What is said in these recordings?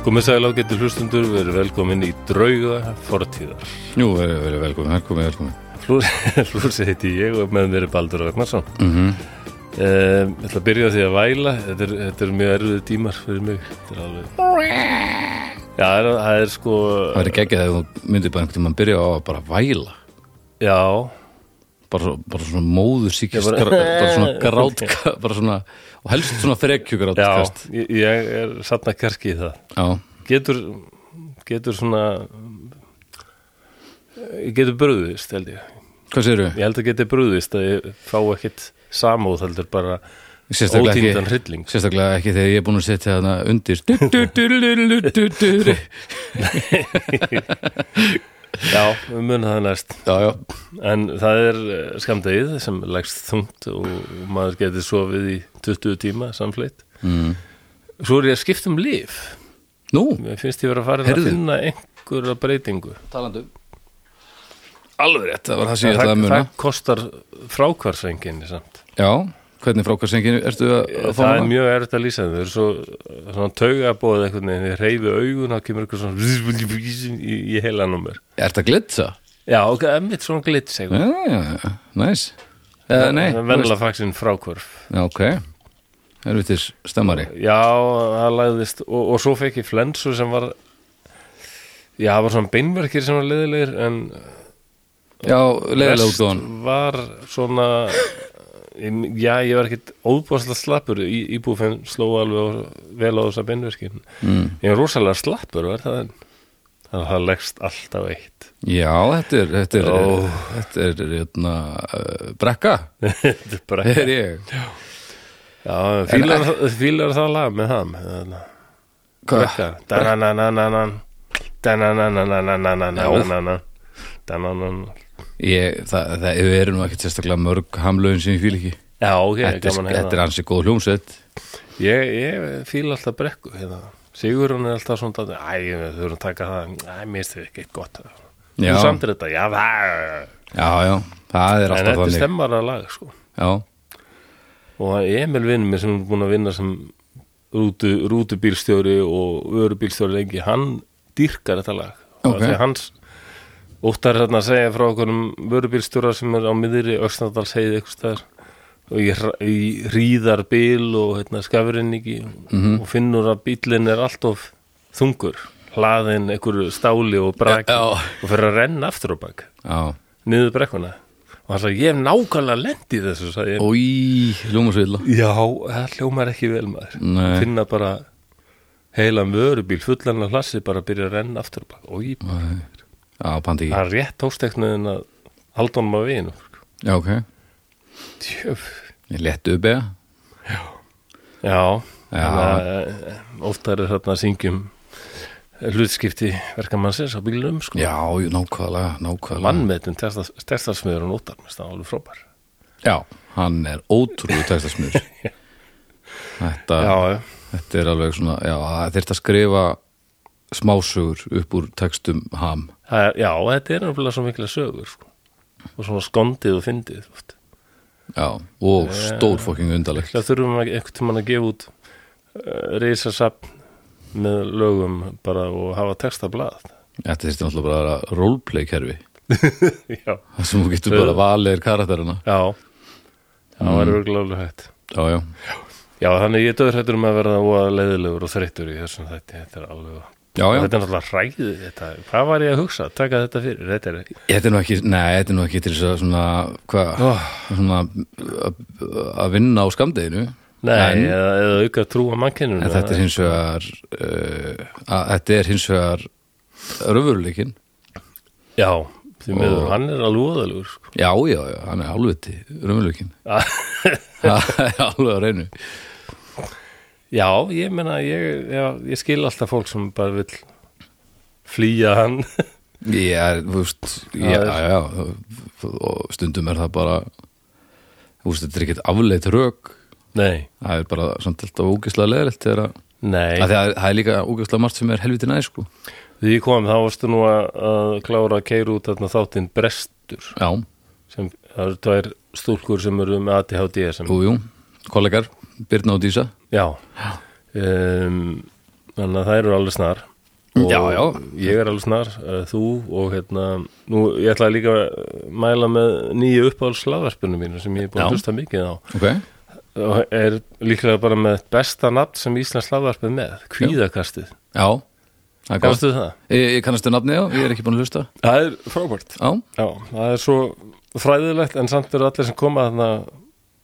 Komið sæl ágættu hlustundur, við erum velkomin í drauga fortíðar. Jú, verið veri velkomin, velkomin, velkomin. Flúsi heiti ég og með mér er Baldur Ragnarsson. Mm Um, ég ætla að byrja á því að væla, þetta er, þetta er mjög erfiðu tímar fyrir mig. Þetta er alveg... Já, það er, það er sko... Það verið geggjað þegar þú myndir bara einhvern tímann byrja á að bara væla. Já, Bara, svo- bara svona móður síkist, Já, bara- bara, bara svona grátka, bara svona, og helst svona já, frekjugrátkast. ég, ég er satna kerski í það. Já. Getur, getur svona... Ég getur bröðist, held ég. Hvað segirðu? Ég held að geti brúðist að ég fá ekkit samúð, heldur bara Sérstaklega ekki- ótíndan hrylling. Sérstaklega ekki þegar ég er búin að setja þarna undir. Du- du- du- du- du- du- du- du- du. Já, við munum það næst Já, já. En það er skamdegið sem leggst þungt og maður getur sofið í 20 tíma samfleitt Mm. Svo er ég að skipta um líf Nú, Mér finnst ég vera að fara að Heyrðu. finna einhverja breytingu talandu. Alveg rétt, það var það sem ég ætlaði það, að muna. það kostar frákvarsengin samt Já, hvernig frákarsenginu ertu að að fá Það er hana? mjög erfitt að lýsa þeim. þau eru svo, svona tauga bóð einhvern veginn, ég reyfi augun þá kemur eitthvað svona í, í heilanum mér Ertu að glitsa? Já, ok, emmitt svona glits eitthvað Já, já, já, næs. Uh, nei, þú veist- Vennilega faksin frákvörf Já, ok Helvitis stemmari Já, það lagðist og, og svo fekk ég flensu sem var Já, það var svona beinverkir sem var leðilegir en Já, leiðilega út þóðan var svona Já, ég var ekkit óbúðslega slappur í, íbúfinn sló alveg á- vel á þessa beinverkin mm. Ég var rosalega slappur var það en það, það leggst alltaf eitt Já, þetta er, þetta er, Ó. þetta er, jötna, uh, brekka Þetta er bara er ég Já, fílar, fílar það lag með það með það Hvað? Brekka. Dananananan. Danananananananananananan. Dananan. Ég, það, það við erum nú ekkert sérstaklega mörg hamlögin sem ég fíl ekki Já, ok, Þetta er- gaman sko- að þetta hérna. er ansi góð hljómsveit Ég, ég fíla alltaf brekku hérna. Sigurún er alltaf svona dálítið, Æ, við þurfum að taka það Æ, mér finnst þið ekki gott Þú Já. samt er þetta, já, það Já, já, það er En alltaf þetta er þannig stemmara lag, sko Já, Og Emil vinnur mér sem er búin að vinna sem rútu, rútubílstjóri og vörubílstjóri lengi, hann dýrkar þetta lag Ok. Þegar hans óttar hérna að segja frá okkur um vörubílstjóra sem er á miðri Öxnadals heiði eitthvað staðar og í, hra- í ríðar bíl og hérna, skafurinningi Mhm. og finnur að bílinn er alltof þungur hlaðin einhverju stáli og Já, braki já. og fyrir að renna aftur á bak já niður brekkuna og hann sagði ég hef nákvæmlega lent í þessu sagði ég Í, hljómsveitla Já, það hljómar ekki vel maður Nei. Finna bara heilan vörubíl fullan af hlassi bara byrja að renna aftur og bara, Í, Já, pandi ekki það er rétt tóksteknuðin að halda honum að vinu Já, ok Tjöf Ég lettu upp eða Já, eh, Já. oftar er þarna að syngjum hlutskipti verkamannsins á bílnum sko. Já, jú, nákvæmlega, nákvæmlega Vannmetin testarsmiður og nótar mér staðan alveg frópar Já, hann er ótrúið textasmiður þetta, Já, já. þetta er alveg svona já, það þyrfti að skrifa smásögur upp úr textum ham Það er- já, þetta er náttúrulega svo mikla sögur sko. og svona skondið og fyndið oft. já, og stór fokking undarlegt Það þurfum við einhvern tímann að gefa út uh, reisasapn með lögum bara og hafa textablað. þetta þyrfti náttúrulega bara að vera roleplay kerfi Já. það sem þú getur bara valið karakterina Já. Það Mm. var örgulega alveg hægt. já, já, Já, þannig ég döður hættur um að verða óaða leiðilegur og þreyttur í þessum þætti. Þetta er alveg... já, já. Þetta er náttúrulega hræðið þetta. Hvað var ég að hugsa? Taka þetta fyrir. Þetta er... Þetta er nú ekki, nei, þetta er nú ekki til þess að svona, hvað, svona að- að vinna á skamdeginu Nei, eða, eða auka trú á mannkennunum. en þetta er hins vegar uh, að, þetta er hins vegar raunveruleikinn Já, því miður, Og- hann er alveg óaðalegur, sko. Já, já, já, hann er hálfviti raunveruleikin Það er alveg að reynu Já, ég meina, ég, já, ég skil alltaf fólk sem bara vill flýja hann. Ég er, þú veist, já, Það já, og stundum er það bara þú veist, þetta er ekkert afleitt rök Nei. það er bara samt alltaf ógeðslega leðilegt þegar að Nei, Af því að það er líka ógeðslega margt sem er helviti næ, sko því ég kom þá varstu nú að, að klára að keira út þarna þáttinn Brestur Já, sem það eru tvær stúlkur sem eru með ADHD sem, jú, jú, kollegar Birna og Dísa já um, þannig að það eru alveg snar og Já, já. ég er alveg snar, eh, þú og hérna, nú ég ætla líka að mæla með nýju uppáhalds slagverpunum mínu sem ég er búin Já. að hlusta mikið á ok, og er líklega bara með besta nafn sem Íslands slagverpun með, kvíðakastið já það er gott Kannastu það? ég, ég kannastu nafnið á, ég er ekki búin að hlusta Það er frábært já, Já, það er svo fræðilegt en samt eru allir sem koma þarna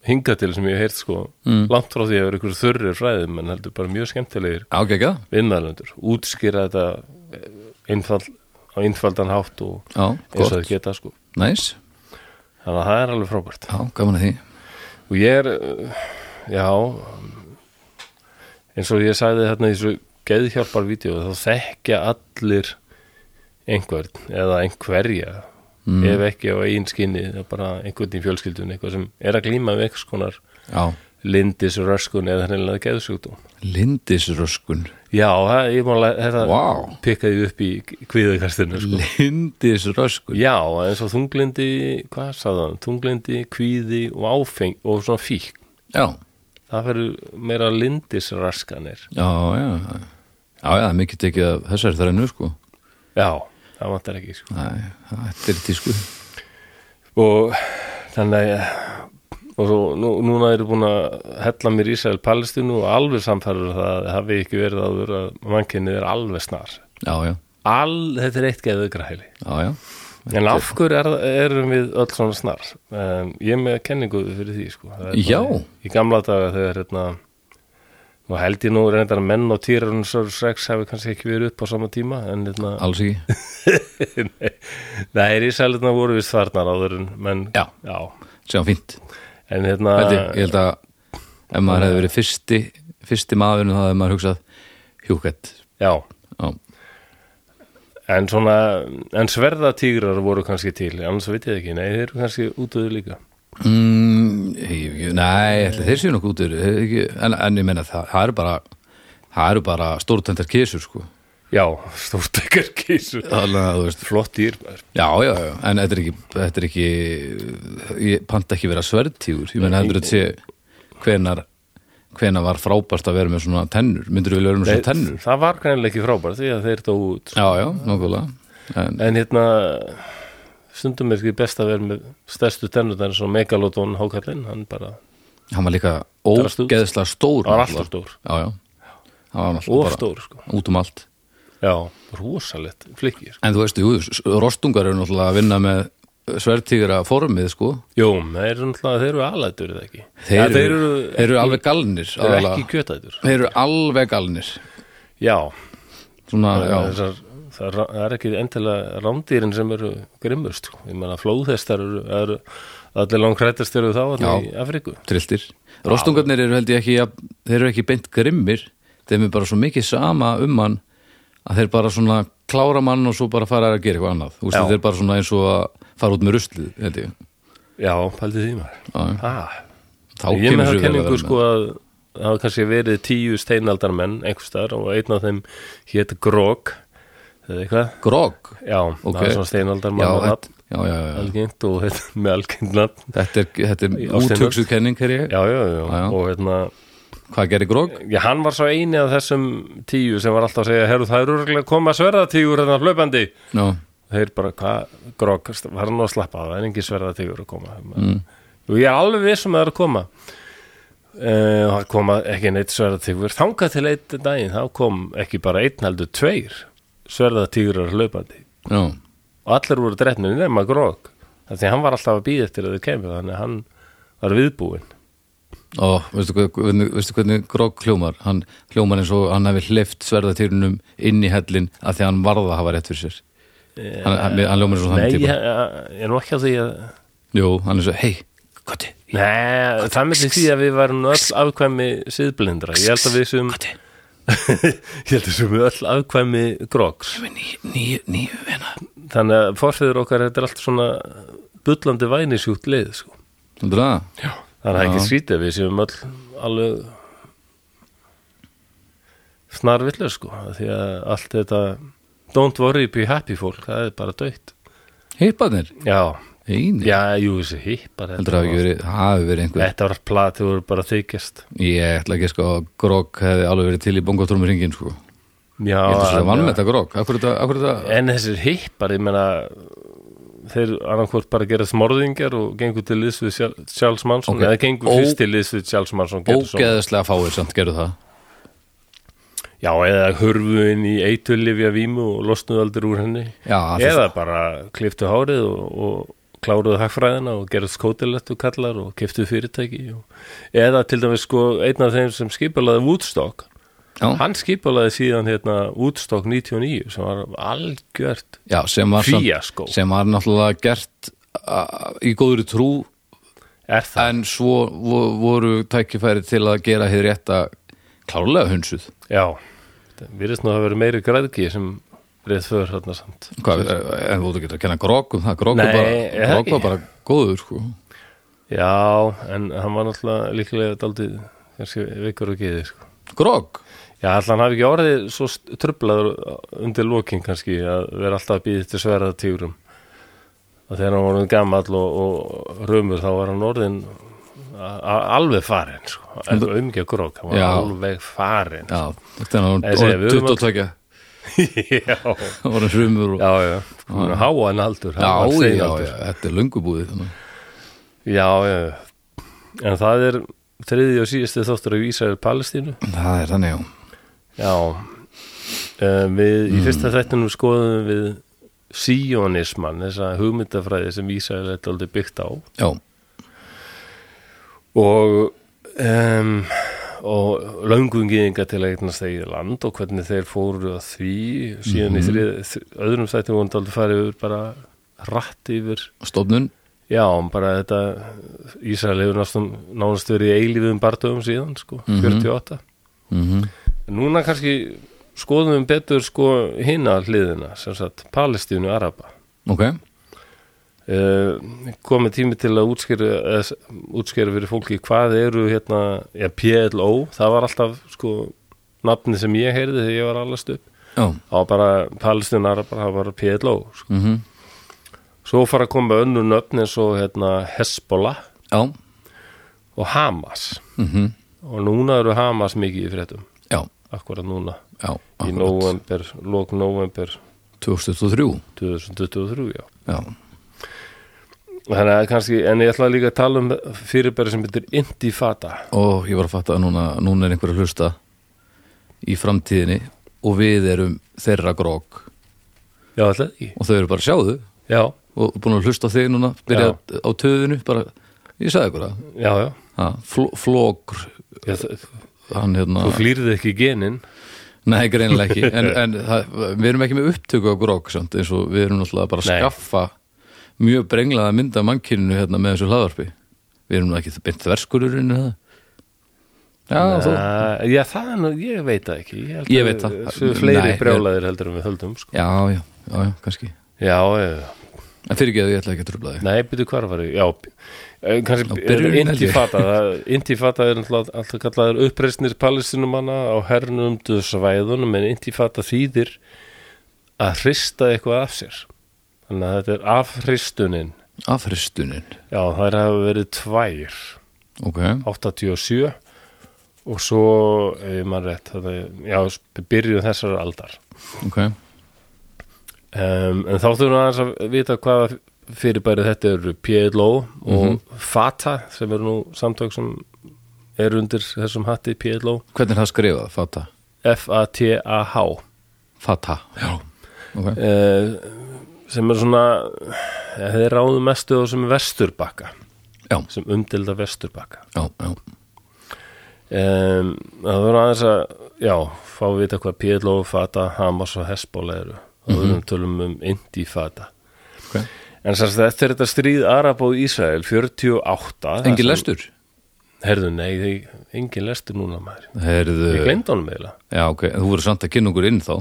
hingað til sem ég hef heyrt sko Mm. langt frá því að vera ykkur þurrir fræðum en heldur bara mjög skemmtilegir já, ekki það innmælendur, útskýra þetta eh, einfald, á einfaldan hátt og já, eins og gott, þau geta sko næs, þannig að það er alveg frábært já, gaman að því og ég er, eh, já eins og ég sagði þarna í þessu geðhjálpar vídeo þá þekkja allir einhvern eða einhverja Mm. ef ekki á eigin skinni það er bara einhvern í fjölskyldun eitthvað sem er að glíma við einhvers konar já, lindisröskun eða hreinlega geðsjúkdóm lindisröskun já, það, ég má þetta Vá. Mm. pikka því upp í kvíðakastinu sko. lindisröskun já, eins og þunglindi hvað sagði hann, þunglindi, kvíði og áfeng og svona fík já, það verður meira lindisraskanir já, já já, já, það er mikið tekið af þessari þrennu sko já, það vantar ekki sko. Nei, þetta er tísku og þannig að- og svo, nú, núna eru búin að hella mér Ísrael Palestínu og alveg samfærður það að hafi ekki verið áður að mannkynið er alveg snar Já, já, All, þetta er eitt geðu græli já, já en af hverju er, erum við öll svona snar um, ég er með kenningu fyrir því sko. Það er Já. bara í, í gamla daga þegar hérna, nú held ég nú reyndar að menn og týrun og sex hafi kannski ekki verið upp á sama tíma en hérna, Alls ekki, það er í sælutna voru við svarnar áður en menn Já. sem fínt en hérna Held ég, ég held að ef maður hefði verið fyrsti fyrsti maðurinn þá hefði maður hugsað hjúkett já Já, En svona, en sverðatígrar voru kannski til, annars veit ég ekki, nei, þeir eru kannski útöðu líka. mm, ég, ég, nei, ætli, þeir séu nokkuð út úr þeir ekki- en, en ég meina það, það eru bara það eru bara stórtendar kísur sko Já, stórtekar kísu, þannig að þú veist flott dýr. maður. Já, já, já, en þetta er ekki, þetta er ekki ég panta ekki vera sverðtígur ég meina heldur þetta sé hvenar, hvenar var frábært að vera með svona tennur, myndir við vera með svona tennur Það var kannilega ekki frábært því að þeir dó út. Já, já, nokkulega en, En hérna, stundum er ekki best að vera með stærstu tennur, það er svo megalodon hákallinn, hann bara, hann var líka Drast út. ógeðslega stór hann var náttúrulega. alltaf stór, Já, já, hann var alltaf of bara stór, sko. út um allt Já, rosalett, flikkir. En þú veist, jú, s- rostungar eru náttúrulega að vinna með sverðtígra formið, sko Jú, þeir eru náttúrulega, þeir eru alætur, er það ekki? Þeir, ja, eru, þeir eru, þeir eru alveg galnir þeir eru aðalega. ekki kjötætur. Þeir eru alveg galnir Já, Svona, já, þessar, það, er, það er ekki endilega rándýrin sem eru grimmust sko. ég meina flóðhestar eru, eru allir langrættast eru þá þarna Já. í Afríku trilltir Rostungarnir eru held ég ekki jafn- þeir eru ekki beint grimmir þeim er bara svo mikið sama um hann að þeir bara svona klára mann og svo bara fara að gera eitthvað annað Þú veist, Já. þeir eru bara svona eins og að fara út með ruslið held ég já, pældi því maður Já, já. ah, Þá ég kemur er svo með það vel að kenningu vera sko með að það hafa kannski verið tíu steinaldarmenn einhvers staðar og einn af þeim hét Grog eða eitthvað Grog já, Ok. það er svona já, steinaldarmann og þetta- nafn já, já, já, já. algengt og hérna, með algengt nafn Þetta er, þetta er Á Steinöld. útöksuð kenning hér ég já, já, já, Já, já. og hérna Hvað gerir Grog? Já, hann var svo eini af þessum tíu sem var alltaf að segja, herru, það eru örugglega að koma sverðatígur hérna hlaupandi. Já, þeir bara, hvað, grog var nú að slappa af, það er engin sverðatíkur að koma mm. og ég er alveg vissum að það er að koma Eh, og það koma ekki neitt sverðatíkur þangað til eitt daginn, þá kom ekki bara einn heldur tveir sverðatíkurar hlaupandi já, og allir voru drefnir nema grog þannig að hann var alltaf að býða eftir að þau kemur þannig að hann var viðbúinn ó, veistu, hvernig, veistu hvernig Grog hljómar? Hann hljómar eins og hann hefði hlift sverðatýrunum inn í hellin að því að hann varða að hafa rétt fyrir sér Hann, hann, hann hljómar eins og þannig Eh, Nei, típa ég, ég er nú ekki á því að Jú, hann er svo, hei, kotti, Nei, það myndi því að við varum nú öll afkvæmi siðblindra ég held að við sem kotti, ég held að við sem öll afkvæmi grogs með nýju, nýju, nýju vina. þannig að forfeyður okkar þetta er allt svona bullandi vænisjúkt leið sko. Heldur það? Já. þannig að Já. ekki skrítið að við séum öll alveg snarvillu sko af því að allt þetta don't worry be happy fólk, það er bara döitt Hipparnir? já, Einu. já, Eh. jú, þessi hippar þetta Heldur það hafi var- ekki verið, það hafi verið einhver. þetta var plat, þau voru bara þykjast Ég ætla ekki sko að Grog hefði alveg verið til í bongotrumur hringin sko. Já, Ég ætla svo að en- vann með þetta grók Akkur þetta, akkur þetta En þessir hippar, ég meina þeir annarkvort bara gera smorðingar og gengur til liðs við Sjál- Charles Manson Ok. eða gengur Ó- fyrst til liðs við Charles Manson gerðu svo. ógeðislega fáir samt gerðu það Já, eða hurfu inn í eitulifja vímu og losnuðu aldrei úr henni Já, það er eða bara kliftu hárið og, og kláruðu hagfræðina og gerðu skótilettu kallar og kiftu fyrirtæki og, eða til dæmis sko einn af þeim sem skipulaði Woodstock já, hann skipulaði síðan hérna Woodstock 99 sem var algjört já, sem var samt- fíaskó sem var náttúrulega gert a- í góðri trú er það, en svo vo- voru tækifæri til að gera hér rétta klárlega hunsuð já við erum nú að vera meiri græðki sem reyð fyrir hérna samt Hvað, en þú ert ekki að kenna grókum það grók var Nei, bara, er það grók var ekki? bara góður sko. já, en hann var náttúrulega líklega daldið, kannski veikur og geði sko grók, Já, allan hafi ekki orðið svo st- trublaður undir lokin kannski að vera alltaf að býða eftir sverða tígrum og þegar hann var orðinn gamall og, og römur þá var hann orðin a- a- alveg farinn sko. en umgjör grók, hann var Já. alveg farinn já, þetta er Ég segi, við orðin höfum 22 já, orðin hrumur og, já, já Hún háan aldur já, hann var já, já, þeginaldur. þetta er löngubúið þannig. já, já, já en það er þriði og síðasti þóttur af Ísrael Palestínu það er þannig, já, Já Eh, við, í fyrsta þættinum skoðum við síonismann, þessa hugmyndafræði sem Ísrael er aldrei byggt á já, og um, og löngungiðinga til að eignast þeir land og hvernig þeir fóru að því síðan í þrið, þ- öðrum þættinum vorum aldrei farið yfir bara rætt yfir stofnun já, bara þetta Ísrael hefur nástum, nánast verið í eilífum bardöfum síðan, sko, 48 mm Núna kannski skoðum við betur sko hinna hliðina, sem sagt, Palestínu Araba. ok, Uh, komið tími til að útskýra, uh, útskýra fyrir fólki hvað eru hérna, já, PLO, það var alltaf sko nafni sem ég heyrði þegar ég var allast upp. já, Það var bara Palestínu Araba, það var bara PLO. Sko. mhm Svo fara að koma önnu nöfni eins og hérna, Hezbollah já, og Hamas. mhm Og núna eru Hamas mikið í fréttum, já, akkurat núna, já, í akkurat. november, lók november 2003 2023, já. já, Þannig að kannski, en ég ætla líka að tala um fyrirbæri sem heitir Indifata. og ég var að fatta að núna, núna er einhver að hlusta í framtíðinni og við erum þeirra grók Já, ætla ekki. og þau eru bara sjáðu Já, og búin að hlusta á þig núna byrja á töðinu, bara, ég sagði ykkur það já, já. Ha, fló- flókur já það, hann hérna, þú flýrði ekki genin. nei greinilega ekki en, en það, við erum ekki með upptöku á grók samt eins og við erum náttúrulega bara að Nei. skaffa mjög brenglaða mynd af mannkyninu hérna með þessu hlaðvarpi við erum nú ekki beint þverskururinn eða já, Ah, þú, Æ, Eh, já, það er nú, ég veit það ekki. held Ég að veit það. við- Svo fleiri Nei, brjálæðir heldur en við höldum, sko. já, já, já, já, kannski Já, já. En fyrirgeðu, ég ætla ekki að trubla þig. Nei, byrju hvar var ég? Já, eh, kannski Já, byrjun held ég. Indifata. það- Indifata er náttúrulega alltaf kallaður uppreisnir palestinumanna á hernum döðsvæðunum, en Indifata þýðir að hrista eitthvað af sér. Þannig að þetta er afhristunin. Afristunin, Já, þær hafa verið tvær, ok. 87 og svo, ef maður rétt, það er, já, byrjuð þessar aldar. Ok, Um, en þá þurfum við aðeins að vita hvaða fyrirbæri þetta eru PLO og FATA sem eru nú samtök sem eru undir þessum hatti PLO hvernig er það skrifað? Fata? F-A-T-A-H Fata, já. Ok, uh, sem er svona ja, þeir ráðu mestu á þessum vesturbakka já, sem umdilda vesturbakka já, já. um, það verður aðeins að já, fá að vita hvað PLO, Fata, Hamas og Hezbollah eru og við erum tölum um Indifata Ok. en sérst eftir þetta stríð Arab og Ísrael 48 Engin það sem- lestur? herðu nei, þeir, engin lestur núna maður Heyrðu, ég gleymd honum eiginlega já, ok, en þú voru samt að kynna okkur inn þá.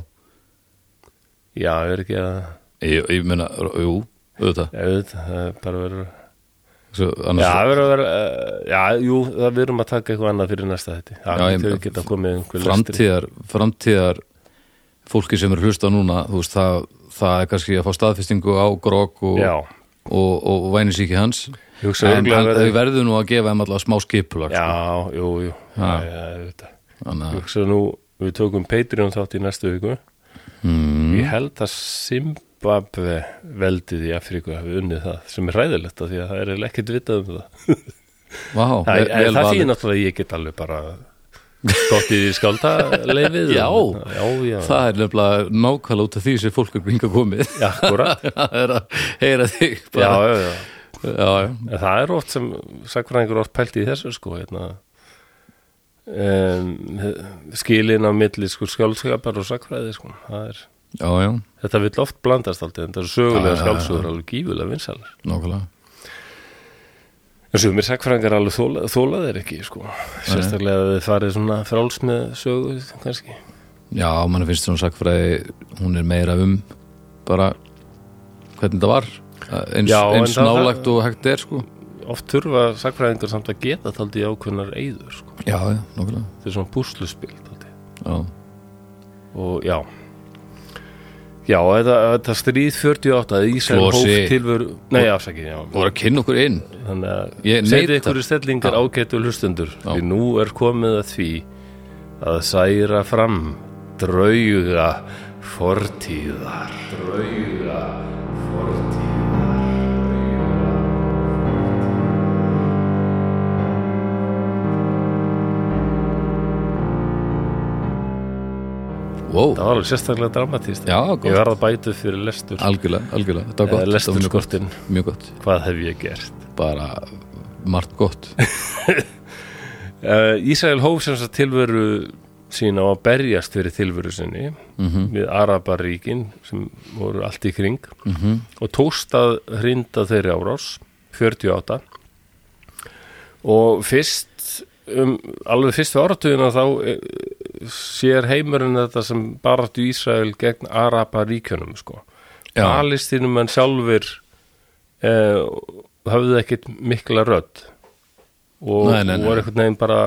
já, ég er ekki að Ég, ég meina, jú, auðvitað. ég veit, það er bara verður Svo, annars, já, það verður að vera uh, já, jú, það verðum að taka eitthvað annað fyrir næsta þetta Já, það ég- getur geta komið einhver lestur framtíðar, framtíðar fólki sem er að hlusta núna, þú veist, það, það er kannski að fá staðfestingu á grók og, já, og, og, og vænisíki hans. ég hugsa En örugglega hann, sko. verður- þau verður nú að gefa þeim allavega smá skipulag. já, jú, jú Ha. já, já, ég veit það Þannig að- Ég hugsa nú við tókum Patreon þátt í næstu viku mm. ég held að Zimbabwe veldið í Afríku hafi unnið það sem er ræðilegt af því að það er eiginlega ekkert vitað um það Vá, Það, vel- vel en það valið. þýðir náttúrulega að ég get alveg bara skottið í skáldaleifið Já. og- já, já, Það er nefnilega nákvæmlega út af því sem fólk er hingað komið já, akkúrat. Það er að heyra þig já, bara. já, já. Já, já, En það er oft sem sakfræðingur oft pælt í þessu sko hérna Um, skilin á milli sko skjálfskapar og sakfræði sko það er, já, já, þetta vill oft blandast aldrei en það eru sögulega Já, já, skjálfsögur alveg gífulega vinsalar nákvæmlega en svo mér sakfræðingar alveg þóla, þóla þeir ekki sko sérstaklega að þið farið svona fráls með sögu kannski Já, mann finnst svona sakfræði hún er meira um bara hvernig það var eins, Já, en eins það- nálægt og hægt er sko oft þurfa sakfræðingar samt að geta taldi ákveðnar eyður sko. Já, já, nákvæmlega þetta er svona búsluspil taldi. Já, og já já, þetta, þetta stríð 48 að Ísæl hóf Flosi. tilveru nei, afsakið, já voru að kynna okkur inn þannig Ég að neita. segðu ykkur stellingar ágætu hlustundur því nú er komið að því að særa fram drauga fortíðar drauga fortíðar Wow, það var alveg sérstaklega dramatist Já, gott. ég var að bæta upp fyrir lestur algjörlega, algjörlega Þetta var Eða gott, þetta var mjög gott, lesturskortinn. mjög gott hvað hef ég gert Bara margt gott Uh, Ísrael hóf sem sagt tilveru sína á að berjast fyrir tilveru sinni við Arabaríkin sem voru allt í kring -hmm. og tókst að hrinda þeirri árás 48 og fyrst um, alveg fyrstu áratugina þá eh, sér heimurinn þetta sem baratu Ísrael gegn Arabaríkjunum sko. Já. Palestinum en sjálfur uh, hafði ekkit mikla rödd og Nei, nei, nei. voru einhvern veginn bara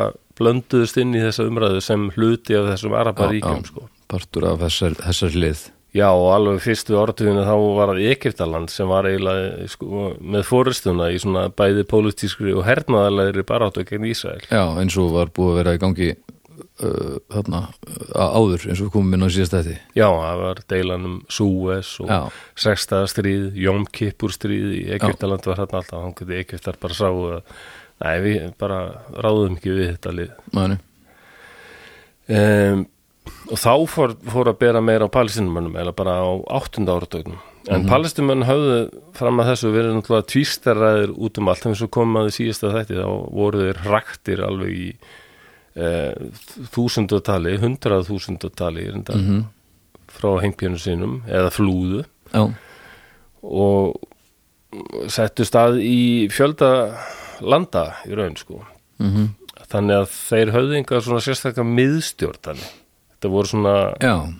blönduðust inn í þessa umræðu sem hluti af þessum araparíkjum Já, já, sko. Partur af þessar, þessar lið Já, og alveg fyrstu orðuðinu þá var það Egyptaland sem var eiginlega sko, með fórustuna í svona bæði pólitískri og hernaðarlegri baráttu gegn Ísrael. Já, eins og var búið að vera í gangi uh, þarna, uh, áður eins og við komum inn á síðast þetta Já, það var deilan um Súes og Já. sextaðastríð, Jom Kippur stríð í Egyptaland var þarna alltaf, hann geti Egyptar bara sáu að, nei, við bara ráðum ekki við þetta lið. Mæni, um, og þá fór, fór að bera meira á palestinumönnum eða bara á áttunda áratögnum en mm höfðu fram að þessu verið náttúrulega tvístarraðir út um allt þannig svo komum að því síðasta þætti þá voru þeir raktir alveg í e, þúsundatali, hundrað þúsundatali mm -hmm. frá heimkjörnum sínum eða flúðu mhm, já, og settu stað í fjölda landa í raun sko mhm þannig að þeir höfðu enga svona sérstakka miðstjórn þannig þetta voru svona já,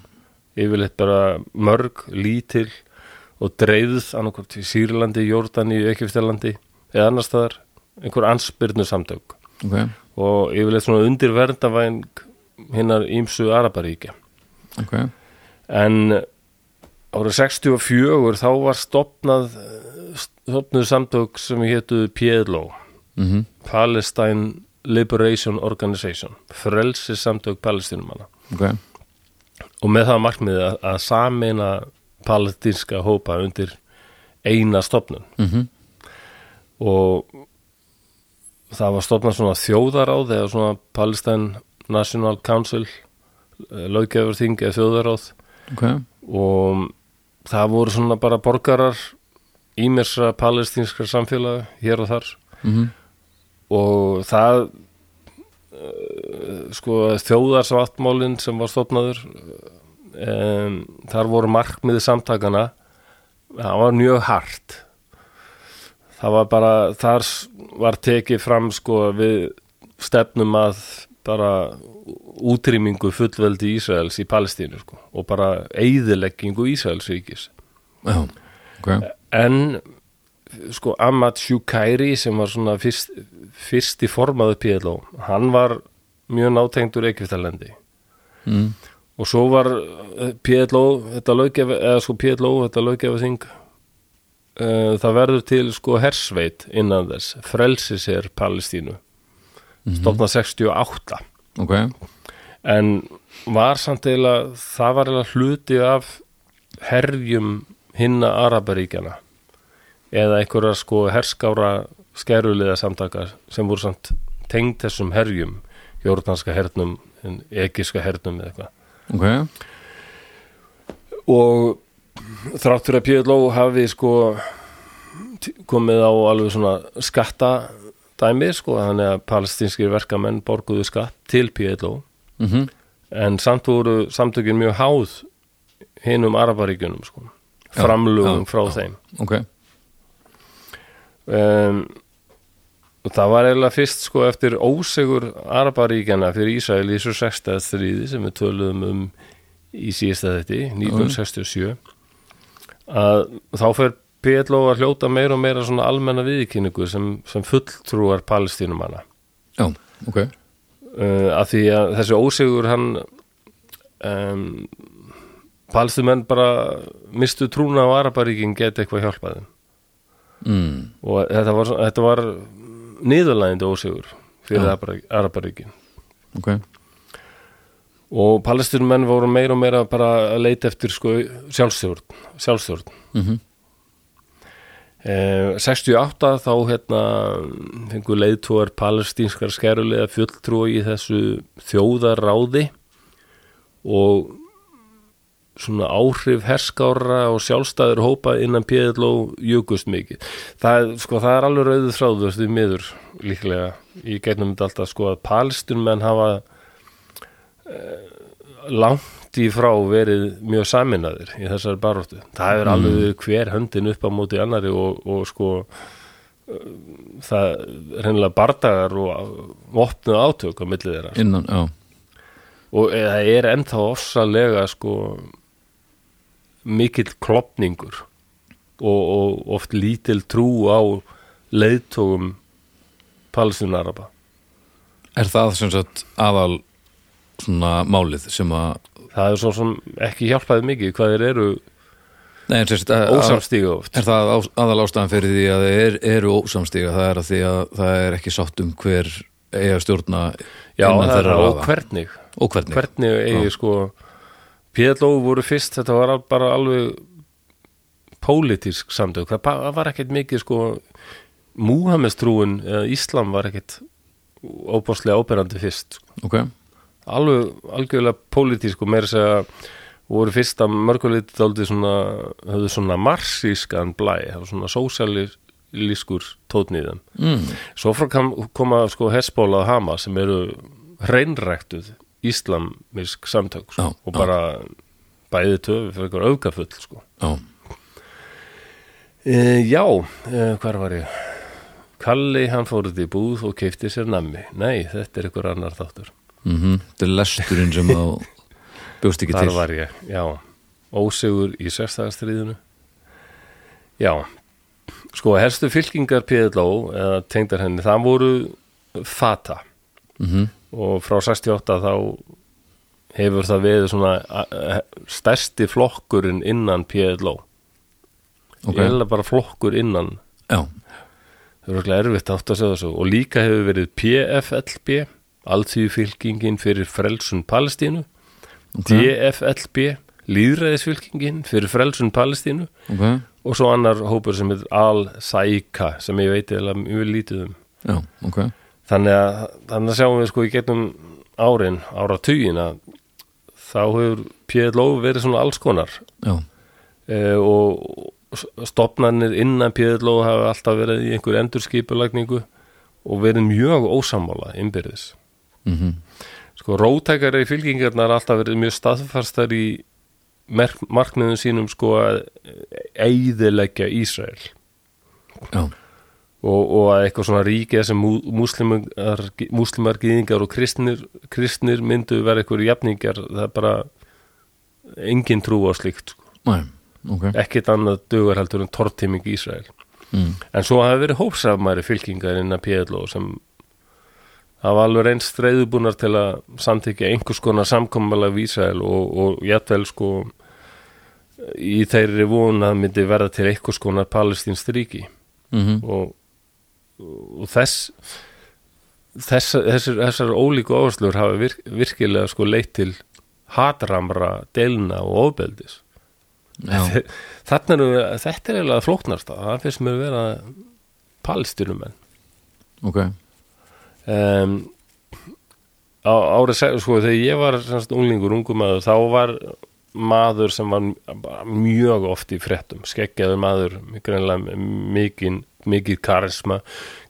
yfirleitt bara mörg, lítil og dreifð annarkvort í Sýrlandi, Jórdaníu, Ekjöfstelandi eða annar staðar einhver ansbyrnu samtök ok, og yfirleitt svona undir verndavæng hinnar ímsu Araparíkja ok en árið 64 þá var stopnað stopnuð samtök sem hétu PLO mm Palestine Liberation Organization frelsi samtök palestinumanna ok, og með það markmiði að, að sameina palestinska hópa undir eina stopnun mm og það var stopnað svona þjóðaráð eða svona Palestine National Council löggefurþing eða þjóðaráð ok og það voru svona bara borgarar ímessra palestinskar samfélaga hér og þar mm og það eh, sko þjóðarsáttmálinn sem var stofnaður um, þar voru markmiði samtakana það var mjög hart það var bara þar s- var tekið fram sko að við stefnum að bara útrýmingu fullveldi Ísraels í Palestínu sko og bara eyðileggingu Ísraels ríkis já, ok en sko Ahmad Shukairi sem var svona fyrst, fyrsti formaðu PLO hann var mjög nátengdur Egyptalendi mm. og svo var eh, PLO þetta löggef, eða sko PLO þetta löggefa þing það verður til sko hersveit innan þess, frelsi sér Palestínu stofna 68 ok, mhm, en var samt eiginlega það var eiginlega hluti af herjum hinna Arabaríkjana eða einhverja sko herskára skeruliða samtaka sem voru samt tengd þessum herjum jórnanska hernum, egiska hernum eða eitthvað ok, og þráttur að PLO hafi sko t- komið á alveg svona skatta dæmi sko, þannig að palestinskir verkamenn borguðu skatt til PLO mhm en samt voru samtökin mjög háð hinum arabaríkjunum sko, framlugum já, frá já. þeim ok, um, og það var eiginlega fyrst sko eftir ósegur arabaríkjana fyrir Ísrael í svo 6. stríði sem við töluðum um í síðasta þetta 1967 að þá fer PLO að hljóta meira og meira svona almenna viðkynningu sem, sem fulltrúar palestínumanna já, ok uh, að því að þessi ósegur hann um, palstumenn bara mistu trúna á Araparíkin geti eitthvað hjálpaði mm. og þetta var, þetta var niðurlægindi ósegur fyrir ja. Araparíkin ok, og palestinmenn voru meira og meira bara að leita eftir sko sjálfstjórn, sjálfstjórn. mhm Eh, 68 þá hérna fengu leiðtúar palestínskar skerulega fulltrúi í þessu þjóðaráði og svona áhrif herskára og sjálfstæður hópa innan PLO jukust mikið. Það, er- sko, það er alveg rauðu þráður því miður líklega í gegnum þetta alltaf sko að palestinmenn hafa eh, langt í frá verið mjög saminnaðir í þessari baróttu. Það er alveg hver höndin upp á móti annari og, og sko eh, það er hennilega bardagar og opnu átök á milli þeirra innan, já, og eh, það er ennþá ofsalega sko mikill klopningur og, og oft lítil trú á leiðtógum palestinaraba er það sem sagt aðal svona málið sem að það er svo sem ekki hjálpaði mikið hvað þeir eru Nei, en sem sagt, að- ósamstíga oft Er það ás- aðal ástæðan fyrir því að þeir er, eru ósamstíga, það er að því að það er ekki sátt um hver eiga að stjórna já, innan það er þeirra og raða. hvernig og hvernig, hvernig eigi sko PLO voru fyrst, þetta var al- bara alveg pólitísk samtök, það ba- það var ekkert mikið sko múhamestrúin eða Íslam var ekkert óbáslega óperandi fyrst sko. ok, alveg algjörlega pólitísk og meira að segja voru fyrst að mörguleiti dálítið svona höfðu svona marsískan blæ það var svona sósjalískur tótn í þeim mm. Svo frá kam, koma sko Hezbollah og Hamas sem eru hreinræktuð íslamisk samtök Já, sko, og já. bara bæði töfi fyrir eitthvað aukafull sko. já, e, Já, e, hvar var ég? Kalli, hann fór út í búð og keipti sér nammi. Nei, þetta er einhver annar þáttur. mhm, þetta er lesturinn sem þá bjóst ekki Þar til var ég, já. Ósegur í sérstæðastriðinu. Já, sko, helstu fylkingar PLO, eða tengdar henni, það voru fata. mm og frá 68 þá hefur það verið svona a- a- stærsti flokkurinn innan PLO ok, ég held að bara flokkur innan já, það er okkur erfitt átt að segja þessu og líka hefur verið PFLB alltíðfylkingin fyrir frelsun Palestínu ok, DFLB líðræðisfylkingin fyrir frelsun Palestínu ok og svo annar hópur sem heitir Al-Saika sem ég veit eða mjög lítið um já, ok, þannig að þannig að sjáum við sko í gegnum árin, áratugin að þá hefur PLO verið svona alls konar já, e, og stopnarnir innan PLO hafa alltaf verið í einhver endurskipulagningu og verið mjög ósammála innbyrðis. mhm Sko rótækari fylkingarnar hafa alltaf verið mjög staðfarstar í merk- markmiðum sínum sko að eigðileggja Ísrael já, og, og að eitthvað svona ríkið sem mú- múslimar, múslimar gýðingar og kristnir, kristnir myndu vera eitthvað jafningar, það er bara engin trú á slíkt sko. næ, ok ekkit annað dugar heldur en tortiming í Ísrael mm. en svo hafa verið hópsafmæri fylkingar innan PLO sem hafa alveg reynst reyðubúnar til að samþykja einhvers konar samkommalega við Ísrael og, og jættvel sko í þeirri von að myndi verða til einhvers Mhm. konar palestinst ríki Mm og, og þess þessar, þessar, þessar ólíku áherslur hafa virk, virkilega sko leitt til hatramra delna og ofbeldis já, Þarna erum við, þetta er eiginlega flóknarst það finnst mér vera palestinumenn ok um, á, árið se- sko þegar ég var semst, unglingur, ungumadur þá var maður sem var m- bara mjög oft í fréttum, skeggjaður maður greinlega mikið mikið karisma,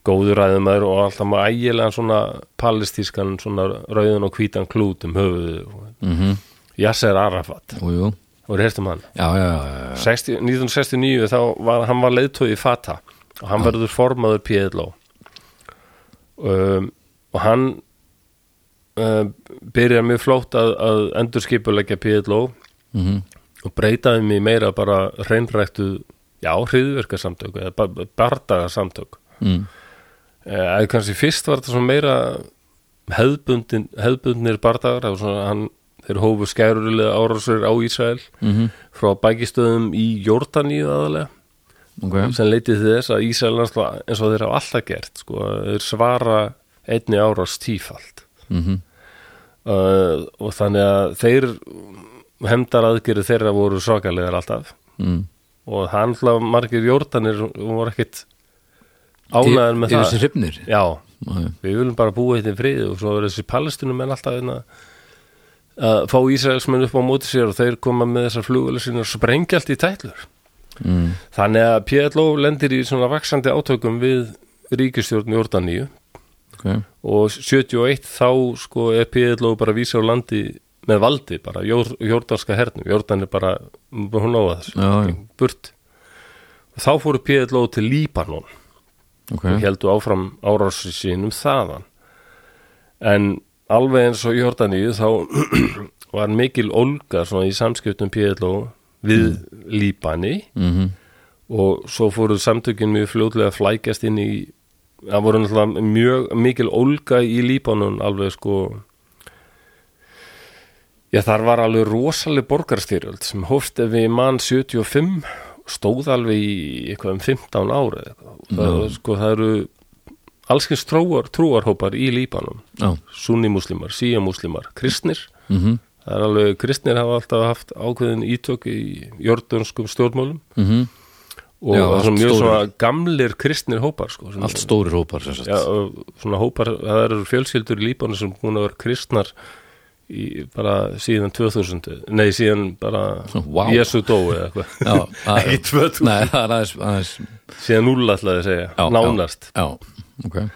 góður ræðumæður og alltaf maður ægilegan svona palestískan svona rauðan og hvítan klút um höfuðu, mm -hmm. Yasser Arafat jú, jú. og reistum hann já, já, já, já. 60, 1969 þá var hann var leiðtói í Fata og hann verður formaður PLO um, og hann uh, byrjar mjög flótt að, að endurskipuleggja PLO Mm og breytaði mig meira bara hreinræktu, já, hriðverkasamtök eða ba- ba- bardagasamtök mm. Eh, að kannski fyrst var þetta svona meira hefðbundin, hefðbundnir bardagar það var svona hann, þeir hófu skærulega árásur á Ísrael Mhm. frá bækistöðum í Jórdaníu aðalega ok sem leitið til þess að Ísrael náttúrulega- eins og þeir hafa alltaf gert sko, þeir svara einni árás tífalt mm uh, og þannig að þeir hemdar aðgerið þeirra voru svakalegar alltaf mm. og hann hlað margir Jórdanir voru ekkit ánæður með yfir það þessi hrifnir Já, Já, já. við viljum bara búa þetta í friði og svo verður þessi palestinum en alltaf einna að fá Ísraelsmenn upp á móti sér og þeir koma með þessar flugulega sína og sprengja allt í tætlur mm. þannig að PLO lendir í svona vaksandi átökum við ríkistjórn Jórdaníu ok og 71 þá sko er PLO bara að vísa á landi með valdi bara, jór, jórdanska hernum Jórdan er bara, hún nóða þessu Já, já. burt og þá fóru PLO til Líbanon ok og heldu áfram árási sínum þaðan en alveg eins og Jordaníu þá var mikil olga svona í samskiptum PLO við Líbani mm -hmm. og svo fóru samtökin mjög fljótlega að flækjast inn í það voru náttúrulega mjög mikil olga í Líbanon alveg sko já þar var alveg rosaleg borgarstyrjöld sem hófst ef við mann 75 stóð alveg í eitthvað um 15 ári það, sko það eru allskins trúar, trúarhópar í Líbanon já sunnimuslimar, síamúslimar, kristnir mm -hmm. það er alveg, kristnir hafa alltaf haft ákveðin ítök í jördunskum stjórnmálum Mm og Já, það er allt svona mjög stórir. svona gamlir kristnir hópar sko, sem, allt stórir hópar sem sagt já, og svona hópar, það eru fjölskyldur í Líbanu sem búin að vera kristnar í, bara síðan 2000 nei síðan bara Vá. Jésu dói eða eitthvað Já, það er- Ekki 2000. Nei, það er aðeins, aðeins síðan núll ætlaði að segja, já, nánast Já, já ok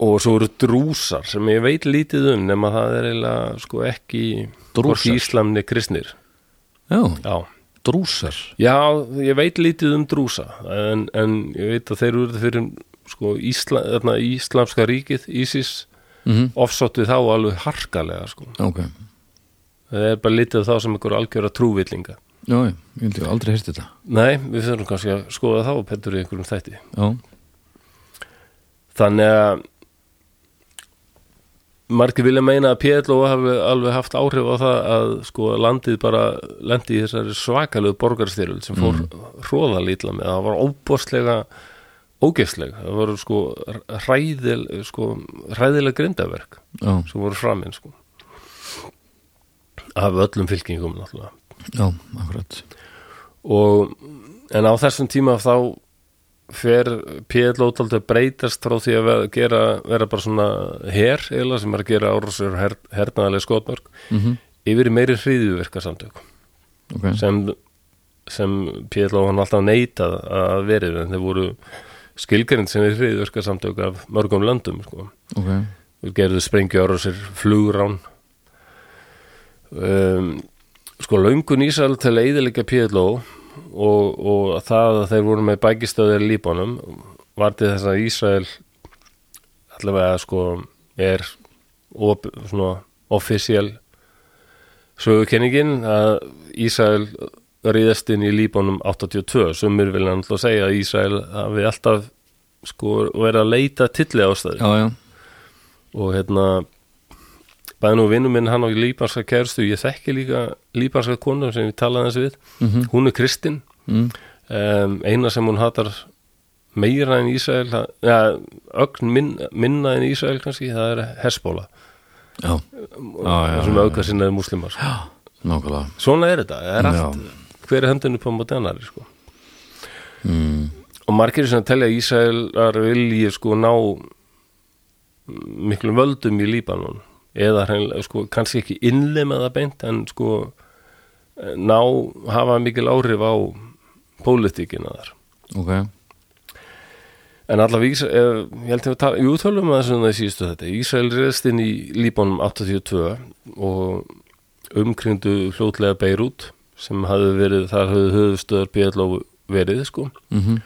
og svo eru drúsar sem ég veit lítið um nema það er eiginlega sko ekki Drúsar? hvorki íslam niður kristnir Já, já drúsar Já, ég veit lítið um drúsa en, en ég veit að þeir eru fyrir sko, Ísla, þarna, Íslamska ríkið ISIS, mm ofsótt við þá alveg harkalega sko. Ok, það er bara lítið þá sem ykkur algjöra trúvillinga já, já, ég held ég hef aldrei heyrst þetta Nei, við þurfum kannski að skoða þá Pettur í einhverjum þætti Já, Þannig að margir vilja meina að PLO hafi alveg haft áhrif á það að sko landið bara lendi í þessari svakalegu borgarstyrjöld sem fór mm. hróðalítla með, það var óbóstlega ógeðsleg, það voru sko hræðil, sko hræðilega grindaverk já, sem voru framinn sko af öllum fylkingum náttúrulega já, akkurat og en á þessum tíma þá fer PLO taldi að breytast frá því að vera, gera, vera bara svona her eða sem er að gera árásur her, hernaðalega skotmörk mm yfir í meiri hriðjuverka samtök Ok, sem, sem PLO hann alltaf neitað að verið en þeir voru skilgrind sem er hriðjuverka samtök af mörgum löndum sko. ok Þeir gerðu sprengjuárásir, flugrán um, sko löngun Ísrael til að eiðilega PLO og, og það að þeir voru með bækistöðir í Líbanum var til þess að Ísrael allavega sko er op, svona offisíal sögukenningin að Ísrael ríðast inn í um Líbanum 82 sumir vilja náttúrulega segja að Ísrael hafi alltaf sko verið að leita tilli ástæði Já, já, og hérna bæði nú vinnu minn hann á líbanska kærustu ég þekki líka líbanska konu sem ég talaði þessu við, mhm, hún er kristin mm um, eina sem hún hatar meira en Ísrael það- ja, ögn minn, minna en Ísrael kannski, það er Hesbóla já, Ah, já, já, sem auka sinnaði múslimar sko. já, nákvæmlega svona er þetta, það er Já. allt hver er höndinu på modernari sko. Mhm. og margir sem telja að Ísraelar vilji sko ná miklum völdum í Líbanon eða hreinlega, sko, kannski ekki innlema það beint en sko ná, hafa mikil áhrif á pólitíkina þar ok, En allavega, Ísra- eh, ég held að við tala, jú, tölum að þessum það síðustu þetta. Ísrael reyðst inn í um Líbónum 82 og umkringdu fljótlega Beirut sem hafði verið, þar hafði höfustöðar PLO verið, sko. mhm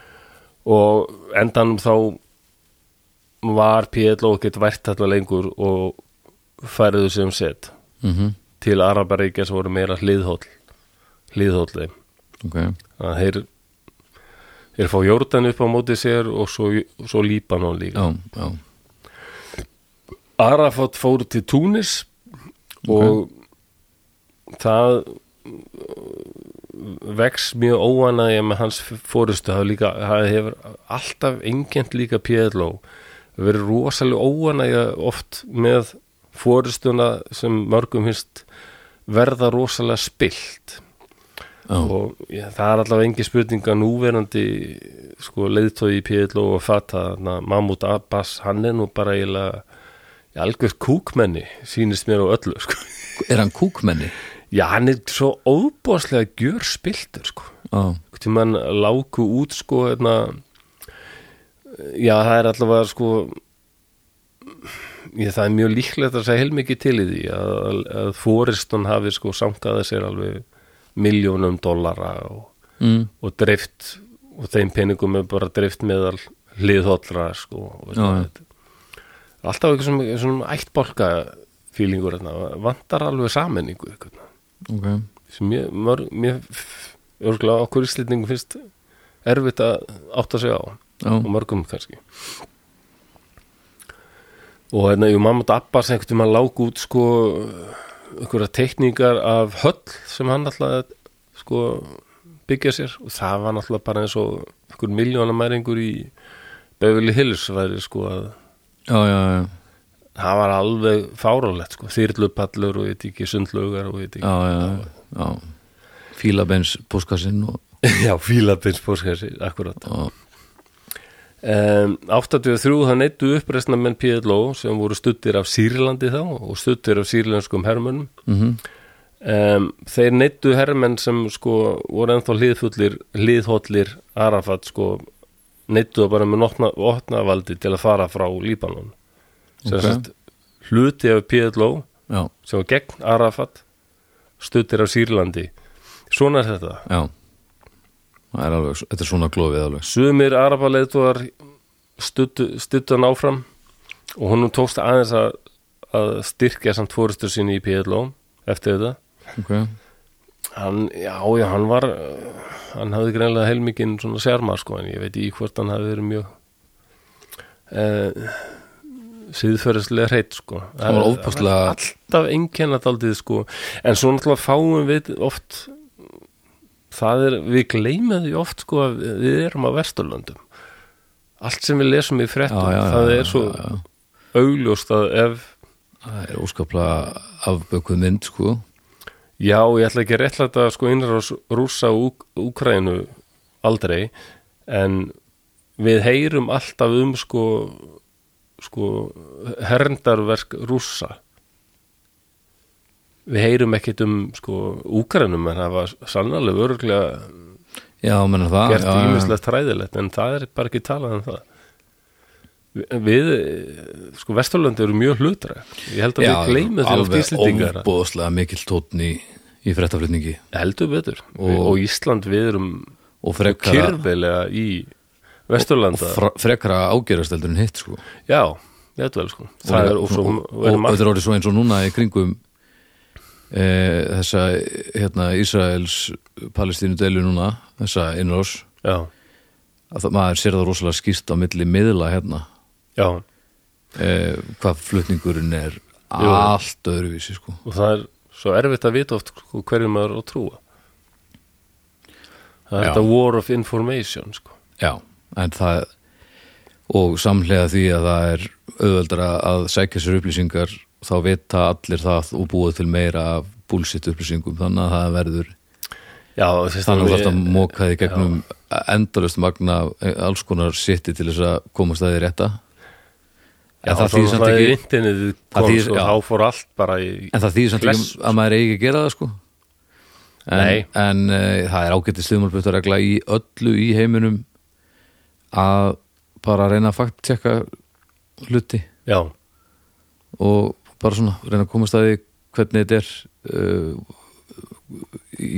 Og endanum þá var PLO ekkert vært allavega lengur og færiðu sem sett mhm, til Arabaríkja sem voru meira hliðhóll, hliðhóllið ok að þeir þeir fá Jórdan upp á móti sér og svo, svo Líbanon líka já, já, Arafat fór til Túnis og það uh, vex mjög óanægja með hans fórustu það, líka, það hefur alltaf engent líka PLO það verið rosalega óanægja oft með fórustuna sem mörgum finnst verða rosalega spilt já, og ja, það er allavega engi spurning að núverandi sko, leiðtói í PLO og fata na, Mahmoud Abbas, hann er nú bara eiginlega ja, algjör kúkmenni sýnist mér á öllu sko. er hann kúkmenni? já, hann er svo óbúðslega gjör spiltur sko. já, til mann láku út sko, hérna, já, það er allavega sko ég, það er mjög líklegt að segja heilmikið til í því að, að fóristan hafi sko sankaði sér alveg miljónum dollara og mm, og dreift og þeim peningum er bara dreift meðal hliðhóllra sko, og veist Já, það, já. þetta. alltaf eitthvað sem, sem ættbólka fílingur þarna, vantar alveg sammenningu eitthvað, ok sem ég, mörg, mér örgulega okkur íslendingum finnst erfitt að átta sig á já, og mörgum kannski og hérna, jú, mamma Abbas einhvern tímann lák út sko einhverja teikningar af höll sem hann alltaf sko byggja sér og það var alltaf bara eins og einhver miljónamæringur í Beverly Hills væri sko að já, já, já, það var alveg fárálegt sko þyrlupallur og ég veit ekki sundlaugar og ég veit ekki já, já, já. fílabeins púskasinn og, já, fílabins póskassi, akkurat og Um, 83 það neittu uppreisna menn PLO sem voru stuttir af Sýrlandi þá og stuttir af sýrlenskum hermönnum mhm um, þeir neittu hermenn sem sko voru ennþá hliðfullir hliðhóllir Arafat sko neittu það bara með notna, opnavaldi til að fara frá Líbanon sem Ok. sagt hluti af PLO já, sem var gegn Arafat stuttir af Sýrlandi svona er þetta já það er alveg, þetta er svona glófið alveg Sumir Arabaleiðtóðar stuttu hann áfram og honum tókst aðeins að, að styrkja samt fóristur sinni í PLO eftir þetta. ok, Hann, já, já, hann var, uh, hann hafði greinlega heilmikinn svona sjarma, sko, en ég veit í hvort hann hafði verið mjög uh, síðferðislega hreitt, sko. það var ofbúslega Alltaf einkennadaldið, sko, en svo náttúrulega fáum við oft, það er, við gleymum því oft, sko, að við erum á Vesturlöndum. Allt sem við lesum í fréttum, það er svo já, já. augljóst að ef það er óskaplega afbökuð mynd sko Já, ég ætla ekki að réttlæta sko innrás rúsa og Úkrænu aldrei en við heyrum alltaf um sko, sko herndarverk rúsa við heyrum ekkit um sko Úkrænum en það var sannlega örgulega já, menna það Ah, gert já, já, já. ímislegt træðilegt en það er bara ekki talað um það Vi- við eh, sko Vesturlandi eru mjög hlutra ég held að já, við gleymum því oft Íslendingar alveg ofbúslega mikill tótn í, í frettaflutningi heldur betur og, Og- og Ísland við erum og frekara, kyrfilega í Vesturlanda fra, frekara ágerast en hitt sko já, ég veit vel sko það er og svo og, er og, og margt- þetta er orðið svo eins og núna í kringum e, þessa hérna, Ísraels palestínu deilu núna þessa innrás já, að það, maður sér það rosalega skýrt á milli miðla hérna já, e, hvað flutningurinn er allt öðruvísi sko og það er svo erfitt að vita oft sko, hverju maður á að trúa það Já. er þetta war of information sko já, en það og samlega því að það er auðveldara að sækja sér upplýsingar þá vita allir það og búa til meira af bullshit upplýsingum þannig að það verður Já, þannig að þetta við- mókaði gegnum endalust magna af alls konar sitti til þess að komast að því rétta Já, en það svo þýðir samt náttúrulega ekki internetið Það kom þýðir- og já. þá fór allt bara í en það þýðir samt ekki að maður eigi ekki að gera það sko en, Nei. en uh, það er ágætið sliðmálbutaregla í öllu í heiminum að bara reyna að fakt tjekka hluti Já, og bara svona reyna að komast að því hvernig þetta er uh,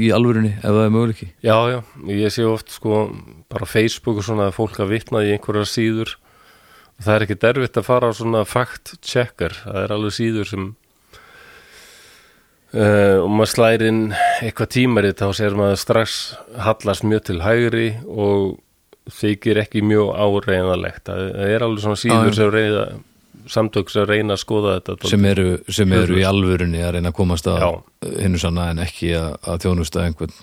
í alvörunni ef það er möguleiki já, já, ég sé oft sko bara Facebook og svona að fólk að vitna í einhverjar síður það er ekki derfitt að fara á svona fact checker, það er alveg síður sem uh, og maður slæðir inn eitthvað tímarit þá sér maður strax hallast mjög til hægri og þykir ekki mjög áreinalegt það það er alveg svona Já, já. síður sem reyða samtök sem reyna að skoða þetta sem eru, sem eru í alvörunni að reyna að komast að Já. hinnu sanna en ekki að, að þjónusta einhvern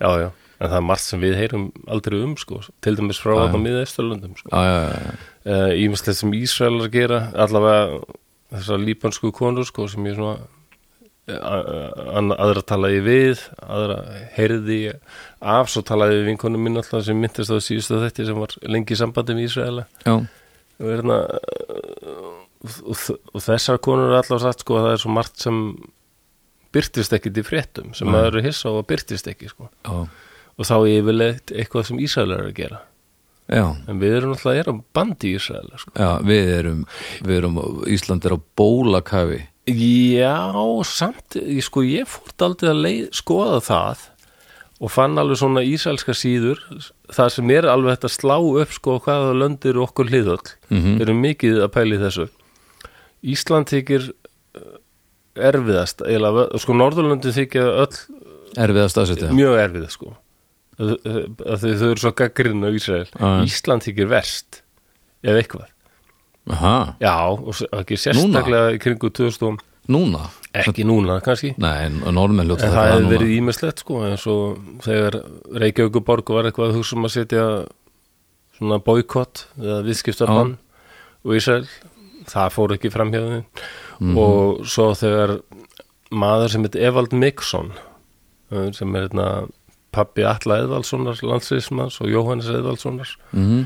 Já, já, en það er margt sem við heyrum aldrei um, sko, til dæmis frá að miða Ísturlöndum, sko. já, já, já, Uh, Ímislegt sem Ísraelar gera, allavega þessar líbansku konur, sko, sem ég svona eh, a- a- aðra talaði ég við, aðra heyrði ég af, svo talaði ég við vinkonum mín alltaf sem myndist á síðustu þetta sem var lengi í sambandi með Ísraela já, og, hérna, og, þ- og þessar konur er allavega satt sko að það er svo margt sem byrtist ekki til fréttum sem maður eru hissa á að byrtist ekki sko já, og þá er yfirleitt eitthvað sem Ísraelar eru að gera já, en við erum náttúrulega erum bandi í Ísraelar sko. já við erum, við erum Ísland er á bólakafi já, samt ég- sko, ég fór aldrei að leið, skoða það og fann alveg svona ísraelska síður það sem er alveg þetta slá upp sko hvaða löndir okkur hliðöll mm -hmm. erum mikið að pæli þessu Ísland þykir eh, erfiðast, eiginlega sko Norðurlöndin þykja öll erfiðast aðsetja mjög erfið sko að, að, að þau, þau eru svo gaggrinn á Ísrael já. Ísland þykir verst ef eitthvað Aha, já, og s- ekki sérstaklega í kringu 2000 og- núna ekki núna kannski Nei, en normenn ljóta en það, það það hefði núna verið ímestlegt sko eins og þegar Reykjavíkuborg var eitthvað að hugsa um að setja svona boykott eða viðskiptabann og Ísrael það fór ekki framhjáðin mm og svo þegar maður sem heit Evald Mikson eh, sem er hérna pappi Alla Eðvaldssonar landsliðsmanns og Jóhannes Eðvaldssonar mm -hmm.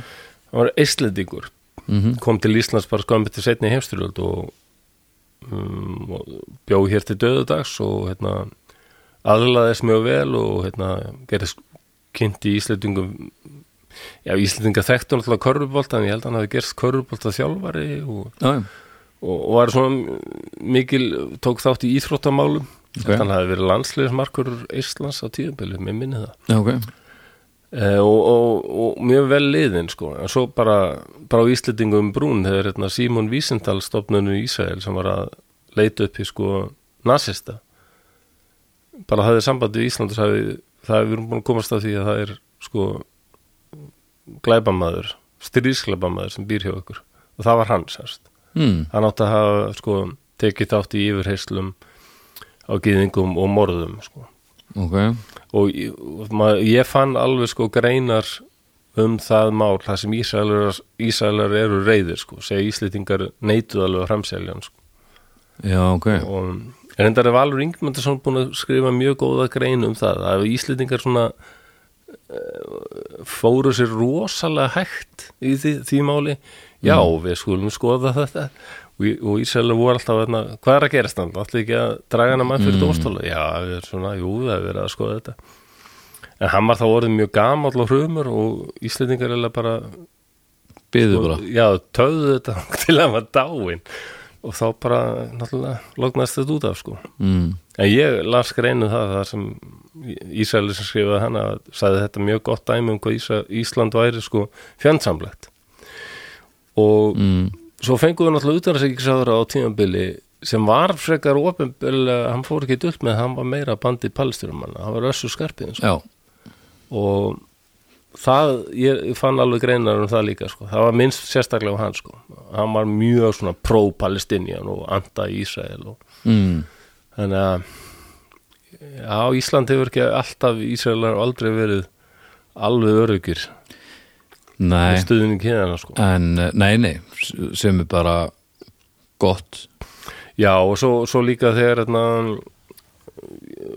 hann var eislendingur Mhm. kom til Íslands bara skoðum til setni heimstyrjöld og, um, og bjó hér til döðudags og hérna aðlaðist mjög vel og hérna gerðist kynnt í Íslendingum já Íslendinga þekktu náttúrulega körfubolta en ég held að hann hafi gerst körfubolta þjálfari og, Já, já. og, og var svona mikil tók þátt í íþróttamálum Ok. hann hafi verið landsliðismarkur Íslands á tíðumbili, mér minni það já, ok Eh, og, og, og mjög vel liðin sko, en svo bara, bara á Íslendingum brún, þegar hérna Símon Vísendal stopnunum í Ísrael sem var að leita upp í sko nasista bara hafði sambandi við Ísland og sagði, það hefur búin að komast að því að það er sko glæbamaður, stríðsglæbamaður sem býr hjá ykkur og það var hann sérst mm. hann átti að hafa sko tekið þátt í yfirheyslum á gýðingum og morðum sko Ok, og ég, og ma- ég fann alveg sko greinar um það mál, það sem Ísraelar, Ísraelar eru reyðir sko, segja Íslitingar neituð alveg að framselja hann sko. já, ok og en endar er Valur Ingmundarsson búin að skrifa mjög góða grein um það, að Íslitingar svona eh, fóru sér rosalega hægt í því, því máli já, Mm. við skulum skoða þetta og, í- og Ísraelar voru alltaf hérna, hvað er að gerast hann, alltaf ekki að draga hana Mm. mann fyrir dómstóla, já, við erum svona, jú, það er verið að skoða þetta En hann var þá orðið mjög gamall og hrumur og Íslendingar eða bara, Byðu bara já, töðu þetta til að hann var dáinn og þá bara, náttúrulega, lognast þetta út af, sko. mm. En ég las greinu það, það sem Ísraeli sem skrifaði hana, sagði þetta mjög gott dæmi um hvað Ísa, Ísland væri, sko, fjandsamlegt. Og Mm. svo fengum við náttúrulega utanrækisraður á tímabili sem var frekar ofinbjörlega, hann fór ekki dult með, hann var meira bandið palsturumanna, hann var össu skarpið, Já, og það, ég fann alveg greinar um það líka, sko, það var minnst sérstaklega á hann, sko, hann var mjög svona pro-Palestinian og anti-Ísrael og mm. þannig að já, Ísland hefur ekki alltaf Ísraelar aldrei verið alveg öryggir nei, stuðin í kynana sko. en eh, nei, nei s- sem er bara gott Já, og svo, svo líka þegar hérna,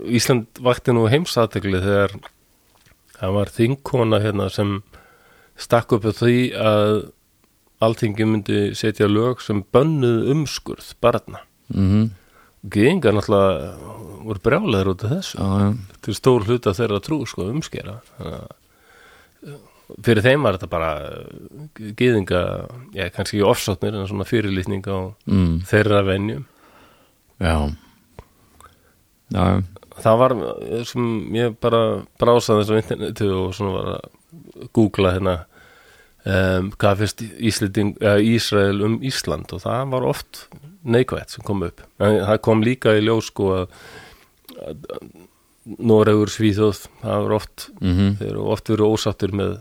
Ísland vakti nú heimsatekli þegar það var þingkona hérna, sem stakk upp á því að alþingi myndi setja lög sem bönnuð umskurð barna. mm -hmm. Gýðingar náttúrulega voru brjálæður út af þessu. já, Þetta er stór hluta þeirra trú, sko, umskera. Þannig að, uh, Fyrir þeim var þetta bara gýðinga, já, kannski ekki ofsóknir en svona fyrirlitning á mm, þeirra venjum. já já, það var eh, sem ég bara brásaði þessu á internetu og svona var að googla hérna um, hvað fyrst Íslending, uh, Ísrael um Ísland og það var oft neikvætt sem kom upp en það kom líka í ljós sko að, að Noregur Svíþjóð það var oft, mm þeir eru oft verið ósáttir með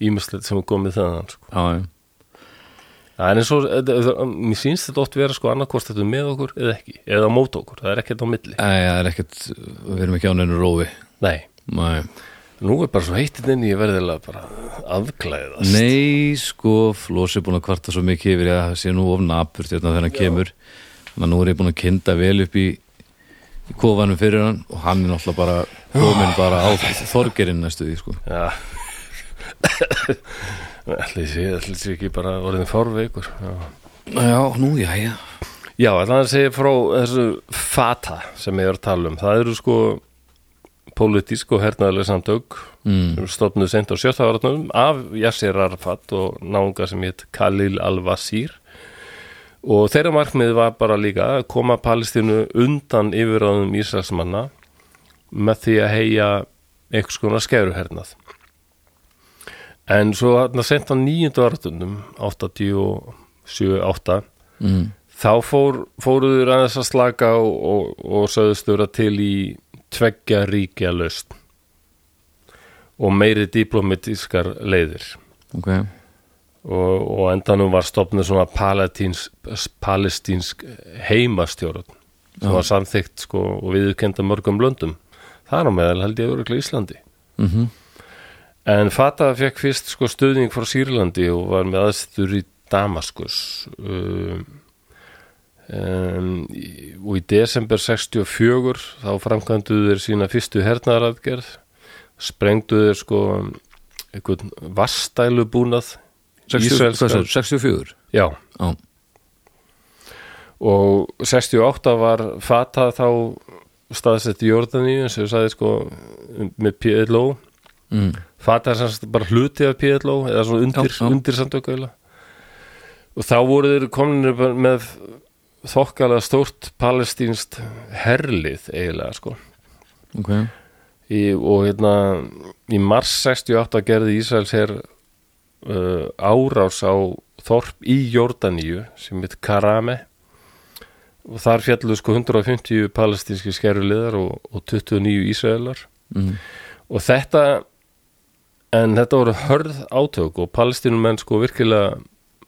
ímislegt sem er komið þaðan sko. já, já það er eins og, þetta- þetta- mér sýnst þetta oft vera sko annarkost þetta er með okkur eða ekki eða á mót okkur, það er ekkert á milli Nei, það er ekkert, við erum ekki á neinu rófi nei Nei, Nú er bara svo heittinn inn í ég verðilega bara afklæðast. Nei sko, Flós er búin að kvarta svo mikið yfir að það sé nú of napur þegar hann kemur Þannig að nú er ég búin að kynda vel upp í, í kofanum fyrir hann og hann er náttúrulega bara komin bara á þorgerinn næstu því sko Já. Ætli sé, ætli sé ekki bara orðin fárveikur. Já, Já, nú, já, já já ætlaði að segja frá þessu fata sem ég er að tala um. Það eru sko pólitísk og hernaðarlega samtök mm, sem stofnuðu seint á sjötta áratnum af Yassir Arafat og náunga sem hétt Khalil al-Wazir og þeirra markmið var bara líka að koma Palestínu undan yfirráðum Ísraelsmanna með því að heia einhvers konar skæruhernað en svo þarna seint á nýjöndu áratnum 87-8 mm, þá fór, fóruður aðeins að slaka og, og, og sögðust vera til í tveggja ríkja laust og meiri diplomatískar leiðir ok og, og endanum var stopnið svona palatins, palestínsk heimastjórn sem var samþykkt sko, og viðurkenda mörgum löndum þar á meðal held ég öruglega Íslandi mm -hmm. En Fata fekk fyrst sko stuðning frá Sýrlandi og var með aðstur í Damaskus um, um, í- og í desember 64 þá framkvæmduðu þeir sína fyrstu hernaðaraðgerð sprengduðu þeir sko um, einhvern vastælubúnað 64, 64. Já, Já, og 68 var Fata þá staðsett í Jórdaníu eins og ég sagði sko með PLO mm, Fata er semst bara hluti af PLO eða svona undir, Já, já. undir samtöku eiginlega. og þá voru þeir kominir með þokkalega stórt palestínst herlið eiginlega sko ok í, og hérna í mars 68 gerði Ísraels her uh, árás á þorp í Jórdaníu sem heit Karame og þar fjallu sko 150 palestínski skeruliðar og, og 29 Ísraelar mm, og þetta en þetta voru hörð átök og palestinumenn sko virkilega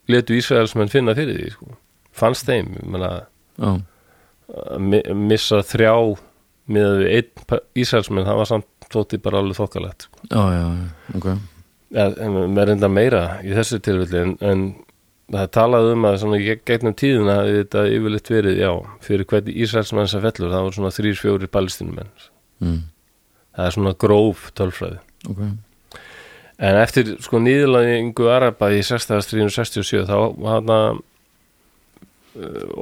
letu Ísraelsmenn finna fyrir því sko. fannst þeim ég meina, Já, að mi- missa þrjá með við einn pa- Ísraelsmenn það var samt þótti bara alveg þokkalegt sko. já, já, já, ok Ja, en með reynda meira í þessu tilfelli en, en það er talað um að svona í gegnum tíðina hafi þetta yfirleitt verið, já, fyrir hvernig Ísraelsmenn sem fellur, það voru svona þrýr, fjórir palestinumenn, mm, það er svona gróf tölfræði Ok, En eftir sko nýðlæðingu Araba í 1667 þá hana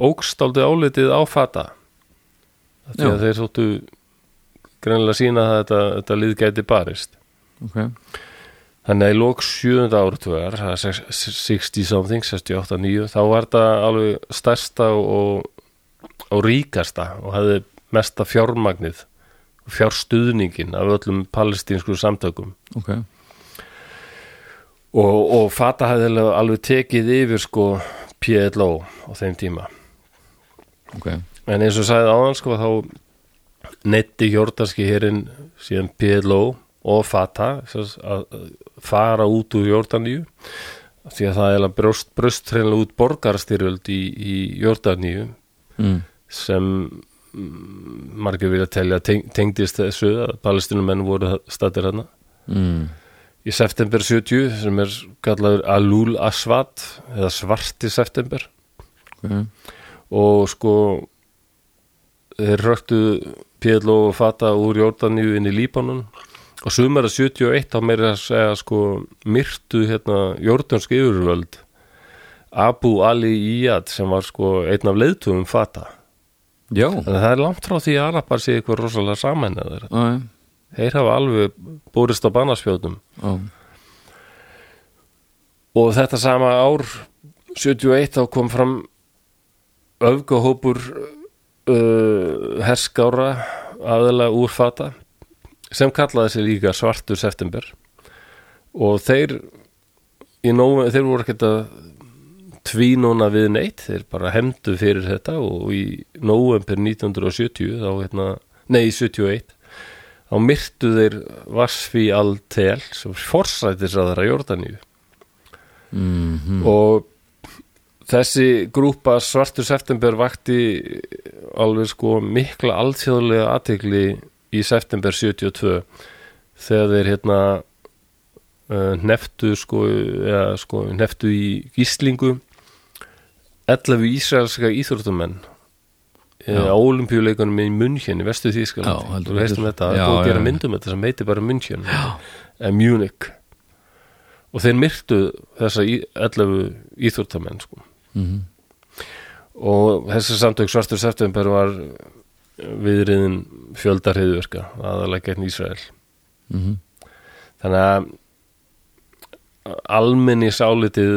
ógst aldrei álitið á fata Af því að Já. þeir þóttu greinlega sína að þetta, þetta lið gæti barist ok Þannig að í lok 7. áratugar það er sex- 60 something, 68, 9 þá var þetta alveg stærsta og, og ríkasta og hefði mesta fjármagnið og fjárstuðningin af öllum palestínsku samtökum Ok, og, og Fata hafði alveg- alveg tekið yfir sko PLO á þeim tíma ok en eins og sagði áðan sko þá netti hjórdanski hérinn síðan PLO og Fata sem sagt, að að fara út úr Jórdaníu því að það er alveg brjóst, brjóst hreinlega út borgarstyrjöld í, í Jórdaníu mm, sem mm, margir vilja telja teng, tengdist þessu að palestinumenn voru stættir hana mm, í september 70 sem er kallaður Alul Asvat eða svarti september okay. og sko þeir röktu PLO og Fata úr Jórdaníu inn í Líbanon og sumar að 71 þá meira að segja sko myrtu hérna Jórdansk yfirvöld Abu Ali Iyad sem var sko einn af leiðtugum Fata Já, þannig að það er langt frá því að Arapar sé eitthvað rosalega sammennaður já, þeir hafa alveg búrist á bannaspjóðnum já og þetta sama ár 71 þá kom fram öfgahópur uh, herskára aðalega úr fata sem kallaði sig líka svartur september og þeir í nóvember, þeir voru ekkert að tvínóna við neitt þeir bara hemdu fyrir þetta og í november 1970 þá hérna, nei 71 þá myrtu þeir Vasfi Al-Tel sem forsættis að þeirra Jordaníu Mhm. og þessi grúpa svartur september vakti alveg sko mikla alþjóðlega aðtegli í september 72 þegar þeir hérna uh, neftu sko, ja, sko neftu í gíslingu 11 ísraelska íþróttumenn eh, Já. á olimpíuleikunum í München í vestu Já, þýskaland heldur þú veistum betur. þetta, það Já, er búið að já, gera já. myndum þetta sem heiti bara München eh, Munich og þeir myrtu þessa í- 11 íþórtamenn sko. Mhm. og þessi samtök svartur september var eh, viðriðin fjöldarhiðverka aðalega gegn Ísrael Mhm. þannig að almenni sálitið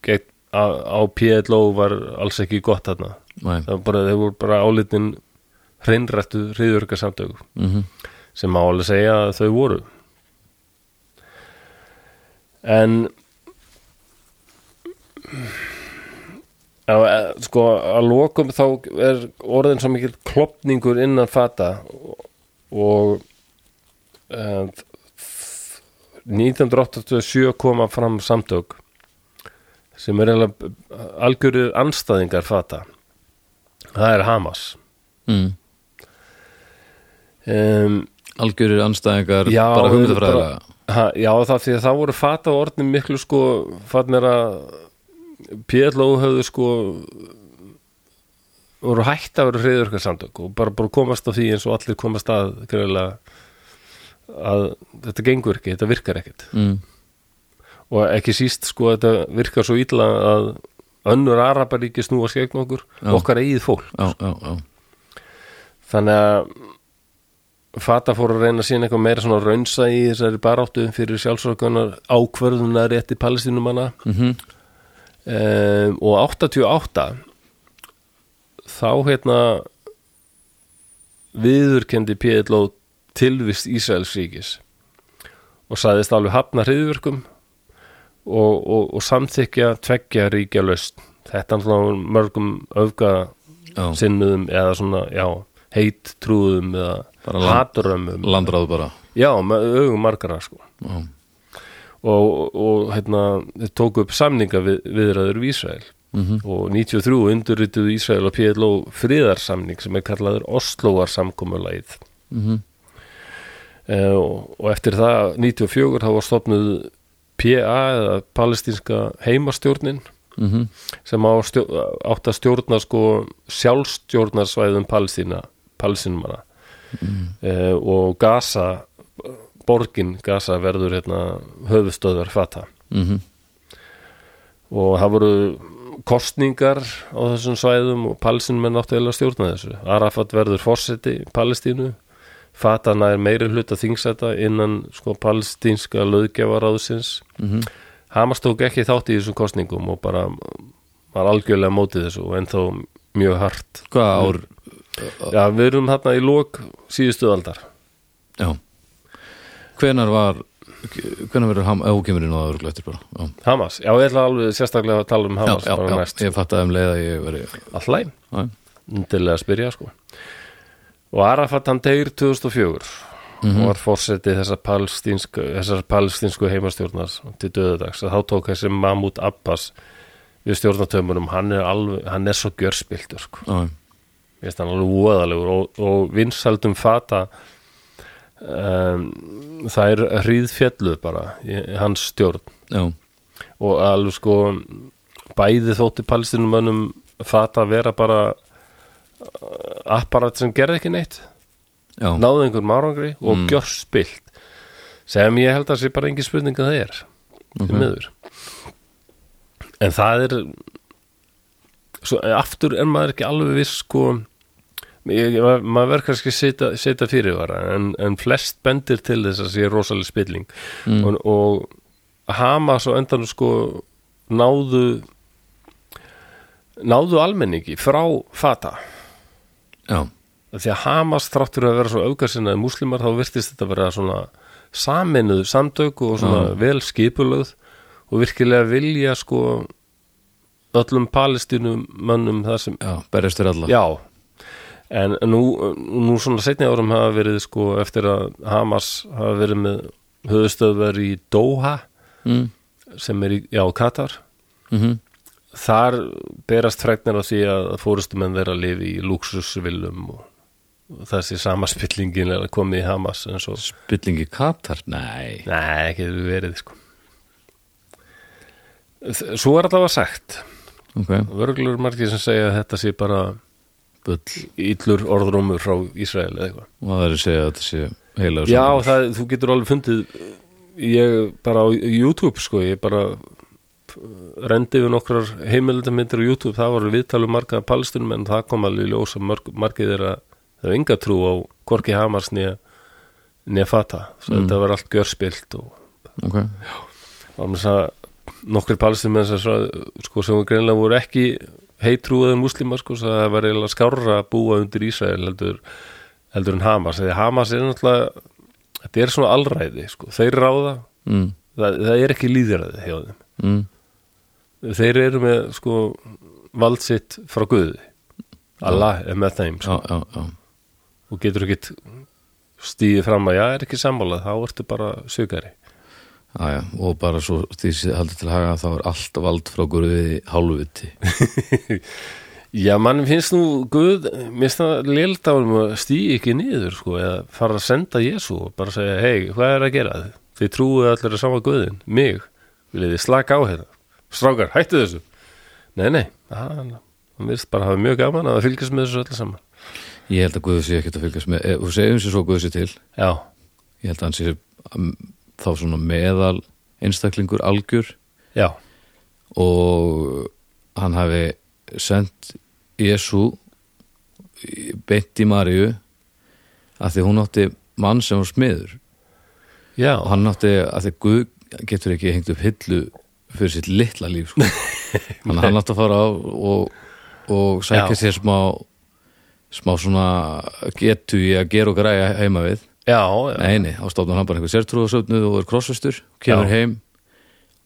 gegn, á, á PLO var alls ekki gott þarna Nei. það var bara, þeir voru bara álitin hreinrættu hriðverka samtök Mhm. sem má alveg segja að þau voru en Já, eh, sko að lokum þá er orðin svo mikill klopningur innan fata og eh, 1987 koma fram samtök sem er eiginlega algjörir anstæðingar fata það er Hamas Mhm. um, Algjörir anstæðingar Já, bara þeir eru hugmyndafræðilega Ha, já, það því að það voru fata orðin miklu sko farnir að PLO höfðu sko voru hætt að vera hreiðurkar samtök og bara, bara komast á því eins og allir komast að greiðlega að þetta gengur ekki, þetta virkar ekkit mm. og ekki síst sko þetta virkar svo illa að önnur araparíki snúa skegn okkur, Já. okkar eigið fólk Já, já, já þannig að Fata fór að reyna að sína eitthvað meira svona raunsa í þessari baráttu fyrir sjálfsvökunar ákvörðuna rétti palestínumanna mm -hmm. um, og 88 þá hérna viðurkendi PLO tilvist Ísraelsríkis og sagðist alveg hafna hriðverkum og, og, og samþykja tveggja ríkja laust þetta er náttúrulega mörgum öfga Já. sinnuðum eða svona, já, heitt trúðum eða Bara land- haturömmum Landráð bara já, með augum margara sko Já, og, og hérna, þeir tóku upp samninga við, viðræður við Ísrael Mhm. og 93 undurrituðu Ísrael og PLO friðarsamning sem er kallaður Osloar samkomulæð Mhm. eh, og, og eftir það 94 þá var stofnuð PA eða palestinska heimastjórnin Mhm. sem á stjó, átt að stjórna sko sjálfstjórnarsvæðum Palestína, Palestínumanna mm. og Gaza borgin Gaza verður hérna höfustöðvar fata Mhm. og það voru kostningar á þessum svæðum og palestinumenn áttu eiginlega að stjórna þessu Arafat verður forseti Palestínu Fatana er meiri hluta þingsæta innan sko palestínska löðgjafaráðsins Mhm. Hamas tók ekki þátt í þessum kostningum og bara var algjörlega mótið þessu og ennþá mjög hart Hvað ár Já, við erum þarna í lok síðustu aldar Já Hvenar var Hvenar verður ham Já, kemur inn á það örglega eftir bara Já, Hamas, já, ég ætla alveg sérstaklega að tala um já, Hamas já, bara já. næst Ég fatt að um leið að ég veri Allæg Já, undirlega að spyrja sko og Arafat hann tegir 2004 og var fórsetið þessar palestínsku, þessar palestínsku heimastjórnar til döðudags þá tók þessi Mahmoud Abbas við stjórnatömmunum, hann er, alveg, hann er svo gjörspiltur sko já, Mér finnst hann alveg voðalegur og, og vinsældum fata um, það er hríðfjallu bara, í hans stjórn já, og alveg sko bæði þótti palestinumönnum fata að vera bara uh, apparat sem gerði ekki neitt já, náði einhver márangri og mm. gjör spilt sem ég held að sé bara engin spurning að það er Ok. okay. Mhm. miður en það er svo eh, aftur en maður er ekki alveg viss sko ég, ég- ma- maður verður kannski setja, setja fyrirvara en, en flest bendir til þess að sé rosaleg spilling Mm. og, og Hamas og endan sko náðu náðu almenningi frá fata já, Af því að Hamas þráttur að vera svo aukasinnaði múslimar þá virtist þetta vera svona saminuð samtök og svona vel skipulöð og virkilega vilja sko öllum palestínum mönnum það sem, já, berjast fyrir alla já en nú, nú svona setni árum hafa verið sko eftir að Hamas hafa verið með höfustöðver í Doha mm. sem er í, já, Katar Mm þar berast fregnir á því að fórustumenn þeirra lifi í luxusvillum og, og þessi sama spillingin er að koma í Hamas en svo, spillingi Katar, nei nei, ekki hefur verið sko Þ- Svo er allavega sagt ok, vörglur margir sem segja að þetta sé bara bull illur orðrúmur frá Ísrael eða eitthvað og það er að segja að þetta sé heila Já, það, þú getur alveg fundið ég bara á YouTube sko, ég bara rendi við nokkrar heimildamindir á YouTube, það voru viðtalum marga palestinum en það kom alveg í ljós að mörg, margið þeirra það er enga trú á Korki Hamars nýja nýja fata, svo þetta var allt gjörspilt og ok, var með þess að nokkur palestinum sem, sagði, sko, sem greinlega voru ekki heitrúðið múslimar sko, svo það var eiginlega skárra að búa undir Ísrael heldur, heldur en Hamas eða Hamas er náttúrulega þetta er svona allræði, sko. þeir ráða mm. það, það er ekki líðræði hjá þeim Mm. þeir eru með sko vald sitt frá Guði Allah er með þeim sko. já, já, já og getur ekkit stíði fram að já, er ekki sammálað, þá ertu bara sögari Já, já, og bara svo því sem haldur til haga þá er allt vald frá gurfiði hálfviti Já, mann finnst nú Guð, mér finnst það lild á um að stýja ekki niður, sko, eða fara að senda Jésu og bara segja, hei, hvað er að gera þið? Þið trúið allir að sama Guðin, mig, viljið þið slaka á hérna? Strákar, hættu þessu! Nei, nei, hann, hann virðist bara hafa mjög gaman að fylgjast með þessu öllu saman. Ég held að Guð sé ekkert að fylgjast með eh, og segjum sér svo Guð sé til Já, ég held að hann sé um, þá svona meðal einstaklingur algjör já, og hann hafi sendt Jésu beint í Maríu að því hún átti mann sem var smiður já, og hann átti að því Guð getur ekki hengt upp hillu fyrir sitt litla líf sko. þannig að hann átti að fara á og, og sækja Já. sér smá smá svona getu í að gera og græja heima við já, já, Nei, nei, þá stofnar hann bara einhver sértrúðasöfnuð og er krossvestur, kemur Já. heim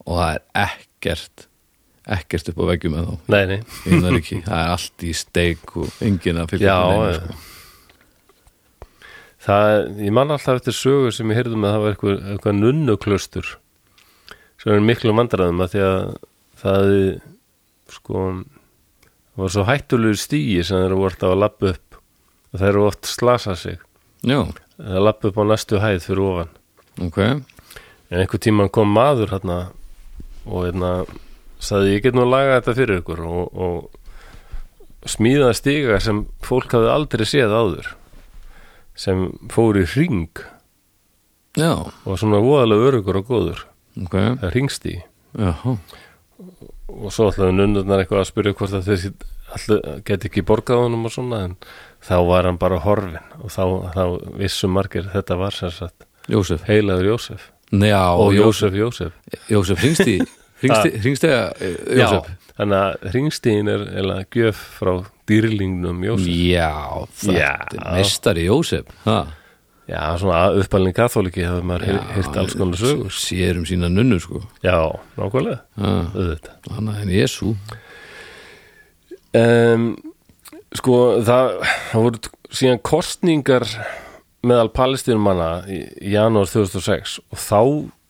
og það er ekkert ekkert upp á veggjum með þá nei, nei, í Norriki, það er allt í steik og enginn að fylgja já, neinu, já. Það, ég man alltaf eftir sögur sem ég heyrðum að það var eitthvað, eitthvað nunnuklaustur sem er miklu mandræðum að því að það hafði, sko var svo hættulegur stígi sem þeir voru alltaf að labba upp og þeir eru oft slasa sig Já, þeir labba upp á næstu hæð fyrir ofan sko. ok en einhver tíman kom maður hérna og hérna sagði ég get nú að laga þetta fyrir ykkur og, og smíðaði stiga sem fólk hafði aldrei séð áður sem fór í hring Já, og svona voðalega örugur og góður ok það ringst í Já, og svo ætlaði nunnurnar eitthvað að spyrja hvort að þeir alltaf geti ekki borgað honum og svona en þá var hann bara horfin og þá, þá vissu margir þetta var sem sagt Jósef heilaður Jósef Já, og og Jósef Jósef Jósef Jósef, hringsti Hringsti, hringsti eh, Jósef Já, þannig að ringstíðin er eða gjöf frá dýrlingnum Jósef Já, Já. þetta er mestari Jósef ha. Já, svona uppalning katholiki hafði maður hýrt alls konar sögur Sér um sína nunnu, sko Já, nákvæmlega, Ha. auðvitað Hann er Jésu um, sko það, það voru t- síðan kostningar meðal palestinumanna í í janúar 2006 og þá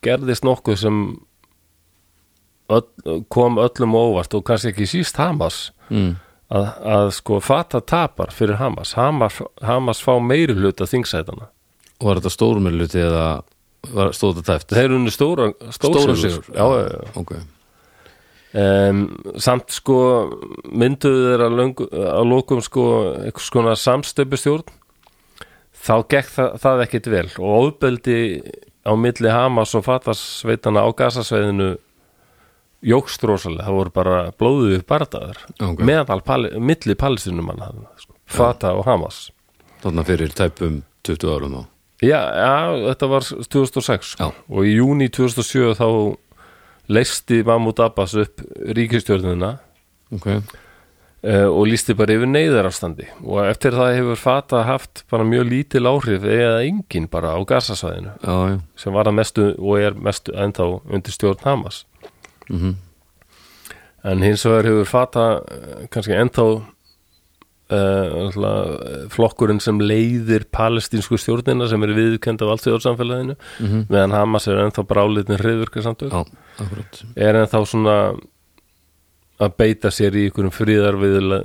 gerðist nokkuð sem öll, kom öllum á óvart og kannski ekki síst Hamas mm. að, að sko fata tapar fyrir Hamas Hamas, Hamas fá meiri hluta þingsætana var þetta stórumjöluti eða var, stóð þetta tæft? Þeir unni stóra, stóra Stóran sigur. Já, já, já. Ok, Um, samt sko mynduðu þeir að, löngu, að lokum sko einhvers konar samstöpustjórn þá gekk það, það ekkit vel og ofbeldi á milli Hamas og Fatarsveitana á gasasveðinu jókst rosalega, það voru bara blóðuðu bardaður Ok. meðal pali, milli palestinum hann sko, Fata og Hamas þarna fyrir tæpum 20 árum þá já, já, þetta var 2006 Já. sko. og í júni 2007 þá leisti Mahmoud Abbas upp ríkistjórnina Ok, Eh, og lísti bara yfir neyðarafstandi og eftir það hefur Fata haft bara mjög lítil áhrif eða engin bara á gasasvæðinu já, já sem var að mestu og er mestu ennþá undir stjórn Hamas Mhm. en hins vegar hefur Fata eh, kannski ennþá uh, flokkurinn sem leiðir palestínsku stjórnina sem er viðkend af allsjóðarsamfélaginu mm -hmm. meðan Hamas er ennþá bráliðin hriðverkarsamtök Já, akkurat er ennþá svona að beita sér í einhverjum fríðar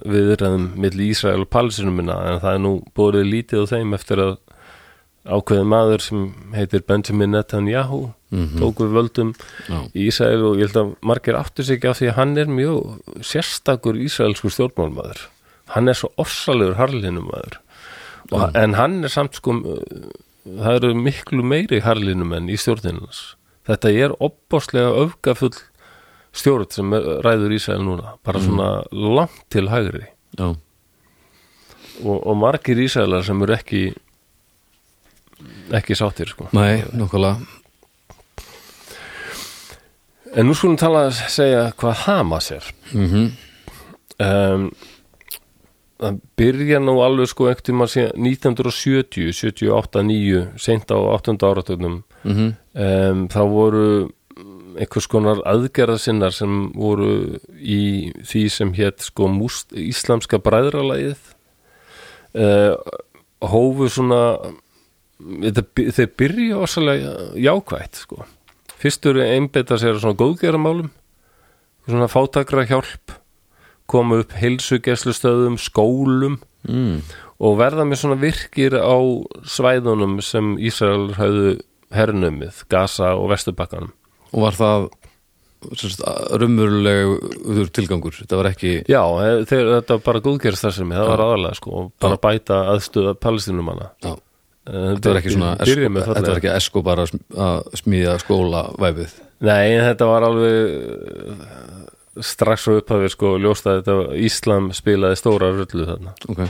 viðræðum milli Ísrael og Palestinumina en það er nú borðið lítið á þeim eftir að ákveði maður sem heitir Benjamin Netanyahu tók við völdum Mhm. Já, í Ísrael og ég held að margir aftur sig ekki af því að hann er mjög sérstakur ísraelsku stjórnmálmaður hann er svo orsalegur harlinumadur og, en hann er samt sko uh, það eru miklu meiri harlinumenn í stjórninans þetta er opbáslega öfgafull stjórn sem er, ræður Ísrael núna bara svona langt til hægri já, og, og margir Ísraelar sem eru ekki ekki sáttir sko nei, nokkala En nú skulum tala að segja hvað Hamas er Mhm. um, Það byrja nú alveg sko ekkert um að segja 1970, 78, 9 seint á 8. áratögnum mm um, þá voru einhvers konar aðgerðasinnar sem voru í því sem hétt sko múst, íslamska bræðralagið uh, hófu svona þetta, by- þeir byrja ósalega jákvætt sko fyrstur einbeita sér að svona góðgeramálum svona fátakra hjálp koma upp heilsugesslustöðum skólum Mm. og verða með svona virkir á svæðunum sem Ísrael hafðu hernumið, Gaza og Vesturbakkanum. Og var það sérst, raumurlegur tilgangur Þetta var ekki Já, eh, þeir, þetta var bara góðgerist þar sem það var aðalega sko, og bara bæta aðstöða palestinumanna. já, Þetta Þetta var ekki svona Byrjum við Þetta var fallega. ekki esko bara að sm- að smíða skóla væfið Nei, en þetta var alveg eh, strax á upphafið sko, ljóst að þetta var, Íslam spilaði stóra rullu þarna. Ok,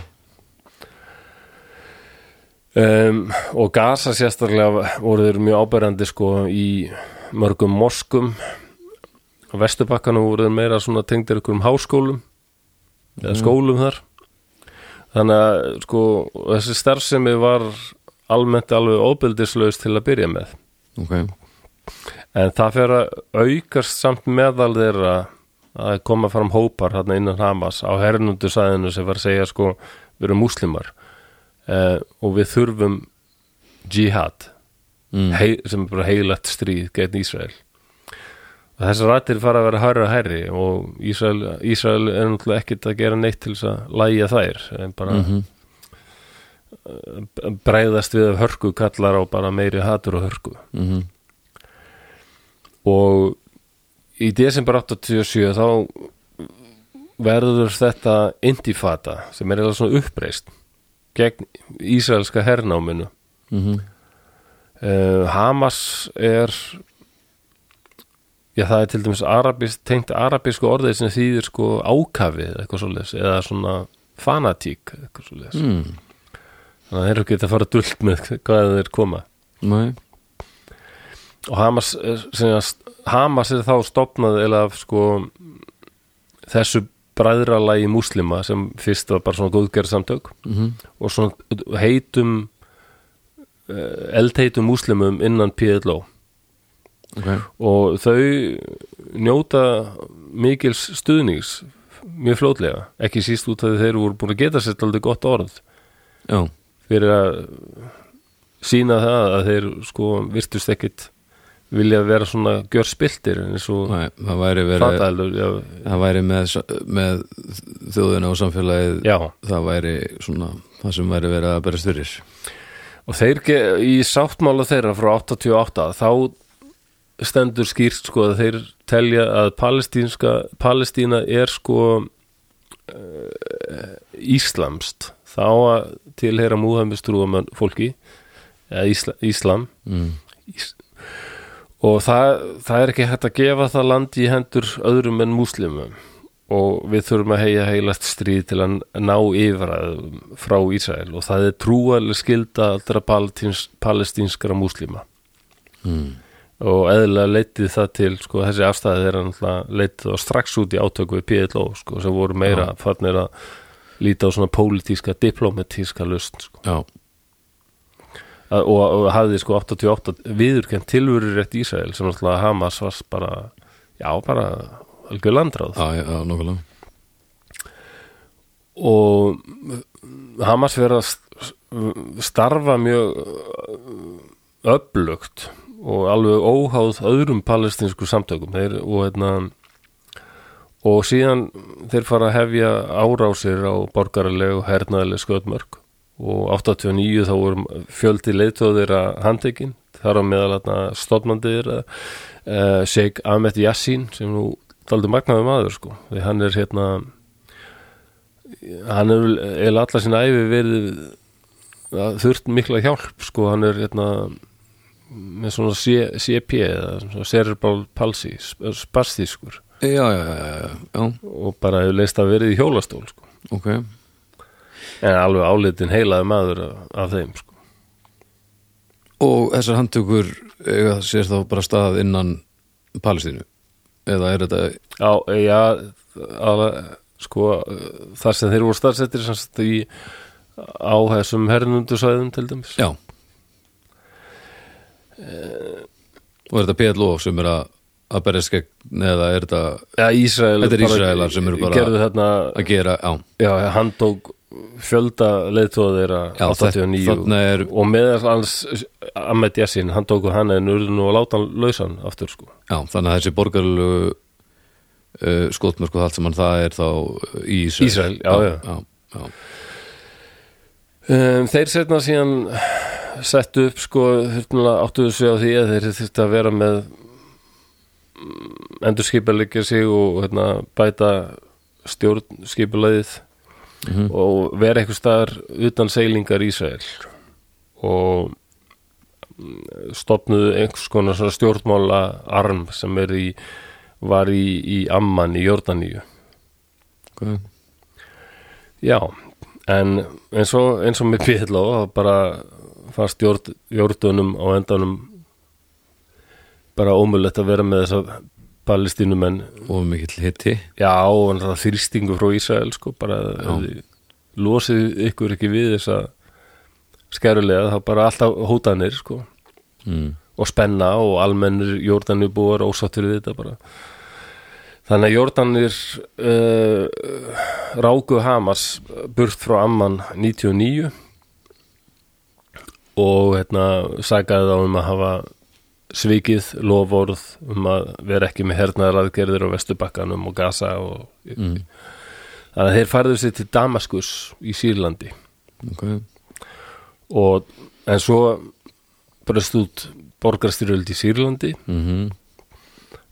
Um, og Gaza sérstaklega voru þeir mjög áberandi sko í mörgum moskum á Vesturbakkanum voru þeir meira svona tengdir einhverjum háskólum eða skólum þar þannig að sko þessi starfsemi var almennt alveg óbyldislaus til að byrja með ok en það fer að aukast samt meðal þeirra að koma fram hópar hérna innan Hamas á hernundu sæðinu sem var að segja sko við erum múslimar eh, og við þurfum jihad Mm. hei, sem er bara heilagt stríð gegn Ísrael og þessar rættir fara að vera hærra og herri og Ísrael, Ísrael er náttúrulega ekkert að gera neitt til þess að lægja þær en bara Mhm. mm bregðast við af hörku kallar á bara meiri hatur og hörku Mm og í desember 87 þá verður þetta indifata sem er eða svona uppreist gegn ísraelska hernáminu Mhm. Mm. uh, Hamas er já það er til dæmis arabist, tengt arabísku orðið sem þýðir sko ákafið eitthvað svoleiðis eða svona fanatík eitthvað svoleiðis Mm. þannig að þeir eru ekki að fara dult með hvað þeir koma Nei, og Hamas er, sem að, Hamas er þá stopnað eða af sko þessu bræðralagi múslima sem fyrst var bara svona góðgerð samtök Mhm. og svona heitum eh, eldheitum múslimum innan PLO ok og þau njóta mikils stuðnings mjög fljótlega, ekki síst út að þeir voru búin að geta sér aldrei gott orð Já, fyrir að sína það að þeir sko virtust ekkit vilja vera svona gjör spiltir eins og nei, það væri verið fataðalur já, Það væri með, sa- með þjóðina og samfélagið já, það væri svona það sem væri verið að berast fyrir og þeir ge- í sáttmála þeirra frá 88 þá stendur skýrt sko að þeir telja að palestínska Palestína er sko uh, íslamst þá að tilheyra múhæmistrúum fólki eða ísla, íslam mm. Ís- og það, það er ekki hægt að gefa það land í hendur öðrum en múslimum og við þurfum að heia heilast stríð til að ná yfir að frá Ísrael og það er trúalega skilda allra palatins- palestínskra múslima Mm. og eðlilega leitið það til sko, þessi afstæði er alltaf leitið þá strax út í átök við PLO sko, sem voru meira farnir að líta á svona pólitíska, diplomatíska lust sko já, að, og, og hafði sko 88 viðurkend tilvörur rétt Ísrael sem alltaf Hamas var bara já, bara algjör landráð já, já, já nokkulega og Hamas verið að st- starfa mjög öflugt og alveg óháð öðrum palestinsku samtökum þeir, og, hérna, og síðan þeir fara að hefja árásir á borgaralegu og hernaðalegu sköðmörk og 89 þá vorum fjöldi leiðtóðir að handtekinn þar á meðal þarna stofnandiðir uh, Sheikh Ahmed Yassin sem nú daldi magnaði maður sko því hann er hérna hann er eða allar sinna æfi verið að þurft mikla hjálp sko hann er hérna með svona C- CP eða svona cerebral palsy sp- eh, spastískur já, já, já, já, já, já, og bara hefur leist að verið í hjólastól sko. ok en alveg álitin heilaði maður af, af þeim sko. og þessar handtökur eiga sér þá bara stað innan Palestínu eða er þetta Já, já að, sko, þar sem þeir voru starfsettir sem sagt í á þessum hernundusæðum til dæmis já og er þetta PLO sem er að að berjast gegn eða er þetta Já, Ísraelar Þetta er bara- Ísraelar sem eru bara- gerðu þarna að gera, já, Já, hann tók fjölda leiðtóða þeirra já 89 þarna er, og meðal hans Ahmed Yassin, hann tóku hann en urðu nú að láta hann lausan aftur sko. já, þannig að þessi borgarlu uh, skotmörk og allt sem hann það er þá í Ísrael, Ísrael, já, já. já, já, um, Þeir setna síðan settu upp sko, hérna áttuðu sig á því að þeir þyrfti að vera með endur skipalegja sig og hérna, bæta stjórn skipalegið Mhm. og vera eitthvað staðar utan seilingar Ísrael og mm, stofnuðu einhvers konar svona stjórnmála arm sem er í, var í, í Amman í Jordaníu ok Já, en eins og, eins og með Pétló þá bara fannst jórd, jórdunum á endanum bara ómulett að vera með þessa palestínumenn og mikill hitti já, og hann það þrýstingu frá Ísrael sko, bara ef þið losið ykkur ekki við þessa skærulega, þá bara alltaf hótanir sko, mm. og spenna og almennir jórdanubúar ósáttur við þetta bara þannig að jórdanir uh, ráku Hamas burt frá Amman 99 og hérna sagaði þá um að hafa svikið lofórð um að vera ekki með hernaðar aðgerðir á Vesturbakkanum og Gaza og Mm. þannig að þeir færðu sér til Damaskus í Sýrlandi ok, og en svo bröst út borgarstyrjöld í Sýrlandi mhm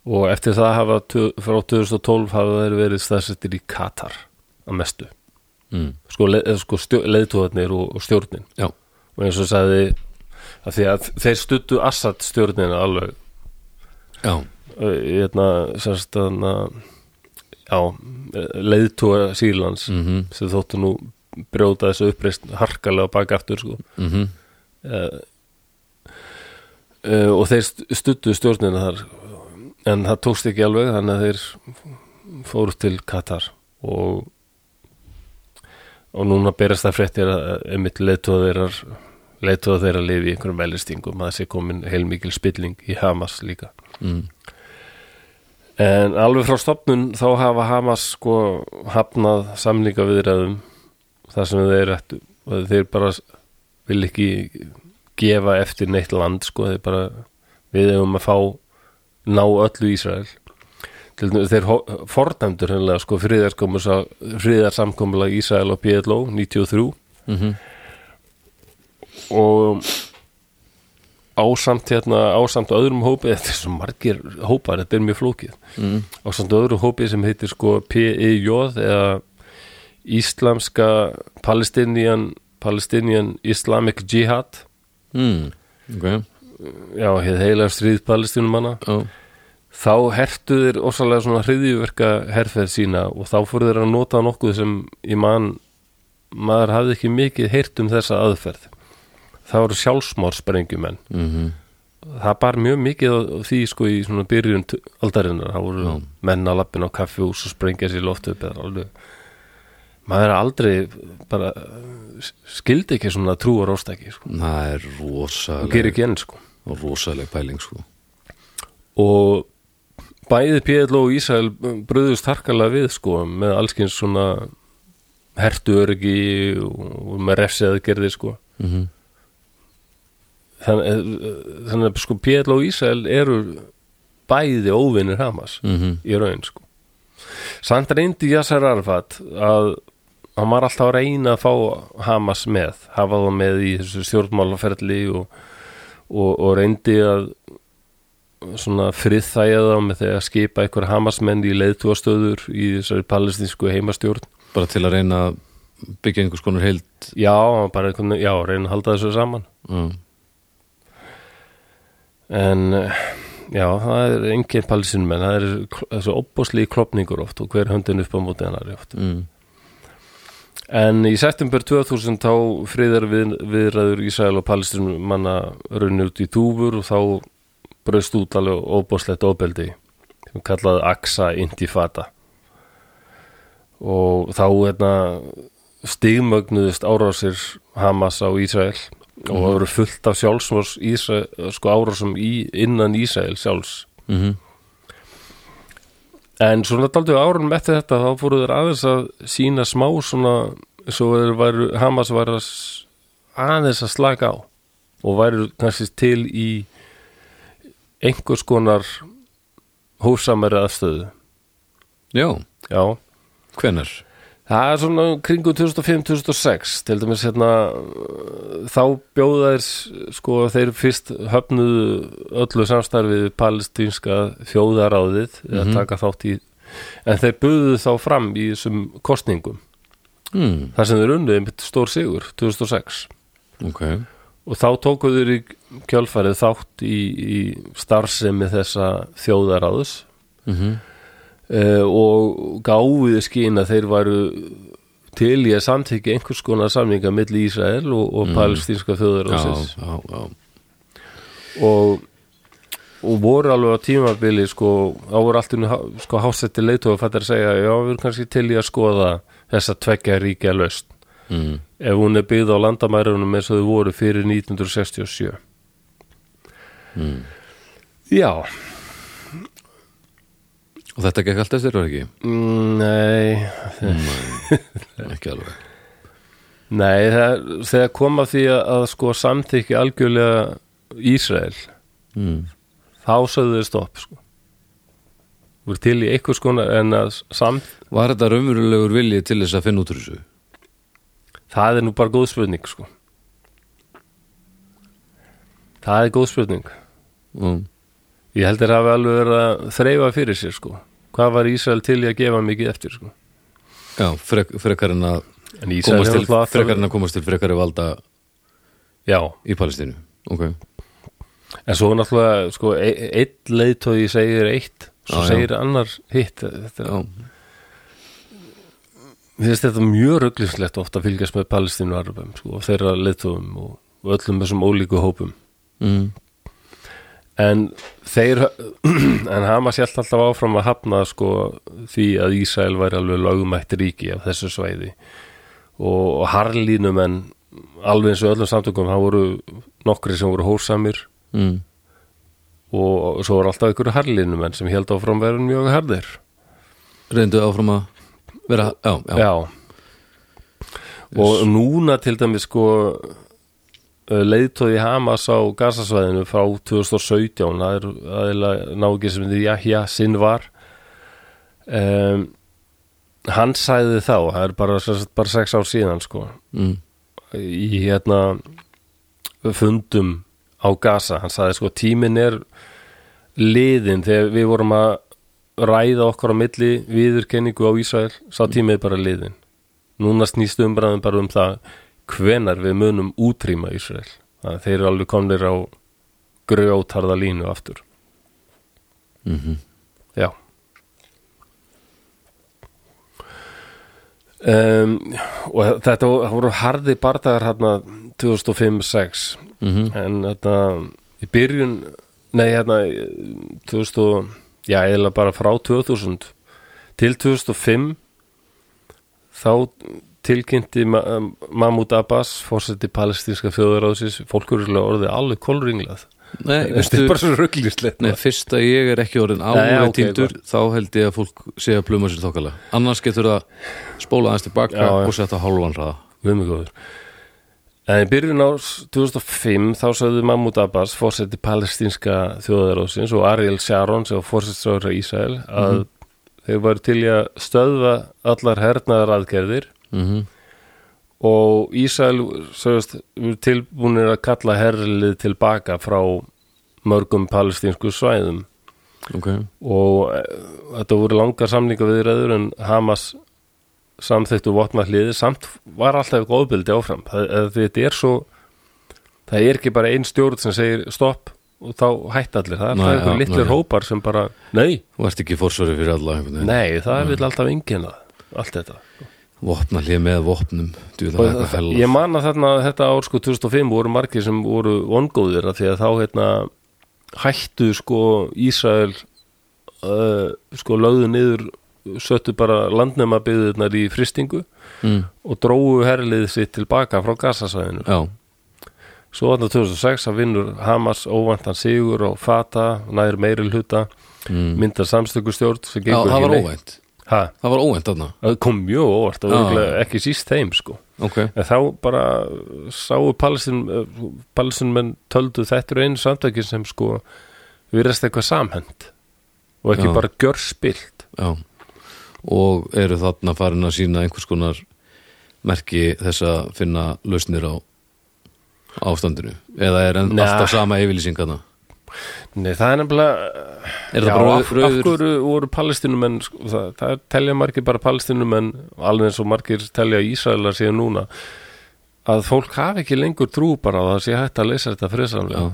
og eftir það hafa tu- frá 2012 hafa þeir verið staðsettir í Katar að mestu mm. sko, le, eða sko stjó, leiðtóðarnir og, og stjórnin já, og eins og sagði að því að þeir stuttu Assad stjórnina alveg eh, hérna, já, eitna, sérst, anna, já, leiðtóða Sýrlands mhm sem þóttu nú brjóta þessu uppreist harkalega bak aftur sko. mhm uh, uh, og þeir st- studdu stjórnina þar en það tókst ekki alveg þannig að þeir fóru til Katar og og núna berast það fréttir að eh, einmitt leiðtóða þeirra leiðtóða þeirra lifi í einhverjum velistingum að það sé komin heilmikil spilling í Hamas líka mm. En alveg frá stopnun þá hafa Hamas sko hafnað samlinga viðræðum þar sem þeir ættu og þeir bara vil ekki gefa eftir neitt land sko þeir bara við hefum að fá ná öllu Ísrael Til, dæmis, þeir ho- fordæmdur hennilega sko friðarsamkomulag Ísrael og PLO 93 mhm og ásamt hérna, ásamt öðrum hópi þetta er svo margir hópar, þetta er mjög flókið Mm. ásamt öðru hópi sem heitir sko PEJ eða Íslamska Palestinian Palestinian Islamic Jihad Mm. Ok, já, hér heilar stríð palestinumanna já, þá hertu þeir ósalega svona hriðjuverka herferð sína og þá fóru þeir að nota nokkuð sem í mann maður hafði ekki mikið heyrt um þessa aðferð það voru sjálfsmórsprengjum mhm, það bar mjög mikið á á því sko í svona byrjun t- aldarinnar það voru Já. menn að lappin á kaffjús og sprengja sér í loft upp eða alveg maður er aldrei bara eh, s- skildi ekki svona trúar ástæki sko. það er og gerir rosaleg ekki enn sko rosaleg pæling sko og bæði PLO og Ísrael bröðust harkalega við sko með allskins svona hertu öryggi og og með refsiðagerði sko mhm, þannig, þannig að sko PLO og Ísrael eru bæði óvinnir Hamas mhm, í raun sko. samt reyndi Yasser Arfat að hann var alltaf að reyna að fá Hamas með hafa það með í þessu stjórnmálaferli og, og, og reyndi að svona friðþæja þá með þegar að skipa einhver Hamasmenn í leiðtúastöður í þessari palestinsku heimastjórn bara til að reyna að byggja einhvers konar heild já, hann bara einhvern veginn- já, reyna að halda þessu saman já, en eh, já, það er engin palestinumenn, það er þessu opbóslík klopningur oft og hver höndin upp á móti hann oft mm, En í september 2000 þá friðar við, viðræður Ísrael og Palestín manna runni út í túfur og þá braust út alveg óbóðslegt óbeldi sem kallaði Aksa Intifada og þá hérna, stigmögnuðist árásir Hamas á Ísrael og það voru fullt af sjálfsmors Ísrael, sko árásum í, innan Ísrael sjálfs mhm, En svona daldið árunum eftir þetta þá fóru þeir aðeins að sína smá svona svo þeir væru, Hamas var að s- aðeins að slaka á og væru kannski til í einhvers konar hófsamari aðstöðu. já, Já, hvenar það er svona kringum 2005-2006 til dæmis hérna uh, þá bjóða þeir s- sko þeir fyrst höfnuðu öllu samstarfið við palestínska þjóðaráðið Mhm. að taka þátt í en þeir buðu þá fram í þessum kostningum mm, þar sem þeir unnuði mitt stór sigur 2006 ok, og þá tóku þeir í kjölfarið þátt í, í starfsemi þessa þjóðaráðs mhm, uh, og gáfið skýn að þeir væru til í að samþykja einhvers konar samninga milli Ísrael og, og palestínska já, þjóðaráðsins já, já og, og voru alveg á tímabili sko, þá voru allt inni sko, hásetti leitóð og fættar að segja já, við erum kannski til í að skoða þessa tveggja ríkja löst mm, ef hún er byggð á landamærunum eins og þau voru fyrir 1967 Mm. Já og þetta gekk allt eftir, var ekki? mm, Nei ekki alveg Nei, það, þegar kom að því að, að sko samþykki algjörlega Ísrael, mm, þá sögðu þau stopp sko. voru til í einhvers konar en að samt, var þetta raunverulegur vilji til þess að finna út úr þessu? það er nú bara góð spurning sko. Það er góð spurning Mm. Ég held að það hafi alveg verið að þreifa fyrir sér sko. Hvað var Ísrael til í að gefa mikið eftir sko. já, frek, frekar en að En Ísrael komast hefur til, alltaf alltaf- frekar en að komast til frekari valda Já, í Palestínu ok, en svo náttúrulega sko, e- e- einn leiðtói segir eitt svo Já, já. segir annar hitt Þetta er já, Mér finnst þetta mjög rugglislegt ofta að fylgjast með palestínu arabum sko, og þeirra leiðtúum og, og öllum þessum ólíku hópum mm, en þeir en Hamas hjælt alltaf áfram að hafna sko, því að Ísrael væri alveg lögumætt ríki af þessu svæði og, og harlínum en alveg eins og öllum samtökum það voru nokkri sem voru hósamir mm, og, og svo voru alltaf einhverju harlínum en sem held áfram verðin mjög harðir reyndu áfram að vera, já, já, já. og núna til dæmis sko leiðtóði Hamas á gasasvæðinu frá 2017 það er aðeinslega nági sem þið Jahja sinn var um, hann sæði Hmm. þá það er bara, sem sagt bara sex ár síðan sko Mm, í hérna fundum á Gaza hann sagði sko tíminn er liðin þegar við vorum að ræða okkar á milli viðurkenningu á Ísrael, sá tímið bara liðin núna snýst umbræðum bara um það hvenar við munum útrýma Ísrael, þannig að þeir eru alveg komnir á grjótarða línu aftur Mhm. Já um, og þetta voru harði bardagar hérna 2005-6 Mhm. en þetta í byrjun, nei hérna eh, 2000, og- já eða bara frá 2000 til 2005 þá tilkynnti Ma eh, Mahmoud Abbas fórseti palestinska þjóðuráðsins fólkurlega orðið alveg kolringlað Nei, þetta veistu, er bara svo rugglislegt nei, fyrst að ég er ekki orðin Nei, álega ok, týndur þá held ég að fólk sé að pluma sér þokkala annars getur það spóla aðeins tilbaka Já, já. og setja hálfan hraða Guð mig góður En í byrjun árs 2005 þá sagði Mahmoud Abbas fórseti palestinska þjóðaróðsins og Ariel Sharon sem var fórsetsára Ísrael að þeir varu til í að stöðva allar hernaðar aðgerðir mm og Ísrael sögust, voru tilbúinir að kalla herlið tilbaka frá mörgum palestinsku svæðum ok, og eh, þetta voru langar samlinga við reyður en Hamas samþyktu vopnahliði samt var alltaf eitthvað ofbeldi áfram það, eh, þetta er svo það er ekki bara ein stjórn sem segir stopp og þá hætt allir það, Nei, það er eitthvað já, litlir nei. hópar sem bara, nei, þú ert ekki fórsvöri fyrir alla einhvern veginn. nei, það vil alltaf enginn allt þetta vopna hlið með vopnum djúðlega Og eitthvað það- hella ég man að þarna þetta ár sko 2005 voru margir sem voru vongóðir af því að þá hérna hættu sko Ísrael uh, sko lögðu niður söttu bara landnemabyðunar í fristingu mm, og drógu herlið sitt tilbaka frá gasasvæðinu já, Svo þarna 2006 að vinnur Hamas óvæntan sigur og fata nær meiri hluta mm. myndar samstökustjórn sem já gengur það var ekki neitt. óvænt Ha, það var óvænt þarna það kom mjög óvart og Já. örugglega ekki síst þeim sko ok, En þá bara sáu palestin, palestinmenn töldu þetta eru einu samtökin sem sko virðast eitthvað samhend og ekki Já. bara gjörspilt já og eru þarna farin að sína einhvers konar merki þess að finna lausnir á ástandinu eða er enn Nei. alltaf sama yfirlýsing þarna Nei, það er nefnilega er það Já, bara af, af rauður hverju voru palestinumenn sko, það, það telja margir bara palestinumenn alveg eins og margir telja Ísraelar síðan núna að fólk hafi ekki lengur trú bara á það sé hægt að leysa þetta já, friðsamlega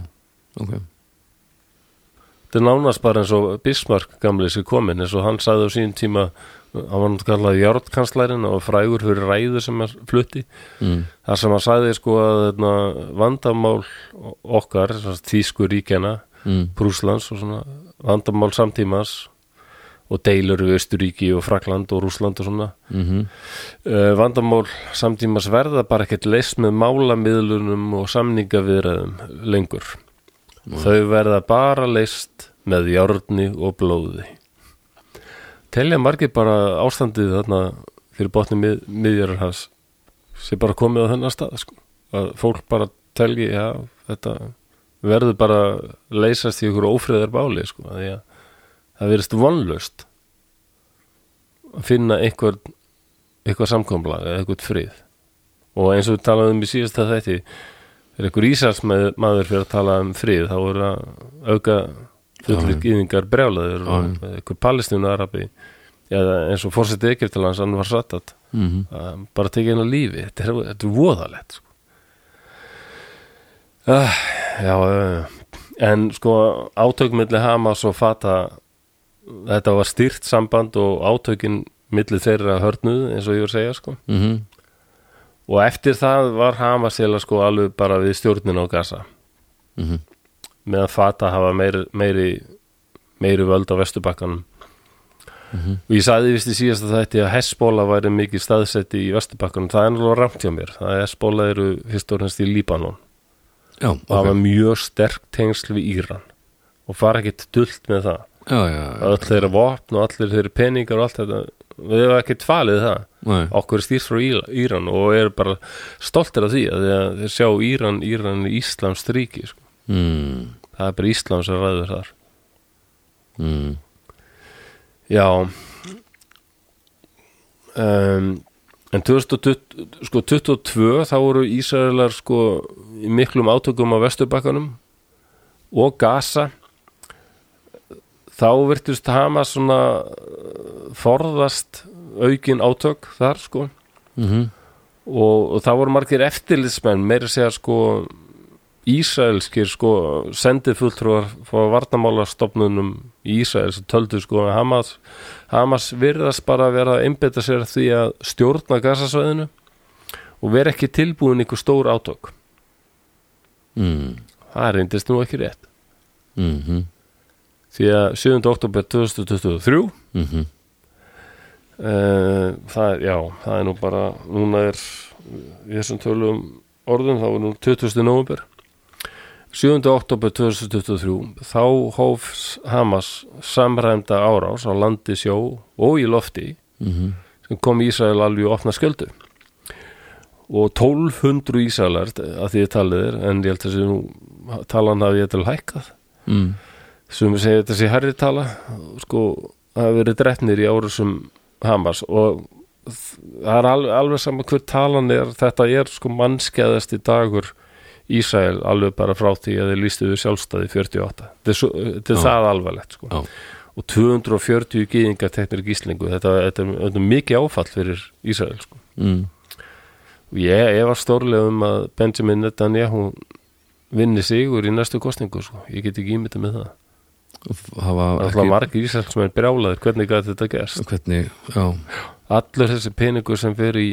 ok Þetta er nánast bara eins og Bismarck gamli sér komin eins og hann sagði á sín tíma hann var náttúrulega kallað járnkanslærin og frægur fyrir ræðu sem er flutti mm. þar sem hann sagði sko að hérna, vandamál okkar sem sagt, þýsku ríkjana, Mm. Prúslands og svona vandamál samtímas og deilur við Östuríki og Frakland og Rúsland og svona Mm uh, vandamál samtímas verða bara ekkert leist með málamiðlunum og samningaviðræðum lengur þau verða bara leist með járni og blóði telja margir bara ástandið þarna fyrir botni mið, miðjarar hans sem bara komið á þennan stað sko. að fólk bara telji já, þetta verður bara leysast í ykkur ófriðar báli sko, að því að það verðist vonlaust að finna einhver eitthvað samkomla eða eitthvað frið og eins og við talaðum um í síðasta þætti er einhver Ísars maður fyrir að tala um frið þá eru að auka fullur gýðingar brjálaður og einhver palestínu arabi eða eins og fórsetið Egyptalands hann var sattat Mm að bara tekið henn á lífi þetta er, þetta er voðalegt sko. ah, já, já, já en sko átök milli Hamas og Fata þetta var styrt samband og átökin milli þeirra hörnuð eins og ég var að segja sko -hmm. og eftir það var Hamas eða sko alveg bara við stjórnin á Gaza Mhm. meðan Fata hafa meiri, meiri meiri völd á Vesturbakkanum mhm. og ég sagði vist í síðasta þætti að Hezbollah væri mikið staðsetti í Vesturbakkanum, það er náttúrulega rámt hjá mér það er Hezbollah eru fyrst og fremst í Líbanon já, og hafa ok mjög sterk tengsl við Íran og fara ekkit dult með það já, já, já, að öll þeirra vopn og allir þeirra peningar og allt þetta, við hefum ekkit falið það Nei. okkur er stýrt frá Íla- Íran og er bara stoltir af því að þegar þeir sjá Íran, Íran er Íslams ríki sko. Mm. það er bara Íslam sem ræður þar Mm. já um, en 2022 sko, 22, þá voru Ísraelar sko, í miklum átökum á Vesturbakkanum og Gaza þá virtust Hamas svona eh, forðast aukin átök þar sko mhm, og, og það voru margir eftirlitsmenn meira að segja sko Ísraelskir sko sendið fulltrúar frá varnamálastofnunum í Ísrael sem töldu sko að Hamas, Hamas virðast bara að vera að einbetta sér að því að stjórna gasasvæðinu og vera ekki tilbúin ykkur stór átök mhm, það reyndist nú ekki rétt mhm, því að 7. oktober 2023 mhm, Uh, það, er- já, það er nú bara núna er í þessum tölum orðum þá er nú 20. november 7. oktober 2023 þá hófs Hamas samræmda árás á landi sjó og í lofti mhm, sem kom Ísrael alveg og opna skjöldu og 1200 Ísraelar að því ég talið er en ég held að þessi nú talan hafi ég til hækkað mhm, sem segja þetta sé herri tala sko, það hafa verið drefnir í árusum Hamas og það er alveg, alveg saman hver talan er, þetta er sko mannskeðasti dagur Ísrael alveg bara frá því að þeir lýstu við sjálfstæði 48, þetta er, svo, þetta er Já. það alvarlegt sko, Já. og 240 gýðingar teknir gíslingu, þetta, þetta, er, þetta er mikið áfall fyrir Ísrael sko mhm, og ég, ég var stórlega um að Benjamin Netanyahu vinni sigur í næstu kostningu sko, ég get ekki ímynda með það hafa Það er alltaf ekki margir íslenskmenn brjálaðir, hvernig gæti þetta gerst? hvernig, já, Allur þessi peningur sem fer í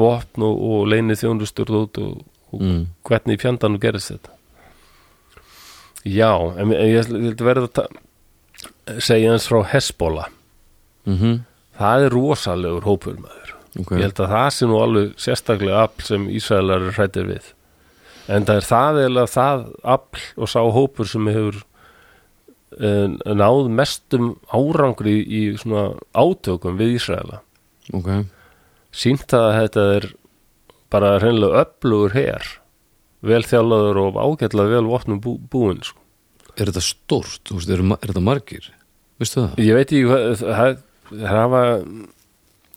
vopn og, og leini þjónustur út og, og mhm, hvernig í fjandanum gerist þetta? Já, en en ég ætla- ég ætla verið að ta- segja eins frá Hesbóla. mhm, Það er rosalegur hópur maður. ok, Ég held að það sé nú alveg sérstaklega afl sem Ísraelar er hrættir við. En það er það eða það afl og sá hópur sem hefur eh, náð mestum árangri í svona átökum við Ísraela. ok, Sýnt það að þetta er bara hreinlega öflugur her, vel þjálfaður og ágætlega vel vopnum bú, búin. Sko. er þetta stórt, þú veist, er, er þetta margir, veistu það? Ég veit ekki hvað, það, það hafa,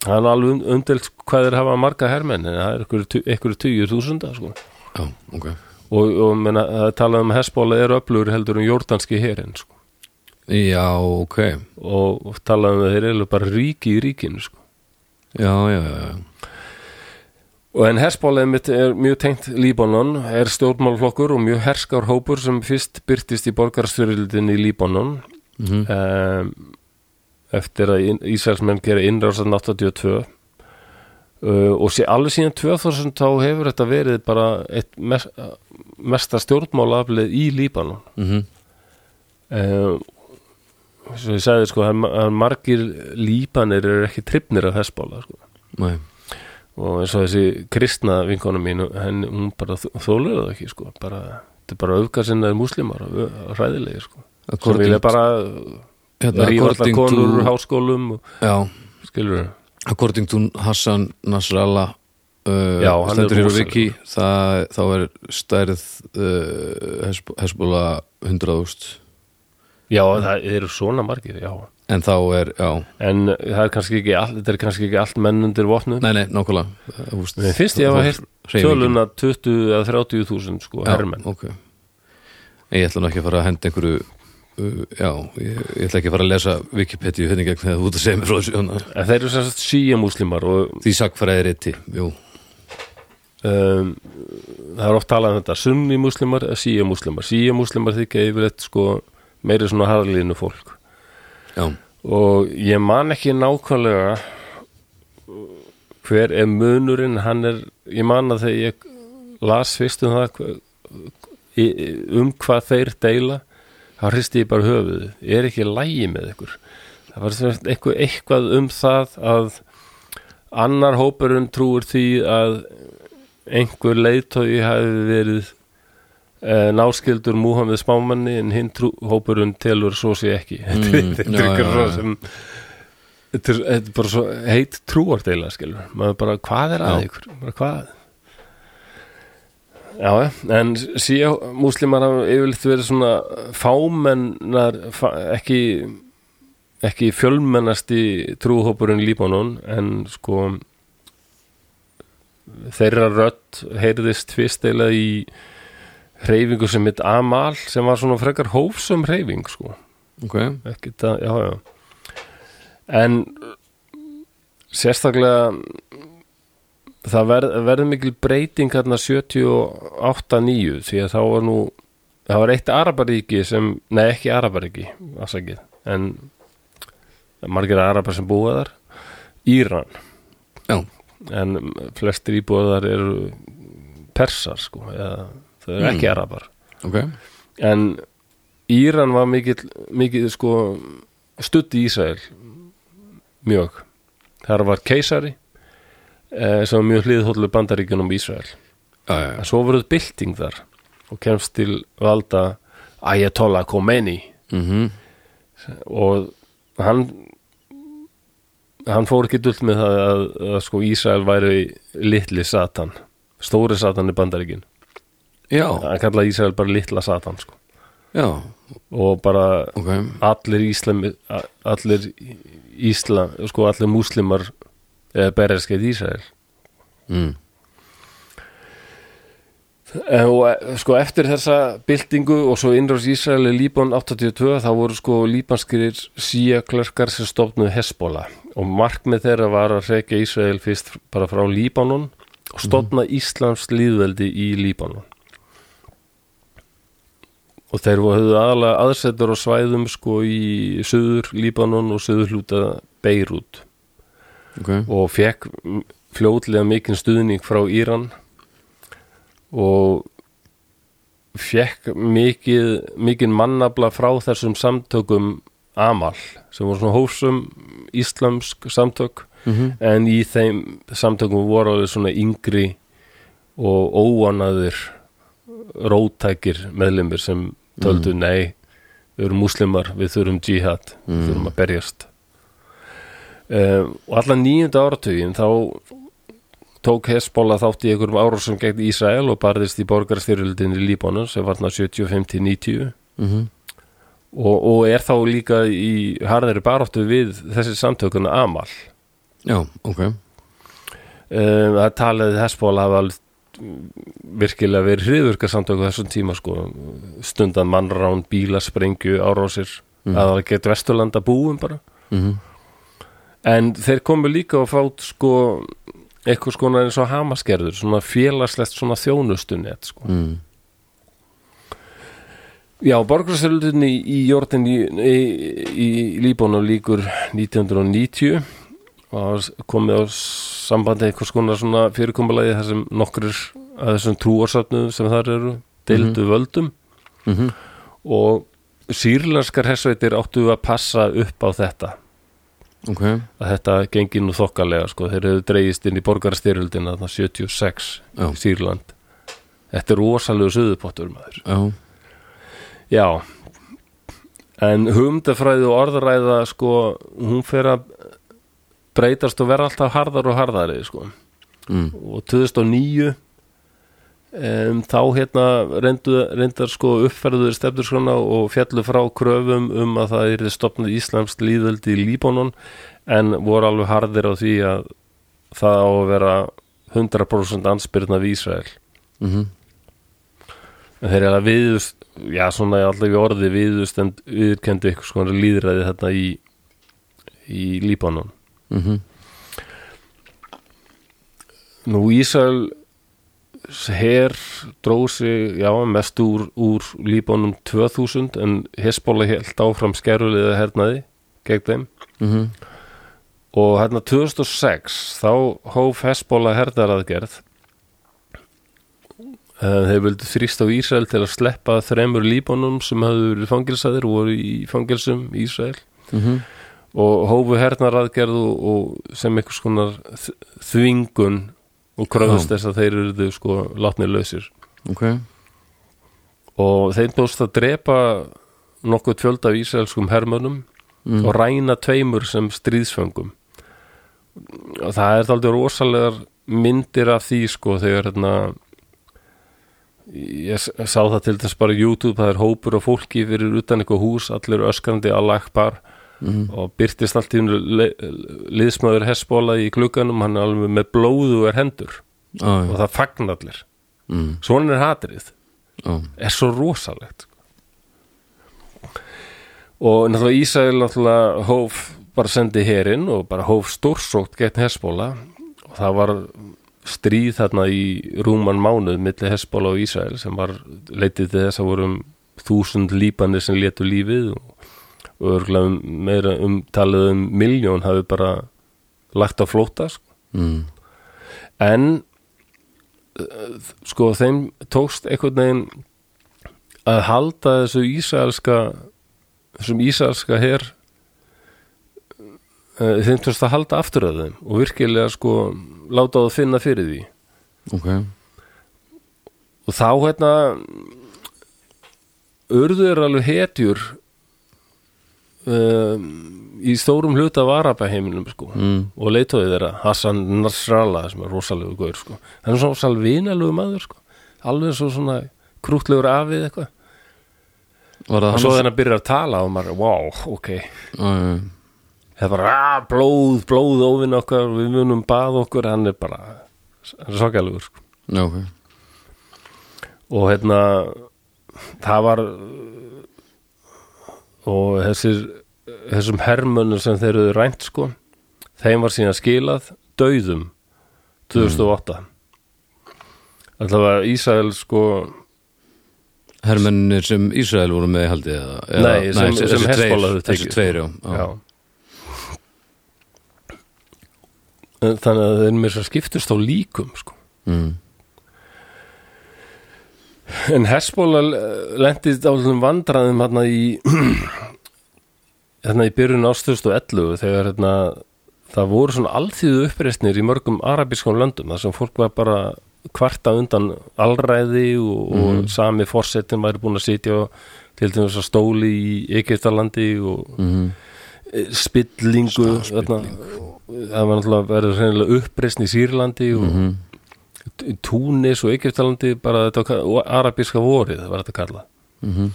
það er nú alveg undelt hvað þeir hafa marga hermenn, en það er ykkur, tu- ykkur tugir þúsunda, sko. Já, ok, og, og menna, það er talað um hessbóla er öflugur heldur um jórdanski herin sko. já, ok, og, og talað um að þeir eru bara ríki í ríkinu sko. já, já, já, já, og en hessbóla mitt er mjög tengt Líbanon, er stjórnmálflokkur og mjög herskar hópur sem fyrst byrtist í borgarstyrildin í Líbanon mhm, um, eftir að inn- Ísraelsmenn gera innrásan 82 uh, og sé, alveg síðan 2000 þá hefur þetta verið bara eitt mest, mesta stjórnmálaflið í Líbanon mhm, uh, sem ég sagði sko það er ma- það er margir lípanir eru ekki trippnir af hessbóla sko. næ, og eins og þessi kristna vinkona mín henn, hún bara þóluðu það ekki sko. bara, þetta er bara öfgarsinnaði múslimar ræðilegi sko. sem According- vilja bara hérna, rífa allar according konur to- úr háskólum og, Já, skilur according to Hassan Nasrallah uh, Já, hann stendur er hér á rosalegur. viki það, þá er stærð uh, hesbúla 100.000 já það eru svona margir já. en þá er, já, en það er kannski ekki all, þetta er kannski ekki allt menn undir vopnum nei, nei, nákvæmlega uh, úst, Mér finnst ég þá- hafa þá- heyrt hreyfingin. töluna 20 eða 30 þúsund sko, hermenn já, ok ég ætla nú ekki að fara að henda einhverju uh, já, ég, ég ætla ekki að fara að lesa Wikipedia henni gegn þegar þú ert að segja mér frá þessu hana. En þeir eru sem sagt síja múslimar og því sakfæraði riti, jú um, það er oft talað um þetta sunni múslimar eða síja múslimar síja múslimar þykja yfirleitt sko meiri svona harðlínu fólk já, og ég man ekki nákvæmlega hver er munurinn hann er, ég man að þegar ég las fyrst um það hva- í- í- um hvað þeir deila þá hristi ég bara höfuðu er ekki lægi með ykkur það var sem sagt eitthvað, eitthvað um það að annar hópurinn trúir því að einhver leiðtói hafi verið eh, náskildur Múhammed spámanni en hinn trú, hópurinn telur svo sé ekki Þetta er- Mm, já, þetta er eitthvað já, svona já. sem þetta er þetta er bara svo heit trúardeila skilur, maður bara hvað er að Já. ykkur bara hvað Já, já, en síja múslimar hafa yfirleitt verið svona fámennar, fá, ekki ekki fjölmennasti trúhópurinn í Líbanon en sko þeirra rödd heyrðist fyrst eila í hreyfingu sem mitt Amal sem var svona frekar hófsum hreyfing sko ok, ekkert að, já, já en sérstaklega það verð, verður mikil breyting hérna 78-9 því að þá var nú það var eitt Arabaríki sem, nei ekki Arabaríki afsakið, en margir Arabar sem búa þar Íran, já, en flestir íbúðar eru persar sko, eða þau eru ekki Arabar ok en Íran var mikill mikið sko stutti Ísrael mjög þar var keisari eh, sem var mjög hliðhóllu bandaríkjunum Ísrael já, já, já, en svo voruð bylting þar og kemst til valda Ayatollah Khomeini mhm og hann hann fór ekki dult með það að, að sko Ísrael væri litli satan stóri satan er bandaríkin já, hann kallaði Ísrael bara litla satan sko. já, og bara ok allir íslami a- allir ísla sko allir múslimar eða berjarskeið Ísrael mm. Eh, og eh, sko eftir þessa byltingu og svo innrás Ísrael í Líban 82 þá voru sko líbanskirir síja klörkar sem stofnuðu Hezbollah og markmið þeirra var að reykja Ísrael fyrst bara frá Líbanon og stofna Íslams líðveldi í Líbanon og þeir voru- höfðu aðalega aðsetur á svæðum sko í söður Líbanon og söður hluta Beirut ok, og fekk fljótlega mikinn stuðning frá Íran og fekk mikið, mikinn mannabla frá þessum samtökum Amal sem voru svona hófsum íslamsk samtök mhm en í þeim samtökum voru alveg svona yngri og óanaðir róttækir meðlumir sem töldu nei við erum múslimar, við þurfum jihad Mm, við þurfum að berjast um, og allan nýjönda áratugin þá tók Hezbollah þátt í einhverjum árásum gegn Ísrael og barðist í borgarstyrjöldin í Líbanu sem var þarna 75-90 mhm og, og er þá líka í harðari baráttu við þessi samtökuna Amal já, ok, Um, það talaði Hesból hafa alveg mm, virkilega verið hriðurka samtöku þessum tíma sko stundan mannrán, bílasprengju, árásir mm. að það geta vesturlanda búum bara mhm en þeir komu líka og fát sko eitthvað skona eins og hamaskerður svona félagslegt svona þjónustunett sko. mhm Já, borgarstyrlutinni í Jórdan í, í, í Líbónu líkur 1990 og það var komið á sambandi einhvers konar svona fyrirkomulagi þar sem nokkur að þessum trúarsöfnum sem þar eru deildu völdum mhm og sýrlenskar hersveitir áttu að passa upp á þetta ok, að þetta gengi nú þokkalega sko. þeir hefðu dreigist inn í borgarstyrlutina 76 Já. í Sýrland Þetta er rosalegu söðupottur maður já, Já En hugmyndafræði og orðræða sko, hún fer að breytast og vera alltaf harðar og harðari sko. mhm og 2009 um, þá hérna reyndu, reyndar sko uppferðuður stefnurskrána og fjallu frá kröfum um að það er stopnað íslamst líðöldi í Líbanon en voru alveg harðir á því að það á að vera 100% anspyrna við Ísrael mhm En þeir eru að viðust, já svona ég alltaf í orði viðust en viðurkendu eitthvað skoðan líðræði þetta í, í Líbanon. mhm Nú Ísrael her dróð sig, já, mest úr, úr Líbanum 2000 en Hezbollah held áfram skerfulega hernaði gegn þeim mhm og hérna 2006 þá hóf Hezbollah herdaraðgerð Eh, þeir vildu þrýst á Ísrael til að sleppa þremur Líbanum sem hafðu verið fangilsaðir og voru í fangilsum í Ísrael mhm og hófu hernaraðgerð og, og sem einhvers konar þ- þvingun og kröfust þess að þeir eru sko látnir lausir ok, og þeir búst að drepa nokkuð fjölda af ísraelskum hermönum Mm. mhm og ræna tveimur sem stríðsföngum og það er þáldið rosalegar myndir af því sko þegar hérna ég s- sá það til þess bara á YouTube það er hópur og fólki fyrir utan eitthvað hús allir öskrandi Allah Akbar mhm og byrtist allt í einu le- liðsmaður hessbóla í glugganum hann er alveg með blóðu er hendur já, og já, það fagn allir mhm svona er hatrið já, er svo rosalegt sko. og náttúrulega Ísrael náttúrulega hóf bara sendi herinn og bara hóf stórsótt gegn Hesbóla og það var stríð þarna í rúman mánuð milli Hesbóla og Ísrael sem var leitið til þess að vorum þúsund lípanir sem létu lífið og, og örgulega um, meira umtalið um miljón hafi bara lagt á flóta sko mm, en eh, sko þeim tókst einhvern veginn að halda þessu ísælska þessum ísælska her eh, þeim tókst að halda aftur af þeim og virkilega sko láta það finna fyrir því ok og þá hérna urðu er alveg hetjur um, í stórum hluta varabæheiminum sko mm, og leitaði þeirra Hassan Nasrallah sem er rosalegu gaur sko. hann er svona salvinalegu maður sko. alveg svo svona krútlegur afið eitthvað var það og hann svo þegar hann byrjar að tala og maður, wow, ok já, það er bara, "Ah, blóð, blóð óvinn okkar við munum bað okkur, hann er bara hann er sokjalugur sko. já, já, ok og hérna það var og þessir þessum hermönnum sem þeir eru rænt sko, þeim var síðan skilað dauðum 2008 mm. alltaf að Ísrael sko Hermennir sem Ísrael voru með í haldið eða, Nei, eða- sem- þessi- sem þessi tveir- Hezbollah höfðu Þessi tekið. tveir, já, já. já. En þannig að þeir mér svo skiptust á líkum sko mm, En eh, Hesbóla lendi dálum vandraðum hérna í hérna í byrjun ástust og 11 þegar hérna það voru svona alþýðu uppreisnir í mörgum arabískum löndum þar sem fólk var bara kvarta undan alræði og, og sami forsetin væri búin að sitja á- til dæmis að stóli í Egyptalandi og mm, eh, spillingu þarna, það var náttúrulega verið reynilega uppreisn í Sýrlandi og Mhm. Mhm. mm Túnis og Egyptalandi bara þetta var ka- og arabíska vorið var þetta kallað Mhm.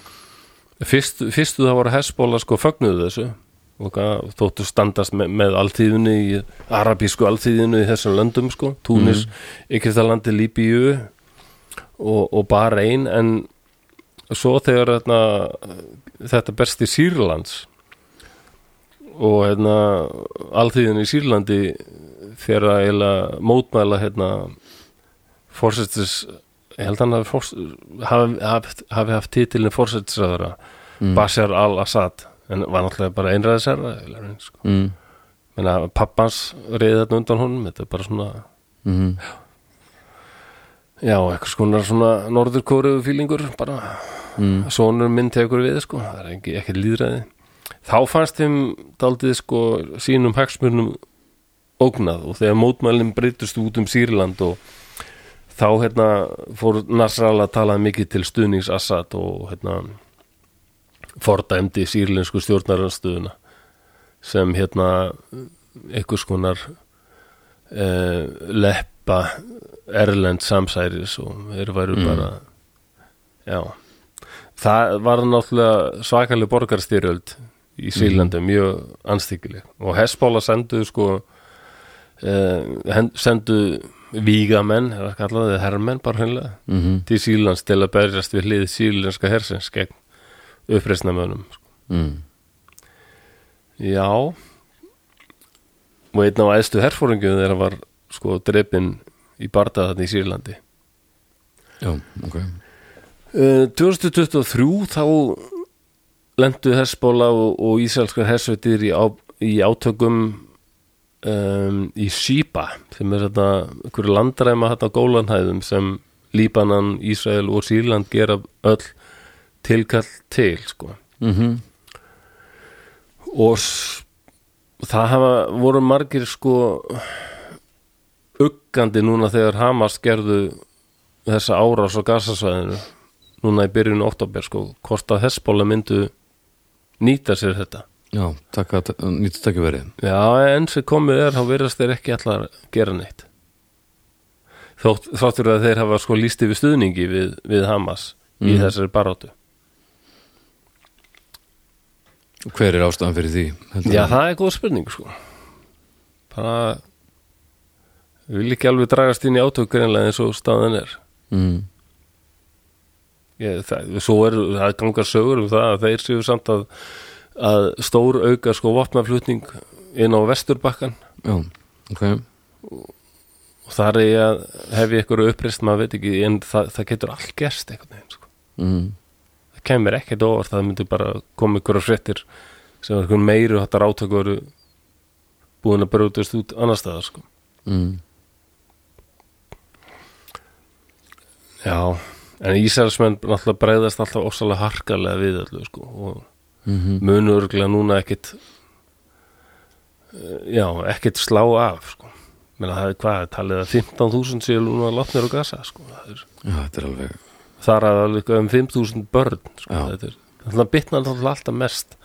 Fyrst, fyrstu það voru hessbóla sko fögnuðu þessu og gaf- þóttu standast með, með alltíðinu í arabísku alltíðinu í þessum löndum sko, Túnis Egyptalandi, Líbíu og, og bara ein en svo þegar þetta, þetta berst í Sýrlands og hérna alþýðin í Sýrlandi fyrir að eiginlega mótmæla hérna fórsetis ég held hann hafi fórs- hafi haft, hafi haft titilin fórsetisræðara Mm. Bashar al-Assad en var náttúrulega bara einræðisherra eiginlega, sko. mm, menna pappans reyði þarna undan honum þetta er bara svona mm, já, eitthvað skonar svona norðurkóruðu fílingur bara mm, sonur minn tekur við sko, það er ekki, ekki líðræði þá fannst þeim daldið sko sínum hagsmurnum ógnað og þegar mótmælinn breytust út um Sýrland og þá hérna fór Nasrallah að tala mikið til stuðnings Assad og hérna fordæmdi sýrlensku stjórnaranstöðuna sem hérna einhvers konar uh, leppa erlend samsæris og þeir væru bara já það var náttúrulega svakaleg borgarstyrjöld í Sýrlandi, mjög anstíkileg og Hesbóla sendu sko uh, sendu vígamenn, eða kallaði herrmenn bara hennilega, Mhm. til Sýrlands til að berjast við hlið sýrlenska hersins gegn uppreisnamönnum sko. mm, já og einn á æðstu herfóringjum þegar var sko drepin í barða þarna í Sýrlandi já, ok Eh, 2023 þá lendu Hesbóla og, og ísælskar hersveitir í, á, í átökum um, í Sýpa sem er þetta einhverju landræma þetta gólanhæðum sem Líbanan, Ísrael og Sýrland gera öll tilkall til sko. mhm, og s- það hafa voru margir sko uggandi núna þegar Hamas gerðu þessa árás á gasasvæðinu núna í byrjun oktober sko hvort að Hesbóla myndu nýta sér þetta já, takka, nýttu takka verið já en sem komið er þá verðast þeir ekki allar gera neitt Þótt, þáttur að þeir hafa sko líst yfir stuðningi við, við Hamas í Mhm. þessari barátu Hver er ástæðan fyrir því? heldur Já, þú? það er góð spurning sko bara Mm. við vil ekki alveg dragast inn í átök greinlega eins og staðan er mm, ég, það, svo er, það gangar sögur um það að þeir séu samt að, að stór auka sko vopnaflutning inn á vesturbakkan já, ok og þar er ég að hef ég eitthvað uppreist maður veit ekki en það, það getur allt gerst einhvern veginn sko. mm. það kemur ekkert óvart það myndi bara koma ykkur á fréttir sem er eitthvað meiru hattar átökur búin að brjótast út annar staðar sko. Mm. já, en Ísælsmenn náttúrulega breyðast alltaf ósalega harkalega við allu sko, og Mm munu örgulega núna ekkit eh, já, ekkit slá af sko. Menna, það er hvað, er talið að 15.000 séu núna látnir á gasa sko. það er já, þetta er alveg þar að alveg um 5.000 börn sko, Já. þetta er þannig að bitna náttúrulega alltaf mest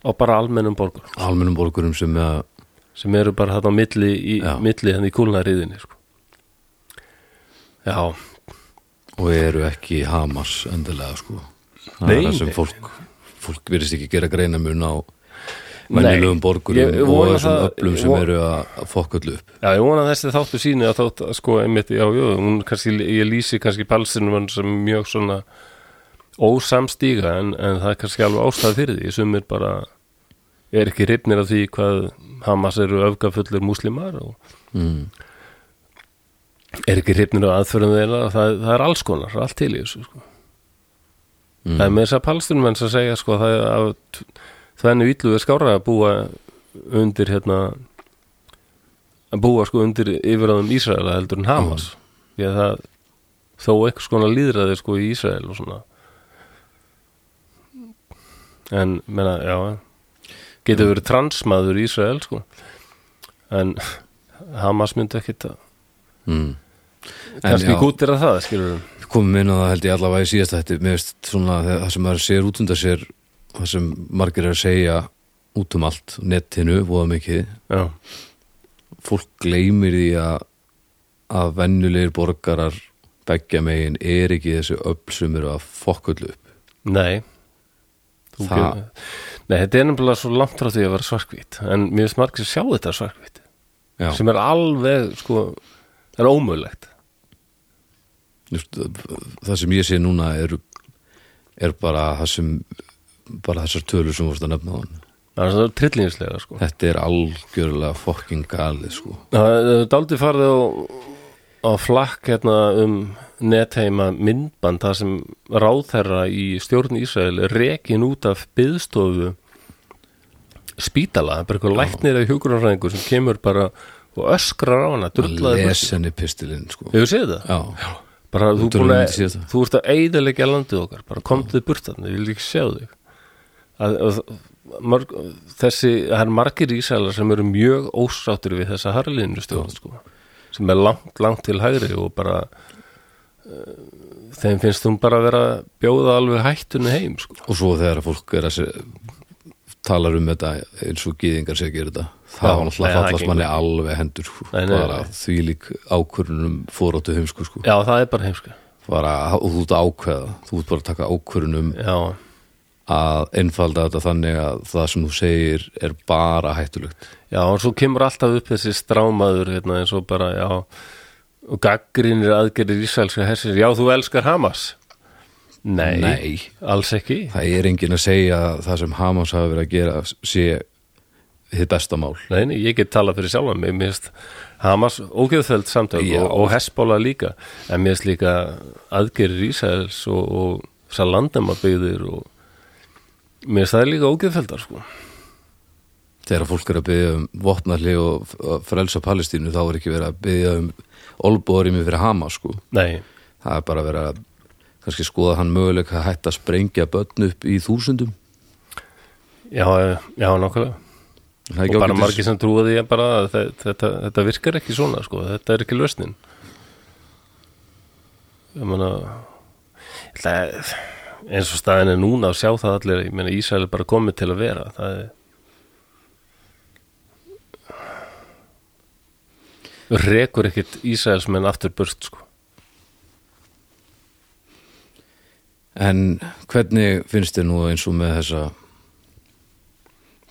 á bara almennum borgur almennum borgurum sem að sem eru bara þarna á milli, í, Já. milli hann í kúlnariðinni sko. já, og eru ekki Hamas endilega sko það Nei, er það sem nei, fólk fólk virðist ekki gera greina mun á venjulegum Nei, borgurum ég og vona þessum það- öflum ég sem vona- eru að að fokka öllu upp já, ég vona að þessi þáttu síni að þátt að sko einmitt, já, jú, hún kannski ég lýsi kannski palsinum sem mjög svona ósamstíga en, en það er kannski alveg ástæð fyrir því sem er bara er ekki hrifnir af því hvað Hamas eru öfgafullir múslimar og mm. er ekki hrifnir á aðförum þeirra það, það er alls konar, allt til í þessu sko. Mm. það er með þess að palstunumenn sem segja sko, það er að þvennu yllu er skára að búa undir hérna að búa sko undir yfirraðum Ísraela heldur en Hamas Mm. því að það þó einhvers konar líðræði sko í Ísrael og svona en menna, já Mm. getur verið transmaður í Ísrael sko en Hamas myndi ekkit að Mm. kannski já- gútir að það, skilur við Við komum inn á það held ég allavega í síðasta þetta mér veist svona þegar- það sem maður sér út undan sér það sem margir er að segja út um allt, netinu, voða mikið já, fólk gleymir því að að venjulegir borgarar beggja megin er ekki þessi öll sem eru að fokka öllu upp nei Þú Það- gefur- nei, þetta er nefnilega svo langt frá því að vera svarkvít en mér finnst margir að sjá þetta svarkvít Já. sem er alveg, sko það er ómögulegt Just, það sem ég sé núna er, er bara það sem bara þessar tölur sem vorst að nefna á hann Annars er það er trillingslega, sko þetta er algjörlega fokking galið sko það er daldið farið á, á flakk hérna um netheima myndband þar sem ráðherra í stjórn Ísrael er rekin út af byðstofu spítala, það er bara eitthvað læknir eða hjúkurarfræðingur sem kemur bara og öskrar á hana, að drullaði lesa henni pistilinn sko Hefur séð það? já, Bara þú, Þetta er búin alveg myndi að, séð það. þú ert að eiðalegja landið okkar, bara komdu burt þarna, ég vil ekki sjá þig. Að, að, marg, þessi, það er margir ísælar sem eru mjög ósáttir við þessa harliðinu stjórn, sko, sem er langt, langt til hægri og bara uh, þeim finnst hún bara að vera að bjóða alveg hættunni heim, sko. og svo þegar fólk er að se, talar um þetta eins og gýðingar sé að gera þetta Já, það var nei, það náttúrulega fallast gengur manni alveg hendur sko. Nei, nei, bara nei. því lík ákvörunum fóróttu heimsku sko Já, það er bara heimska. bara, og þú ert að ákveða, þú ert bara að taka ákvörunum Já, að einfalda þetta þannig að það sem þú segir er bara hættulegt já, og svo kemur alltaf upp þessi strámaður, hérna, eins og bara, já, og gaggrinir aðgerir ísælska hersins, já, þú elskar Hamas. Nei, Alls ekki? það er enginn að segja að það sem Hamas hafi verið að gera sé þið besta mál Nei, nei, ég get talað fyrir sjálfan mig, mér finnst Hamas ógeðfæld samtök Já. og, og Hesbóla líka, en mér finnst líka aðgerir Ísæls og, og Salandamabyggðir og mér finnst það líka ógeðfældar sko. þegar fólk er að byggja um vopnalli og f- að frelsa Palestínu þá er ekki verið að byggja um olbúarimi fyrir Hamas sko Nei, það er bara verið að kannski skoða hann möguleika að hætta að sprengja börn upp í þúsundum já, já, nokkulega Það er og ekki bara ágætis- margir sem trúaði ég bara að þe- þetta, þetta virkar ekki svona sko, þetta er ekki lausnin ég meina ég ætla að- eins og staðin er núna að sjá það allir ég meina Ísrael er bara komið til að vera það er rekur ekkit Ísraelsmenn aftur burt sko En hvernig finnst þér nú eins og með þessa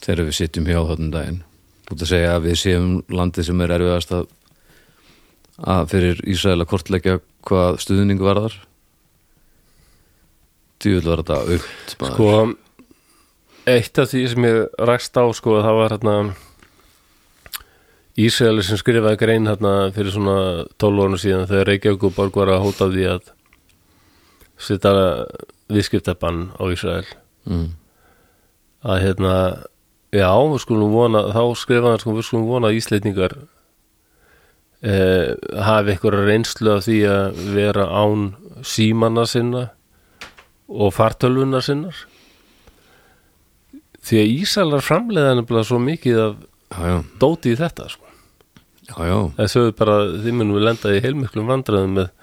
þegar við sittum hjá þáttum daginn út að segja að við séum landið sem er erfiðast að, að fyrir Ísrael að kortleggja hvað stuðning varðar djúvel var þetta aukt maður. sko eitt af því sem ég rækst á sko það var hérna Ísraeli sem skrifaði grein hérna fyrir svona 12 ára síðan þegar Reykjavík og Borg var að hóta því að setja viðskiptabann á Ísrael mm. að hérna já, við skulum vona, þá skrifaði hann sko, við skulum vona að Ísleitningar eh, hafi einhverja reynslu af því að vera án símanna sinna og fartölvuna sinnar því að Ísalar framleiða nefnilega svo mikið af já, já, dóti í þetta sko. já, já, þessu er bara, þið munum við lenda í heilmiklum vandræðum með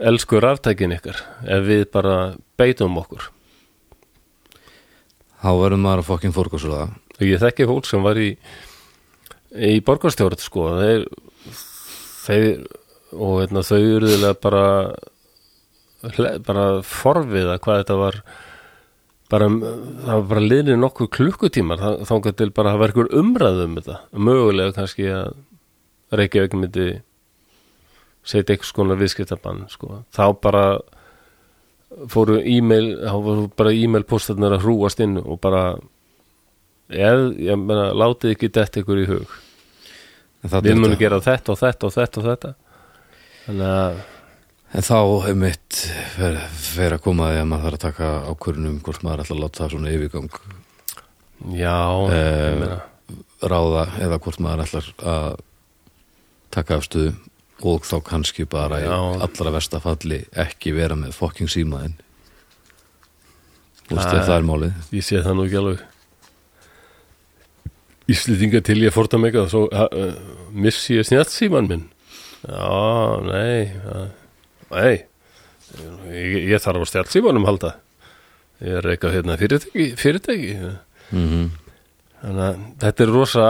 elsku ráftækin ykkar ef við bara beitum okkur þá verður maður að fokkin fórkosula það og ég þekki fólk sem var í í borgarstjórn sko þeir, þeir og veitna, þau urðulega bara hle- bara forviða hvað þetta var bara, það var bara liðni nokkur klukkutímar þá- þangað til bara að hafa einhver umræðu um þetta mögulega kannski að Reykjavík myndi setja einhvers konar viðskiptabann sko. þá bara fóru e-mail þá voru bara e-mail postarnir að hrúast inn og bara Ég, ég meina, látið ekki dett ykkur í hug En þarna Við er munum þetta- gera þetta og þetta og þetta og þetta Þannig að En þá er mitt fer, fer að koma að því að maður þarf að taka ákvörunum hvort maður ætla að láta það svona yfirgang Já, ég meina ráða eða hvort maður ætlar að taka afstöðu og þá kannski bara í Já. allra versta falli ekki vera með fokking símaðin Þú veist ef það er málið Ég sé það nú ekki alveg Íslendinga til ég fórta mig að svo ha, uh, missi ég snjallsíman minn Já, nei uh, Nei ég, ég þarf á snjallsímanum halda Ég er eitthvað hérna fyrirtæki, fyrirtæki. mm Mhm. Þannig að þetta er rosa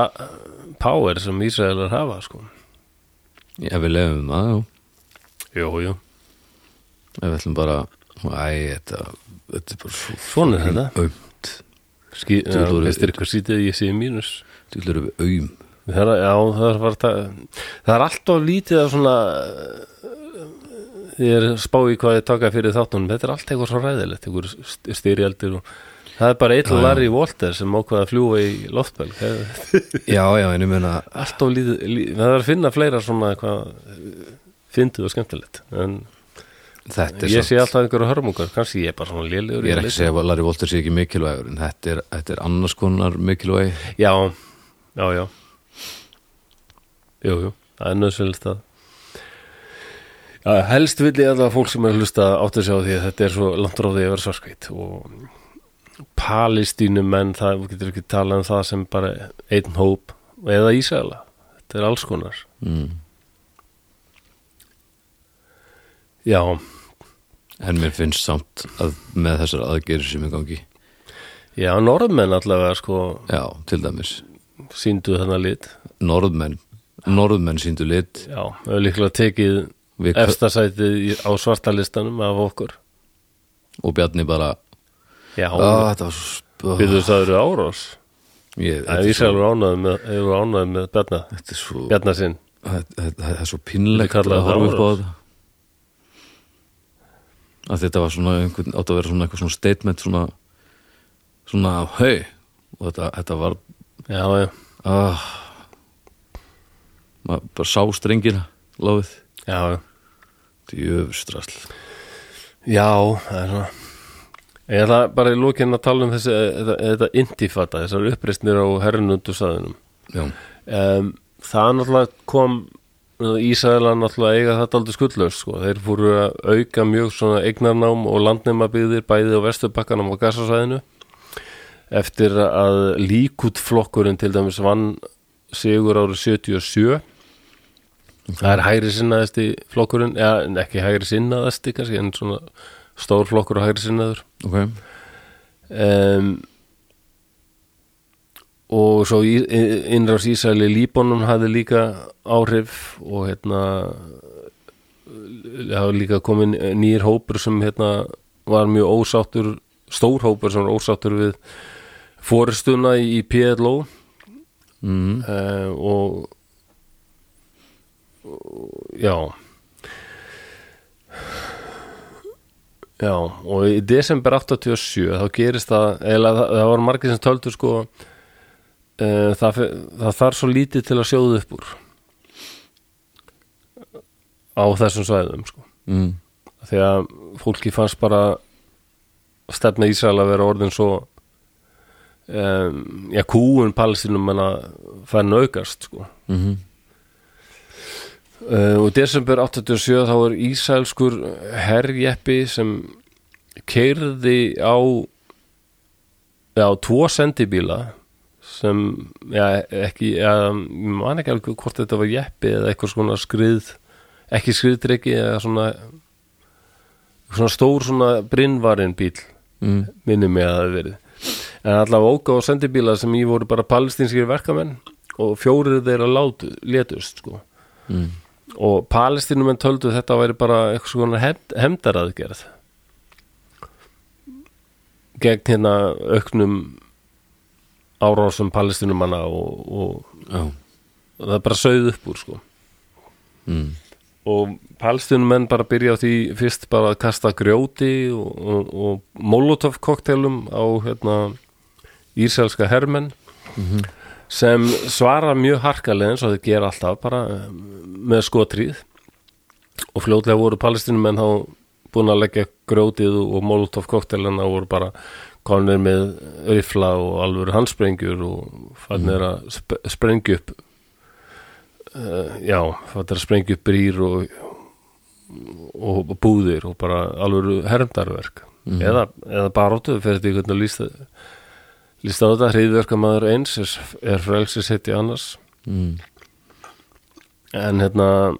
power sem Ísraelar hafa sko. Ef við lefum það, já Jú, jú Ef við ætlum bara, æ, þetta, þetta er bara svo Svona er þetta aumt Ský, já, Þú- þú- veist þér hvað sýtið ég sé mínus Þú ætlum við aum það er, já, það, er bara, það, það er alltof lítið að svona eh, ég er spáið hvað ég taka fyrir þáttunum þetta er allt eitthvað svo ræðilegt eitthvað styrjaldir og það er bara Já, eitthvað já. Larry Walter sem ákvað að fljúa í loftbelg Það er Já, já, en ég meina alltof lítið lí- það er að finna fleira svona hvað fyndið og skemmtilegt en Þetta er ég samt- sé alltaf einhverju hörmungar kannski ég er bara svona lélegur í Ég er að ekki að leita. segja að Larry Walter sé ekki mikilvægur en þetta er, þetta er annars konar mikilvæg Já, já, já Jú, jú, það er nöðsynlegt að Já, helst vil ég að það fólk sem er að hlusta áttu sig á því að þetta er svo langt ráði að vera svarskveit og palestínu menn, það þú getur ekki talað um það sem bara einn hóp eða Ísæla, þetta er alls konar mm. Já, en mér finnst samt að með þessar aðgerður sem er í gangi já, norðmenn allavega sko Já, til dæmis síndu þarna lit Norðmenn, Norðmenn síndu lit Já, við hefur líklega tekið Við- efstasætið í- á svartalistanum af okkur og Bjarni bara Já, "Ah, Þetta var svo sp- við þess að það eru árás ég, Það þetta, er er svo, Ísrael ánæðið með, eru ánæðið með Bjarna, þetta er svo Bjarna sinn. þetta- þetta- þetta er svo Við pínlegt að kallaði horfa þetta upp á árás. þetta að þetta var svona einhvern, átt að vera svona eitthvað svona statement svona, svona hei og þetta, þetta var Já, já, ah, maður bara sá strengina láfið, já, já, djöfustrasl já, það er svona. Ég ætla bara í lókinn að tala um þessi, þetta, þetta intifata, þessar uppreistnir á herrnundu saðinum. já, Um, það náttúrulega kom, Ísæla náttúrulega eiga þetta aldrei skuldlaust, sko. Þeir fóru að auka mjög svona eignarnám og landnemabíðir bæði á vesturbakkanum og gasasæðinu. Eftir að líkutflokkurinn til dæmis vann sigur árið 77 Það er hægri sinnaðasti flokkurinn, eða en ekki hægri sinnaðasti kannski, en svona stór flokkur og hægri sinnaður. ok Um, og svo í- í- innrás Ísæli Líbónum hafði líka áhrif og hérna það hafði líka komin nýr hópur sem hérna var mjög ósáttur, stór hópur sem var ósáttur við fóristuna í PLO mm. uh, og, og já Já, og í desember 87 þá gerist það, eða það, það var margir sem töldu sko uh, það, fer- það þarf svo lítið til að sjóðu upp úr á þessum svæðum sko mm. því að fólki fannst bara stefna Ísrael að vera orðin svo um, já, kúun palestinum en að fær naukast sko Mm -hmm. Uh, og í desember 87 þá er ísælskur herjeppi sem keirði á já, tvo sendibíla sem, já, ekki já, ég man ekki alveg hvort þetta var jeppi eða eitthvað svona skrið ekki skriðdreki eða svona svona stór svona brinnvarin bíl Mm. minni mig að það hafi verið en allavega óka á sendibíla sem í voru bara palestinskir verkamenn og fjórið þeirra látu, létust sko Mm. og palestinumenn töldu þetta væri bara eitthvað svona hemdaraðgerð gegn hérna auknum árásum palestinumanna og, Já. og það bara sögð upp úr sko Mm. og palestinumenn bara byrja á því fyrst bara að kasta grjóti og, og, og molotov koktelum á hérna ísælska hermenn sem svara mjög harkalega eins og þau gera alltaf bara eh, með skotrýð og fljótlega voru palestinumenn þá búin að leggja grjótið og og molotov koktelina voru bara konir með rifla og alvöru handsprengjur og fannir að sp sprengja upp já, það er að sprengja upp brýr og, og búðir og bara alveg hermdarverk eða, eða baróttu fyrir því hvernig að lýsta lýsta á þetta hriðverkamaður eins er, er frelsis heiti annars Mm. en hérna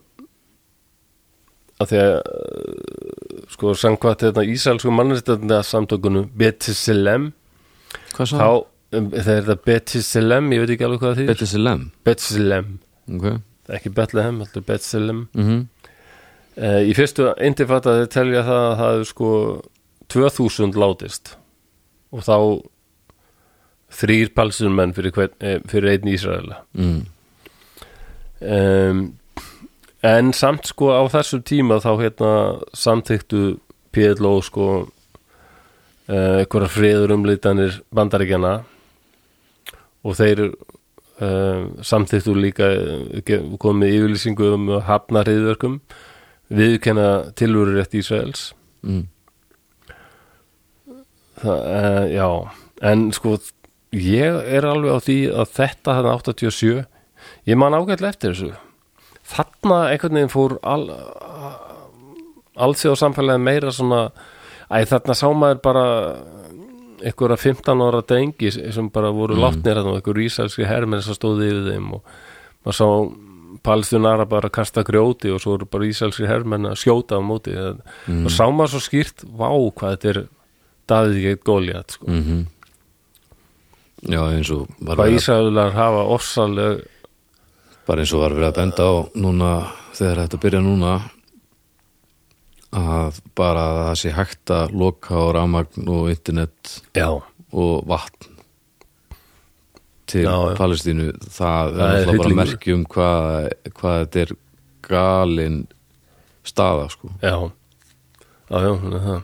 að því að eh, sko samkvæmt hérna ísælsku mannréttarna samtökunu Betiselem Hvað sá? þá, um, það er þetta Betiselem ég veit ekki alveg hvað það þýr Betis Lem Betiselem, Ok ekki Betlehem heldur Betiselem mm -hmm. Uh, í fyrstu indifata þeir telja það að það er sko 2000 látist og þá þrýr palsunumenn fyrir, hvern, eh, fyrir einn Ísraela mm. um, en samt sko á þessum tíma þá hérna samþyktu PLO sko uh, einhverja friður umlítanir bandaríkjana og þeir uh, samþyktu líka eh, ge- komið yfirlýsingu um að hafna hriðverkum viðkenna tilvöru rétt Ísraels Mm. Það, uh, já, en sko ég er alveg á því að þetta þarna 87, ég man ágætlega eftir þessu. Þarna einhvern veginn fór al, alls á samfélagið meira svona, æ, þarna sá maður bara einhverja 15 ára drengi sem bara voru látnir þarna og einhverju ísælski hermenn sem stóði yfir þeim og maður sá palstunara bara að kasta grjóti og svo voru bara ísælski hermenn að skjóta á móti mm. og sá maður svo skýrt, vá hvað þetta er Davíð ekki Góliat sko. Mm -hmm. Já eins og var Hvað verið að- Ísraelar hafa ofsaleg bara eins og var verið að benda á núna þegar þetta byrja núna að bara að það sé hægt að loka á rafmagn og internet Já, og vatn til Já, já. Palestínu það, Það er er alltaf bara hryllingur. merki um hvað, hvað þetta er galin staða sko já Já, já, hún er það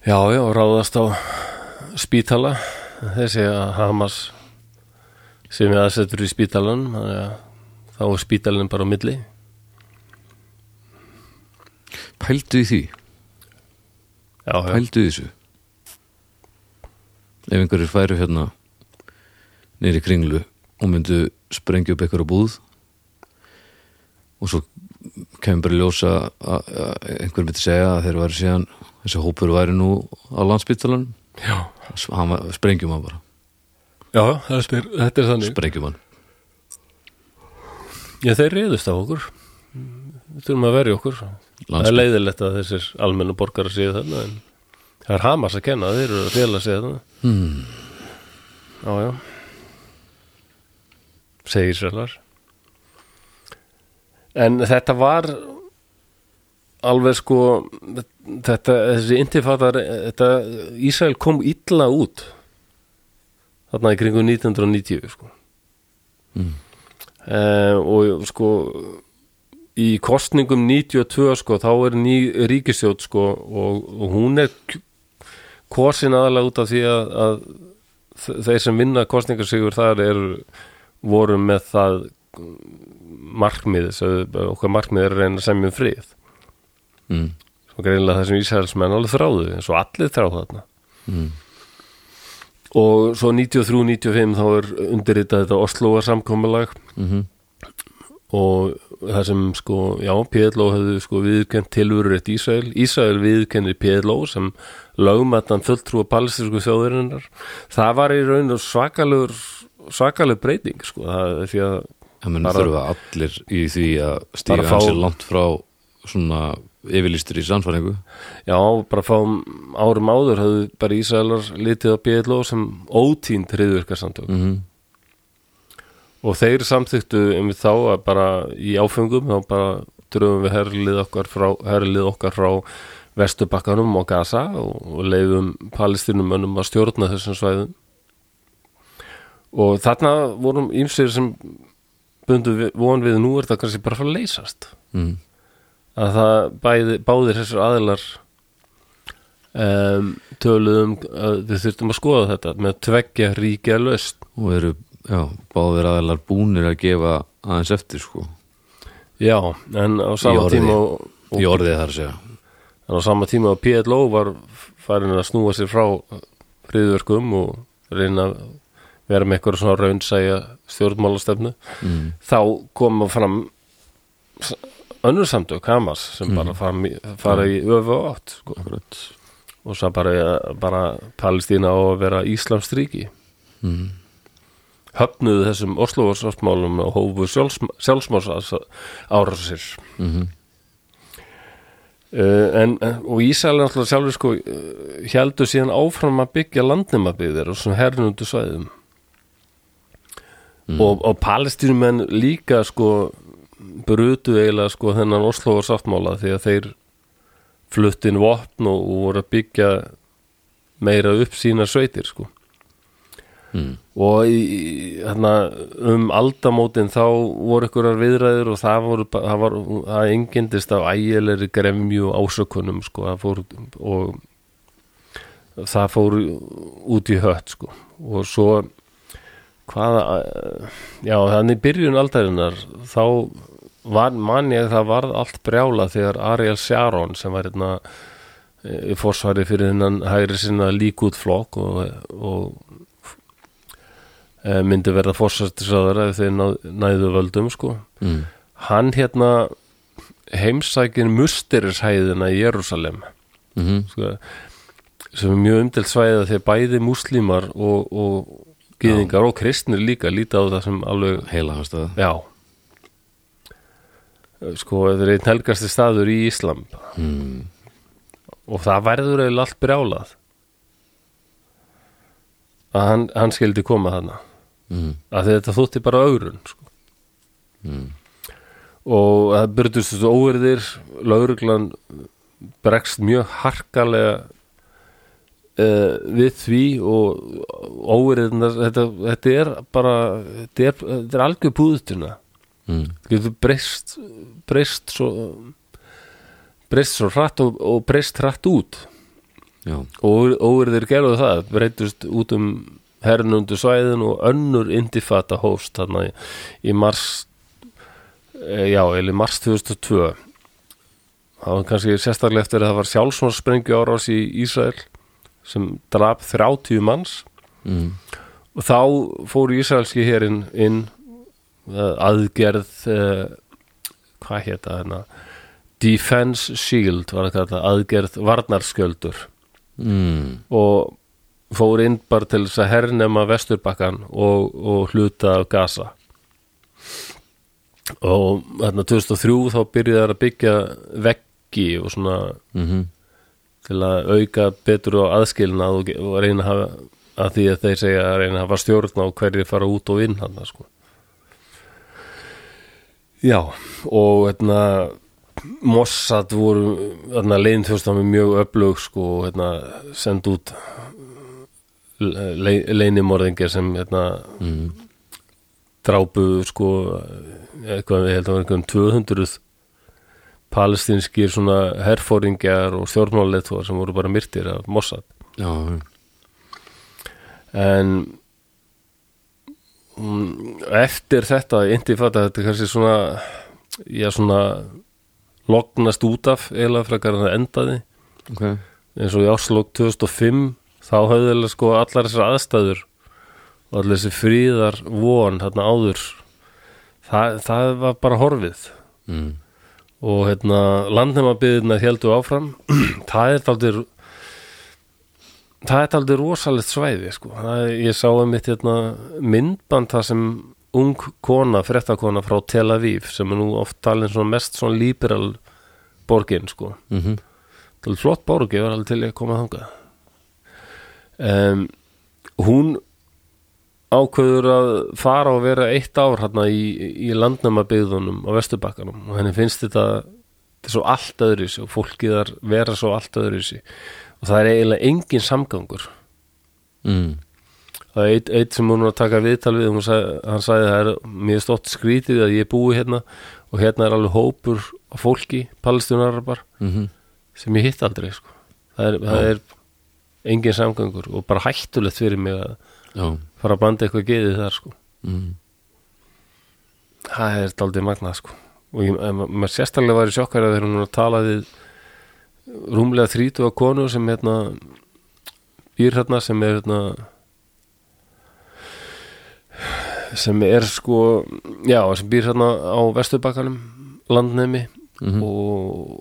Já, já, ráðast á spítala þessi að Hamas sem ég aðsetur í spítalan þannig að þá er spítalinn bara á milli pældu í því, Já, já, pældu í þessu ef einhverjir færu hérna neyri kringlu og myndu sprengja upp einhverja búð og svo kemur bara í ljósa að að einhver myndi segja að þeir væri síðan þessi hópur væri nú á landspítalanum já, hann var- sprengjum hann bara já það er spyr, þetta er þannig sprengjum hann Já, þeir reyðust á okkur Við þurfum að verja okkur Það er Landsbyggð. leiðilegt að þessir almennu borgarar séu þarna en það er Hamas að kenna, þeir eru að fela séu þarna hmm. Já, já segir sérlar En þetta var alveg sko þetta, þessi intifatar þetta, Ísrael kom illa út þarna í kringu 1990 Eh, sko. mm. og sko í kostningum 92 sko, þá er ný ríkisjóð sko og, og hún er kj- kosin aðalega út af því að, að þ- þeir sem vinna kostningarsigur þar eru voru með það markmið, sagði, okkar markmið er að reyna að semja um frið mm. og greinlega það sem Ísraelsmenn alveg þráðu eins og allir þráðu þarna Mm. og svo 93-95 þá er undirritað þetta Osloa samkomulag Mhm. og það sem sko, já, PLO hefðu sko viðkjönd tilvörur eitt Ísrael Ísrael viðkjöndir PLO sem lögmættan fulltrúa palestinsku þjóðurinnar það var í raun og svakalegur svakaleg breyting sko, það er því að Það menn Bara- þurfa allir í því að stíga Bara fá- hansi langt frá svona yfirlýstur í samfæringu Já, bara fáum árum áður höfðu bara Ísraelar litið á BLO sem ótínd hriðvirkarsamtök mm -hmm. og þeir samþyktu um þá að bara í áfengum þá bara dröfum við herlið okkar frá, herlið okkar frá Vesturbakkanum og Gaza og, og leifum palestinumönnum að stjórna þessum svæðum og þarna vorum ýmsir sem bundu við- von við nú er það kannski bara að fara að leysast Mm. að það bæði, báðir þessir aðilar um, töluðum að við þurftum að skoða þetta með tveggja ríkja löst og eru já, báðir aðeinar búnir að gefa aðeins eftir sko já, en á Í sama orði. tíma og, í orðið þar að segja en á sama tíma að PLO var farin að snúa sér frá hriðverkum og reyna að vera með eitthvað svona raunsæja stjórnmálastefnu mm. þá koma fram s- önnur samtök Hamas sem bara fara, fara í öfu og átt sko. og svo bara, bara Palestína á að vera Íslams ríki Mm. höfnuðu þessum Oslofarsáttmálum og hófu sjálfsmálsárásir árásir Mm -hmm. Uh, en, en- og Ísraelir náttúrulega sjálfur sko uh, heldur síðan áfram að byggja landnemabyggðir og svona hernundu svæðum og, og palestínumenn líka sko brutu eiginlega sko þennan Oslovar sáttmála því að þeir fluttin vopn og, og voru að byggja meira upp sína sveitir sko Mm. og í, í- hérna, um aldamótin þá voru ykkurar viðræður og það voru ba- það, var, það engindist af ægilegri gremju og ásökunum sko það fór, og það fór út í hött sko og svo hvaða eh, já þannig í byrjun aldarinnar þá var, man ég að það varð allt brjála þegar Ariel Sharon sem var hérna eh, í forsvari fyrir hennan hægri sinna líkútflokk og, og eh, myndi verða forsættisraðara ef þeir náð- næðu völdum sko Mm. hann hérna heimsækin mustirishæðina í Jerusalem Mm -hmm. sko, sem er mjög umdelt svæðið þegar bæði múslímar og, og gyðingar og kristnir líka líta á það sem alveg heila hans það já sko, þetta er einn helgasti staður í Íslam mm. og það verður eiginlega allt brjálað að hann, hann skildi koma þarna Mm. að þetta þótti bara augrun sko. og það byrjtust þessu óverðir lauruglan bregst mjög harkalega uh, við því og óverðirnar þetta, þetta er bara þetta er, þetta er algjör búðutuna Mm. getur breyst breyst svo breyst svo hratt og, og breyst hratt út já, og óverðir gerðu það breytust út um hernundu svæðin og önnur indifata hófst þarna í, í mars eh, já, eða í mars 2002 það var kannski sérstaklega eftir að það var sjálfsvonsprengju árás í Ísrael sem drap 30 manns mm. og þá fór ísraelski hérinn inn uh, aðgerð uh, hvað hétta hérna Defense Shield var að kalla aðgerð varnarskjöldur Mm. og fór inn bara til þess að hernema vesturbakkan og, og hluta af Gaza og hérna 2003 þá byrjuði þær að byggja veggi og svona Mm -hmm. til að auka betur á aðskilnað og, og reyna að hafa að því að þeir segja að reyna að hafa stjórn á hverjir fara út og inn hann sko. Já og hérna Mossad voru hérna, leiðin þjóðstæmi mjög öflug sko, og hérna, send út le, leinimorðingir sem hérna, Mm. drápu sko, eitthvað, ég held að það var einhverjum 200 um palestinskir svona herfóringjar og stjórnmáleitvar sem voru bara myrtir af Mossad já, já, en mm, eftir þetta intifada þetta er kannski svona já svona lognast út af eiginlega frekar en það endaði ok eins og í áslokk 2005 þá höfðu eiginlega sko allar þessar aðstæður og allir þessi fríðar von þarna áður það, það var bara horfið mm. og hérna landnæmabiðina heldur áfram það er taldir það er taldir rosalegt svæði sko. það, er- ég sá um mitt hérna, myndband það sem ung kona, fréttakona frá Tel Aviv sem er nú oft talin svona mest svona liberal borgin sko Mm -hmm. Það er flott borg, ég var alveg til í að koma þangað um, Hún ákveður að fara og vera eitt ár hérna í, í landnæmabyggðunum á Vesturbakkanum og henni finnst þetta, þetta er svo allt öðru í sig og fólkið þar vera svo allt öðru í sig og það er eiginlega engin samgangur Mm. það er eitt, eitt sem hún var að taka viðtal við hún sag, hann sagði það er mjög stótt skrítið að ég búi hérna og hérna er alveg hópur af fólki palestinarabar Mm sem ég hitt aldrei sko. það, er, það er engin samgangur og bara hættulegt fyrir mig að já fara að blanda eitthvað geðið þar sko. mm. það er daldið magnað sko. og ég, em- maður sérstaklega var í sjokkar þegar hún var að tala við rúmlega 30 konu sem hérna býr hérna sem er hérna sem er sko já, sem býr hérna á vesturbakkanum landnemi mhm. Mhm. og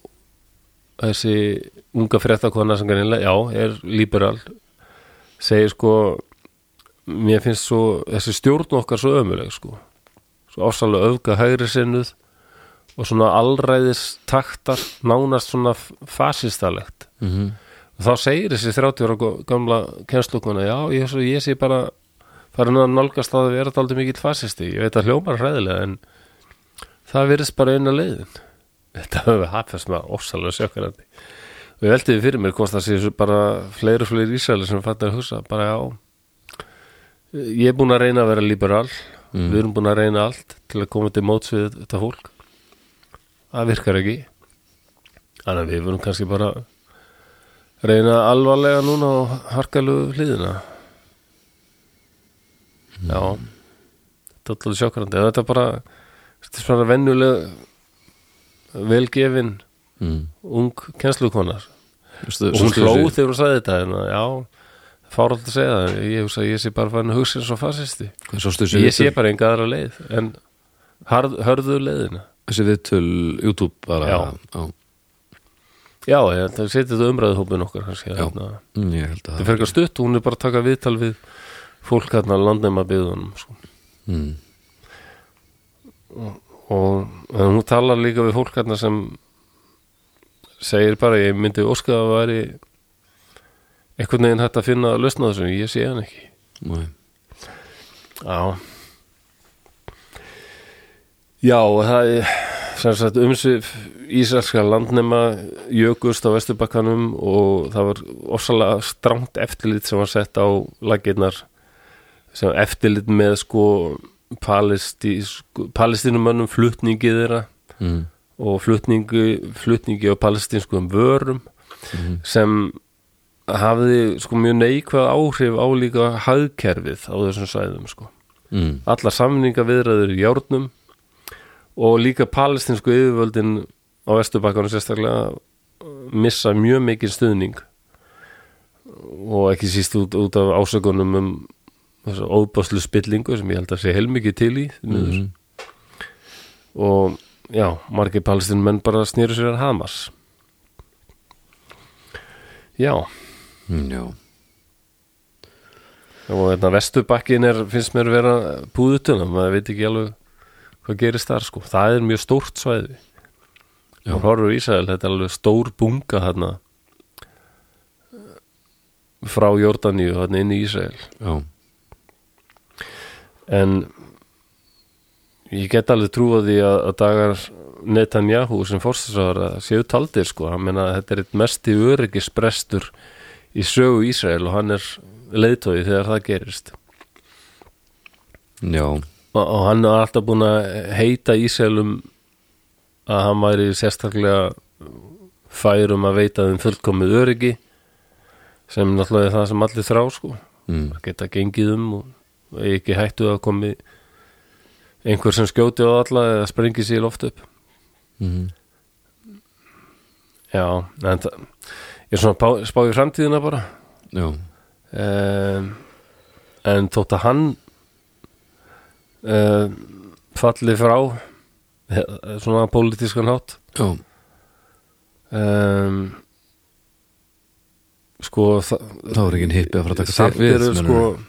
þessi unga fréttakona sem kannilega, já, er liberal segir sko mér finnst svo, þessi stjórn okkar svo ömuleg sko svo ásalega öfga hægri sinnuð og svona allræðis taktar nánast svona fasistalegt Mm Mhm. -hmm. og þá segir þessi 30 ára gó- gamla kennslokona, já, ég, svo, ég sé bara farin að nálgast það að vera daldið mikill fasisti, ég veit að hljómar hræðilega en það virðist bara eina leiðin þetta höfum við hafðast með ósalega sjökkarandi og ég veldi við fyrir mér hvort það sé svo bara fleiri og fleiri ísæli sem fattar að hugsa bara já ég er búin að reyna að vera liberal við erum búin að reyna allt til að koma til móts við þetta fólk það virkar ekki þannig að við verum kannski bara reyna alvarlega núna og harkalegu hliðina já þetta er alltaf sjokkrandi þetta er bara, þetta er bara vennuleg velgefin Mm. Mhm. ung kennslukonar Stu, og hún hlóð þegar hún sagði þetta en að, já, fár alltaf að segja það ég hugsa að ég sé bara farin að hugsa eins og fasisti Sástu þessi ég sé viðtöl- bara enga aðra leið en harð, hörðu leiðina þessi viðtöl YouTube bara Já. já. já, ég- það setið þetta umræðuhópin okkar kannski, hérna. Já. þarna. Mm, ég held að það fer ekki að stutt, hún er bara að taka viðtal við fólk hérna landnæma byðunum sko. mm. og en hún talar líka við fólk hérna sem segir bara, ég myndi óska að það væri einhvern veginn hægt að finna að lausna þessu, ég sé hann ekki Nei. Já Já, og það er sem sagt umsif ísraelska landnema jökust á vesturbakkanum og það var ofsalega strangt eftirlit sem var sett á laginnar sem eftirlit með sko palestísku- palestínumönnum flutningi þeirra Mm. og flutningi, flutningi á palestinskum vörum Mhm. sem hafði sko mjög neikvað áhrif á líka hagkerfið á þessum svæðum sko Mm. alla samninga viðræður í járnum og líka palestinsku yfirvöldin á vesturbakkanum sérstaklega uh, missa mjög mikið stuðning og ekki síst út, út af ásökunum um þessa óbáslu spillingu sem ég held að sé heilmikið til í því miður. Mhm. Mm. og já, margir palestin menn bara snýru sér að Hamas Já Mm, já og þetta vesturbakkin er, finnst mér vera búðutuna, maður veit ekki alveg hvað gerist þar sko, það er mjög stórt svæði Já. og horfur Ísrael, þetta er alveg stór bunga þarna eh, frá Jordaníu þarna inn í Ísrael Já, en ég get alveg trúa því að, að dagar Netanyahu sem fórstisvara séu taldir sko, hann meina að þetta er eitt mesti öryggisbrestur í sögu Ísrael og hann er leiðtói þegar það gerist já og, og hann er alltaf búin að heita Ísælum að hann væri sérstaklega færum að veita þeim fullkomið öryggi sem náttúrulega er það sem allir þrá sko mm. að geta gengið um og eigi ekki í hættu að komi einhver sem skjóti á alla eða springi sér loft upp Mm. já, en það ég er svona að spá í framtíðina bara Já, um, en þótt að hann um, falli frá eh, svona pólitískan hátt já, um, sko það þá er ekki hippið að fara að taka samt við, eru sko meinarðu?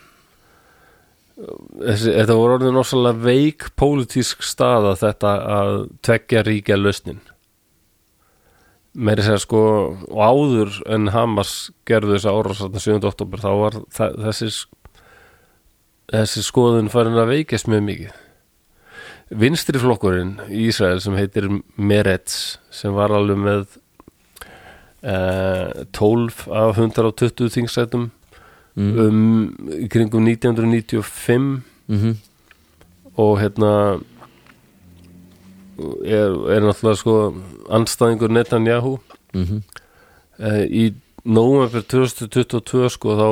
þessi, þetta voru orðin ósalega veik pólitísk staða þetta að tveggja ríkja lausnin meiri segja sko og áður en Hamas gerðu þess að árásatna 7. oktober þá var þa- þessi sk- þessi skoðun farin að veikast mjög mikið vinstri flokkurinn í Ísrael sem heitir Meretz sem var alveg með eh, 12 af 120 þingsætum mm. um, í kringum 1995 Mm -hmm. og hérna er, er náttúrulega sko anstæðingur Netanyahu Mm -hmm. eh, í nóvember 2022 sko þá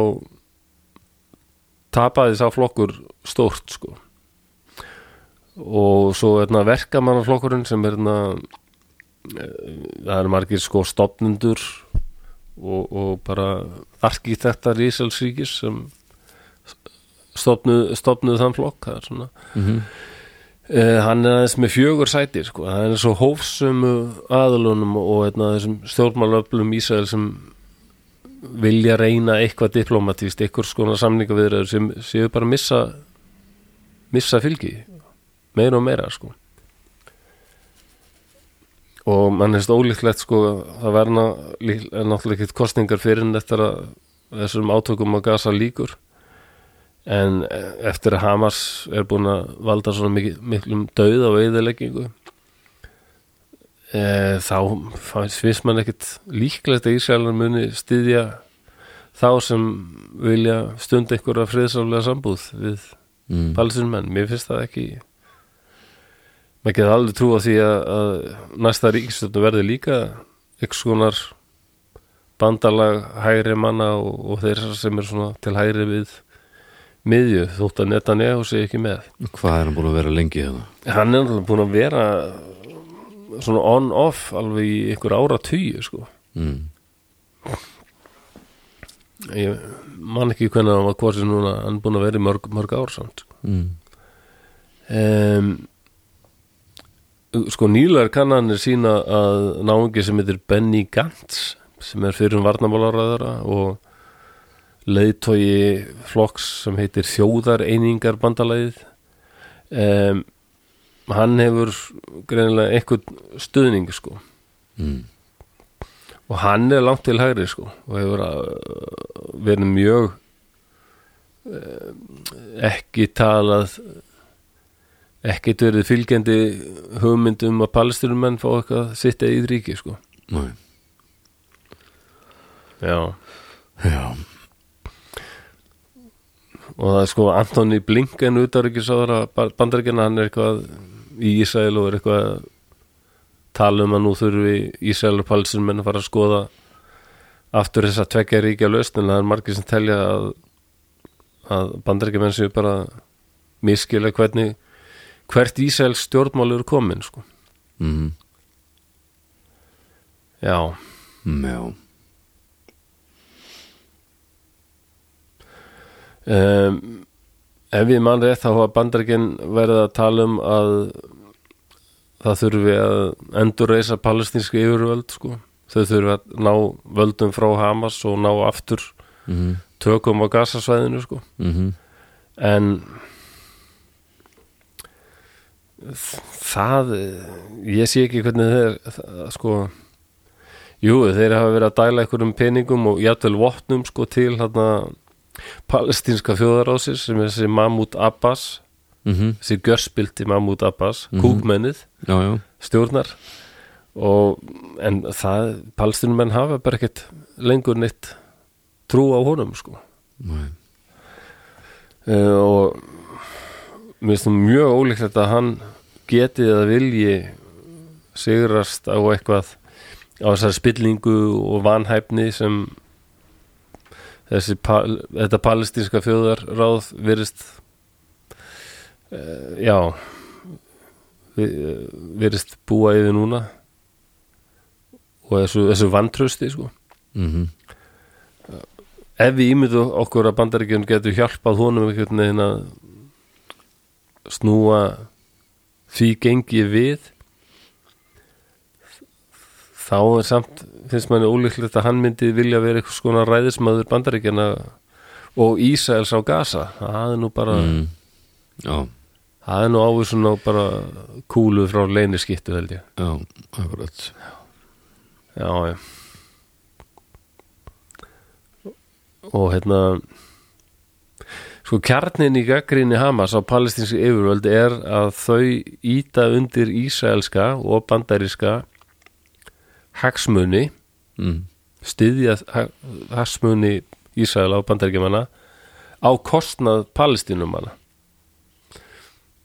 tapaði sá flokkur stórt sko og svo hérna, verkamannaflokkurinn sem er hérna, eh, það eru margir sko stopnendur og, og bara arkitektar í Ísælsríkis sem stopnuð, stopnuð þann flokk það er svona Mhm. Uh, hann er aðeins með fjögur sæti sko. hann er svo hófsömu aðalunum og einna, þessum stjórnmálöflum Ísrael sem vilja reyna eitthvað diplomatíst eitthvað skona samningaviðræður sem séu bara að missa missa fylgi meira og meira sko. og mann hefst ólíklegt sko, það verna lík- er náttúrulega ekkert kostningar fyrir en eftir að þessum átökum að gasa líkur en eh, eftir að Hamas er búin að valda svona mikil, miklum dauð á veiðileggingu e, þá fannst- finnst mann ekkit líklegt að Ísraelar muni styðja þá sem vilja stunda einhverja friðsálega sambúð við Mm. palestinmenn, mér finnst það ekki maður getur alveg trúa því að, að næsta ríkistötu verði líka ykkur skonar bandalag hægri manna og, og þeir sem er svona til hægri við miðju þótt að Netanyahu sé ekki með Hvað er hann búin að vera lengi hérna? hann er alveg búin að vera svona on-off alveg í ykkur ára tíu sko Mm. ég man ekki hvernig hann var kosið núna hann er búin að vera í mörg, mörg ár samt sko. Mm. um, sko nýlar kannanir sína að náungi sem heitir Benny Gantz sem er fyrir um varnamálaræðara og leiðtogi flokks sem heitir þjóðareiningar bandalæðið um, hann hefur greinilega einhvern stuðning sko Mm. og hann er langt til hægri sko og hefur að uh, verið mjög eh, ekki talað ekkit verið fylgjandi hugmyndum að palestinumenn fá eitthvað sitt eða í ríki sko Nei. Já. Já, og það er sko Antoni Blinken utaríkisáður að bandaríkina hann er eitthvað í Ísæl og er eitthvað að tala um að nú þurfi Ísæl og palestinumenn að fara að skoða aftur þess að tvekja ríkja lausn en það er margir sem telja að, að bandaríkjumenn séu bara miskilega hvernig hvert Ísæl stjórnmál eru komin sko mm. Já, Mm, já. um, ef ég mann rétt þá hafa bandarikinn verið að tala um að það þurfi að endurreisa palestinski yfirvöld sko. þau þurfi að ná völdum frá Hamas og ná aftur Mm. tökum á gasasvæðinu sko. Mm. en þ- það ég sé ekki hvernig þeir það, sko jú, þeir hafa verið að dæla einhverjum peningum og jafnvel vopnum sko til hérna palestinska þjóðarásir sem er þessi Mahmoud Abbas Mm. þessi görspilti Mahmoud Abbas kúkmennið, Já, já stjórnar og en það palestinumenn hafa bara ekkert lengur neitt trú á honum sko Nei. Eh, og mér finnst það mjög ólíklegt að hann geti eða vilji sigrast á eitthvað á þessar spillingu og vanhæfni sem þessi, pal, þetta palestinska þjóðarráð virðist uh, já vi- eh, virðist búa yfir núna og þessu, þessu vantrösti sko mm ef við ímyndu okkur að bandaríkjum getur hjálpað honum einhvern veginn að snúa því gengi við þá er samt finnst manni ólíklegt að hann myndi vilja vera eitthvað skona ræðismæður bandaríkjana og Ísæls á Gaza það er nú bara mm. já, það er nú ávísun á bara kúlu frá leyniskittu held ég já, akkurat já, já og hérna sko kjarnin í gaggrinni Hamas á palestinski yfirvöld er að þau íta undir ísælska og bandaríska hagsmuni mm. styðja ha- hagsmuni Ísraela og bandaríkjumanna á kostnað palestinumanna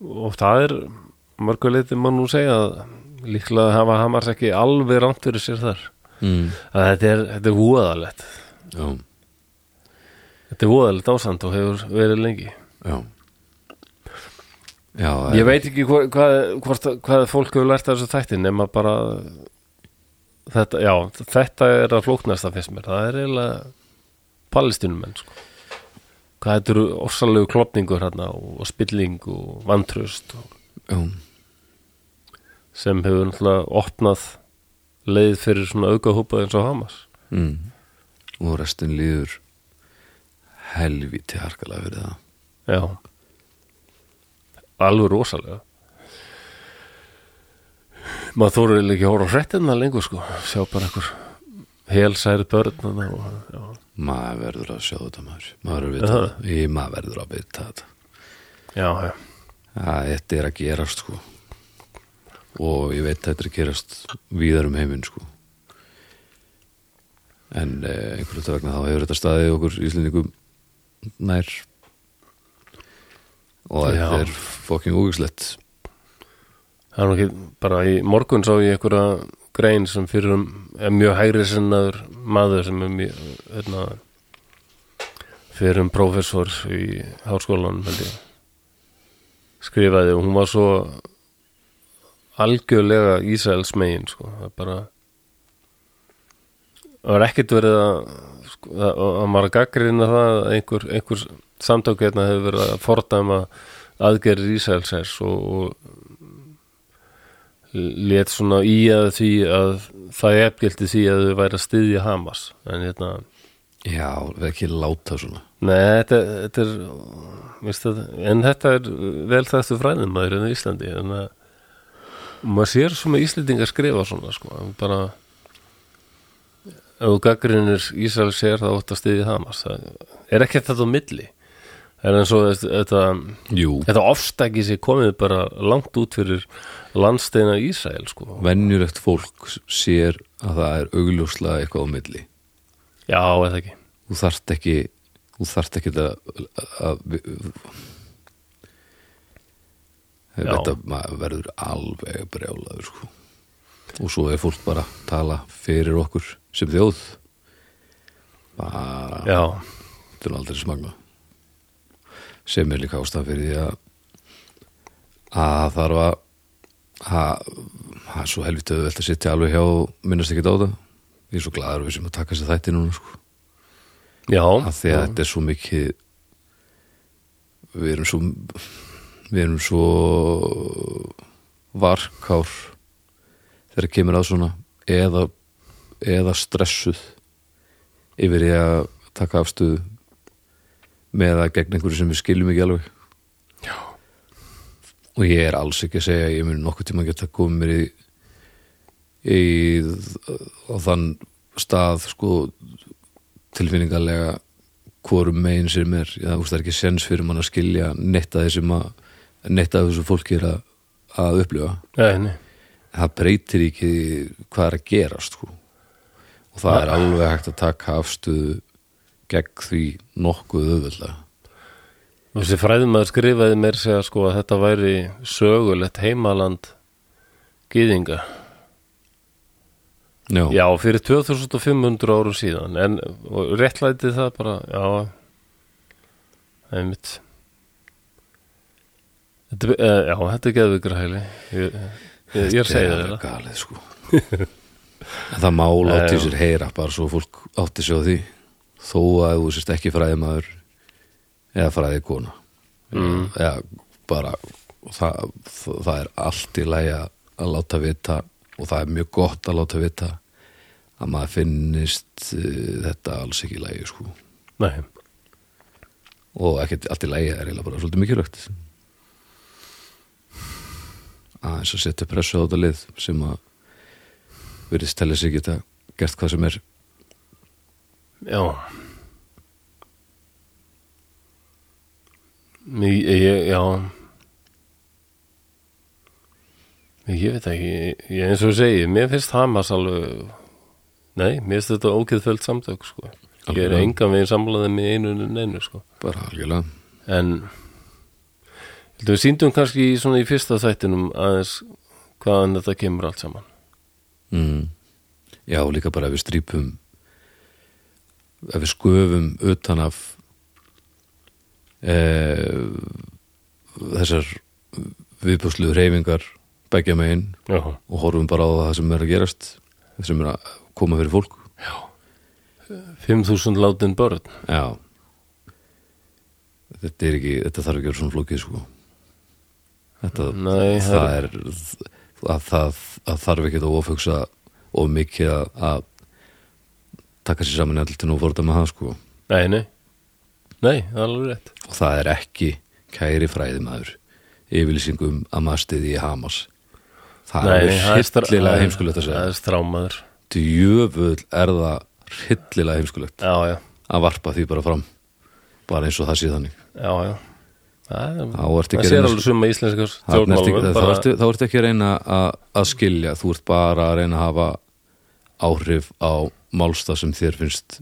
og það er mörguleiti mann nú segja að líklega hafa Hamas ekki alveg rámt fyrir sér þar Mm. að þetta er, þetta er voðalegt já, þetta er voðalegt ásand og hefur verið lengi já já, ég veit ekki hvað, hvað, hvort, hvað fólk hefur lært af þessu þætti nema bara þetta, já, þetta er að flóknasta fyrst mér, það er eiginlega palestinumenn sko. hvað þetta eru ofsalegu klopningur hérna og, og spilling og vantröst og, já, sem hefur náttúrulega opnað leið fyrir svona aukahópað eins og Hamas mm. og restin líður helviti harkalega fyrir það já alveg rosalega maður þóru ekki að horfa á hrettina lengur sko, sjá bara einhver helsæri börn þarna og, já. maður verður að sjá þetta maður maður verður að Er vita það? þetta Í, maður verður að vita þetta Já, já, að þetta er að gerast sko og ég veit að þetta er að gerast víðar um heiminn sko en eh, einhverjum þetta vegna þá hefur þetta staðið okkur íslendingum nær og Já. þetta er fokking úgislegt það er nú ekki bara í morgun sá ég einhverja grein sem fyrir um er mjög hægri sinnaður maður sem er mjög hérna, fyrir um prófessor í háskólanum held ég skrifaði og hún var svo algjörlega Ísraels megin sko, það er bara það var ekkert verið að sko, að að maður að gaggrina það að einhver, einhver samtök hérna hefur verið að fordæma aðgerðir Ísraelsers og, og lét svona í að því að það er efgildi því að þau væri að styðja Hamas en hérna, já, við ekki láta svona nei þetta, þetta er veist það, en þetta er vel þessu fræðin maður en Íslandi en að maður sér svona Íslendingar skrifa svona sko, bara ef þú gaggrinir Ísrael sér það ótt að styðja Hamas það er ekki þetta á milli það er eins og þetta jú, þetta ofstæki sér komið bara langt út fyrir landsteina Ísrael sko. venjulegt fólk sér að það er augljóslega eitthvað á milli já eða ekki þú þarft ekki þú þarft ekki að, að, að Já. þetta maður verður alveg brjálaður sko. og svo er fólk bara að tala fyrir okkur sem þjóð bara já til aldrei smagna sem er líka ástæð fyrir því að að þarf að að það er svo helvítið auðvelt að sitja alveg hjá og minnast ekki á það ég er svo glaður við sem að taka sér þætti núna sko Já, að því að þetta er svo mikið við erum svo við erum svo varkár þegar kemur að svona eða, eða stressuð yfir í að taka afstöðu með að gegn einhverju sem við skiljum ekki alveg Já. og ég er alls ekki að segja að ég mun nokkuð tíma geta komið mér í, í á þann stað sko tilfinningarlega hvorum megin sem er já, úst, það er ekki sens fyrir mann að skilja neitt að þessum að neitt að þessu fólki er að, að upplifa nei, nei. það breytir ekki hvað er að gerast sko. og það er alveg hægt að taka afstöðu gegn því nokkuð auðvöldlega Þessi fræðumæður skrifaði mér segja sko að þetta væri sögulegt heimaland gýðinga já, Já, fyrir 2500 árum síðan en og réttlætið það bara já það er mitt þetta, uh, Já, þetta er geðveikur hæli ég, ég, ég er að segja alveg þetta galið sko en það mál átti Já, já. sér heyra bara svo fólk átti sér á því þó að þú sérst ekki fræðimaður eða fræði kona mm. eða bara það, það er allt í lægi að láta vita og það er mjög gott að láta vita að maður finnist uh, þetta alls ekki í lægi sko Nei, og ekkert allt í lægi er eiginlega bara svolítið mikilvægt aðeins að setja pressu á þetta lið sem að virðist telja sig geta gert hvað sem er já Ég, ég, já Ég, ég veit ekki, ég, ég- eins og ég segi, mér finnst Hamas alveg, nei, mér finnst þetta ógeðföld samtök, sko. Ég er Algjörlega. engan veginn samlaðið með einu en einu, sko. bara algjörlega En, heldur við síndum kannski í svona í fyrsta þættinum aðeins hvaðan þetta kemur allt saman. mm. já og líka bara ef við strýpum ef við sköfum utan af e, þessar viðbúslu reyfingar bækja megin Já, og horfum bara á það sem er að gerast sem er að koma fyrir fólk 5.000 látin börn. Já Þetta er ekki, þetta þarf ekki að vera svona flókið sko Þetta, Nei, það, Mm. það er að það að þarf ekki að ofugsa of mikið að, að taka sér saman allir til nú fórta með það sko og Nei, nei, nei, það er alveg rétt. það er ekki kæri fræðimaður yfirlýsingum að maður stiði í Hamas Það Nei, er það strá- það hryllilega er- heimskulegt að segja Það er strámaður Djöfull er það hryllilega heimskulegt Já, já, að varpa því bara fram bara eins og það sé þannig já, já Það er- Þá ertu ekki það að sér reyna- alveg suma íslenskar Þarna ertu ekki- stjórnmálum Þá ertu- þá ertu ekki að reyna að, að skilja þú ert bara að reyna að hafa áhrif á málstað sem þér finnst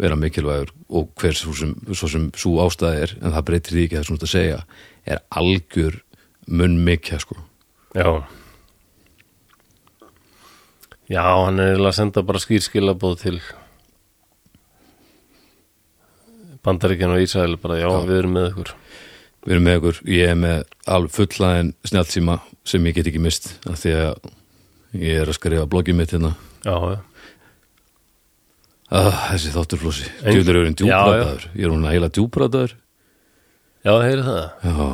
vera mikilvægur og hver svo sem, svo sem svo ástæð er en það breytir því ekki að það sem þú ert að segja er algjör munn mikja sko Já Já, hann er eiginlega að senda bara skýrskilabóð til Bandaríkjan og Ísæl bara, já, við erum með ykkur við erum með ykkur, ég er með alveg fullaðin snjáltsíma sem ég get ekki mist af því að ég er að skrifa bloggið mitt hérna Já, já, ah, þessi þátturflósi, Ein- djúður er einn Já, já. djúbrataður ég er hún að heila djúbrataður já, heyri það já,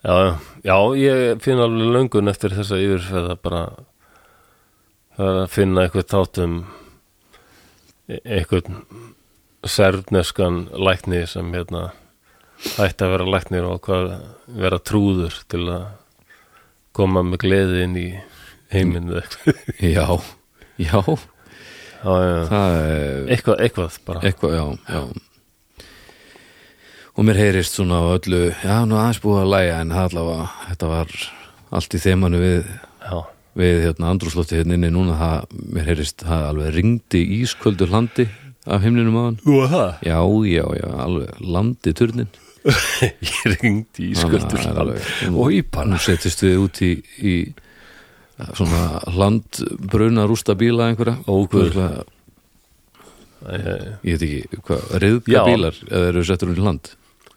Já, já, já, ég finn alveg löngun eftir þessa yfirferða bara það er að finna eitthvað tátum eitthvað serfneskan lækni sem hérna ætti að vera læknir og hvað vera trúður til að koma með gleði inn í heiminn eða eitthvað já, já já, já, það er eitthvað, eitthvað bara eitthvað, já, já og mér heyrist svona á öllu, já, nú aðeins búið að læja en það allavega, þetta var allt í þemanu við, já, við hérna, andrúslótti hérna inni núna það, mér heyrist, það alveg ringdi ísköldur landi af himninum á hann Ú, það? já, já, já, alveg landi turnin Ég ringdi í skuldur Þannig að það er alveg- og í pann nú setjast við út í, í svona landbruna rústa bíla einhverja Óguð. Örugglega- Það ég veit ekki, hvað, reyðka Já. bílar eða eru settur hún í land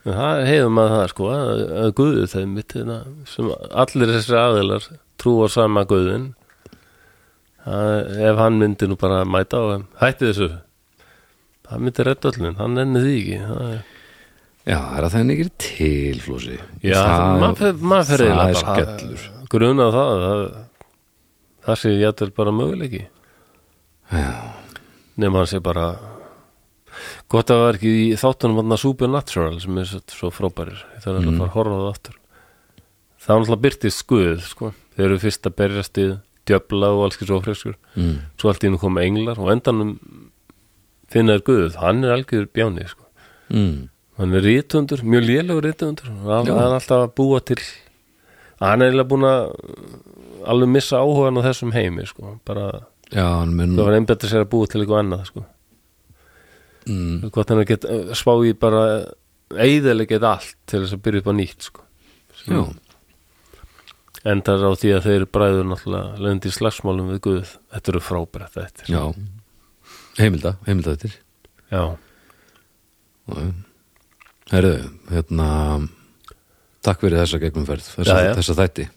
heiðum að það sko að, að guðu þeim mitt hérna, sem allir þessir aðilar trúa sama guðin að, ef hann myndi nú bara mæta á þeim, hætti þessu hann myndi redd öllum, hann nenni því ekki það er, Já, það er að það er nekir til, Flósi já, það, maður fer- maður fer það er eiginlega bara að- skellur grunað það það, það sé ég ætl bara möguleiki Já, nema hann sé bara gott að það var ekki í þáttunum vann Supernatural sem er svo- svo frábærir ég þarf mm. að fara að horfa á það aftur það var náttúrulega byrtist guð sko. þeir eru fyrst að berjast í djöfla og alls svo freskur mm, svo allt í hennu koma englar og á endanum finna er guð, hann er algjör bjáni sko. mm, hann er rítundur, mjög lélegur rítundur hann Já. hann er alltaf að búa til hann er eiginlega búin að uh, alveg missa áhugan á þessum heimi sko. bara, já, en menn það var einbættir sér að búa til eitthvað annað sko. mm, hvort hann er get spá í bara eigðilegget allt til þess að byrja upp á nýtt sko. Já, endar á því að þeir bræður náttúrulega lendi í slagsmálum við Guð þetta eru frábært þetta já heimilda, heimilda þetta já, herðu, hérna takk fyrir þessa gegnumferð þessa, Já, já. þessa þætti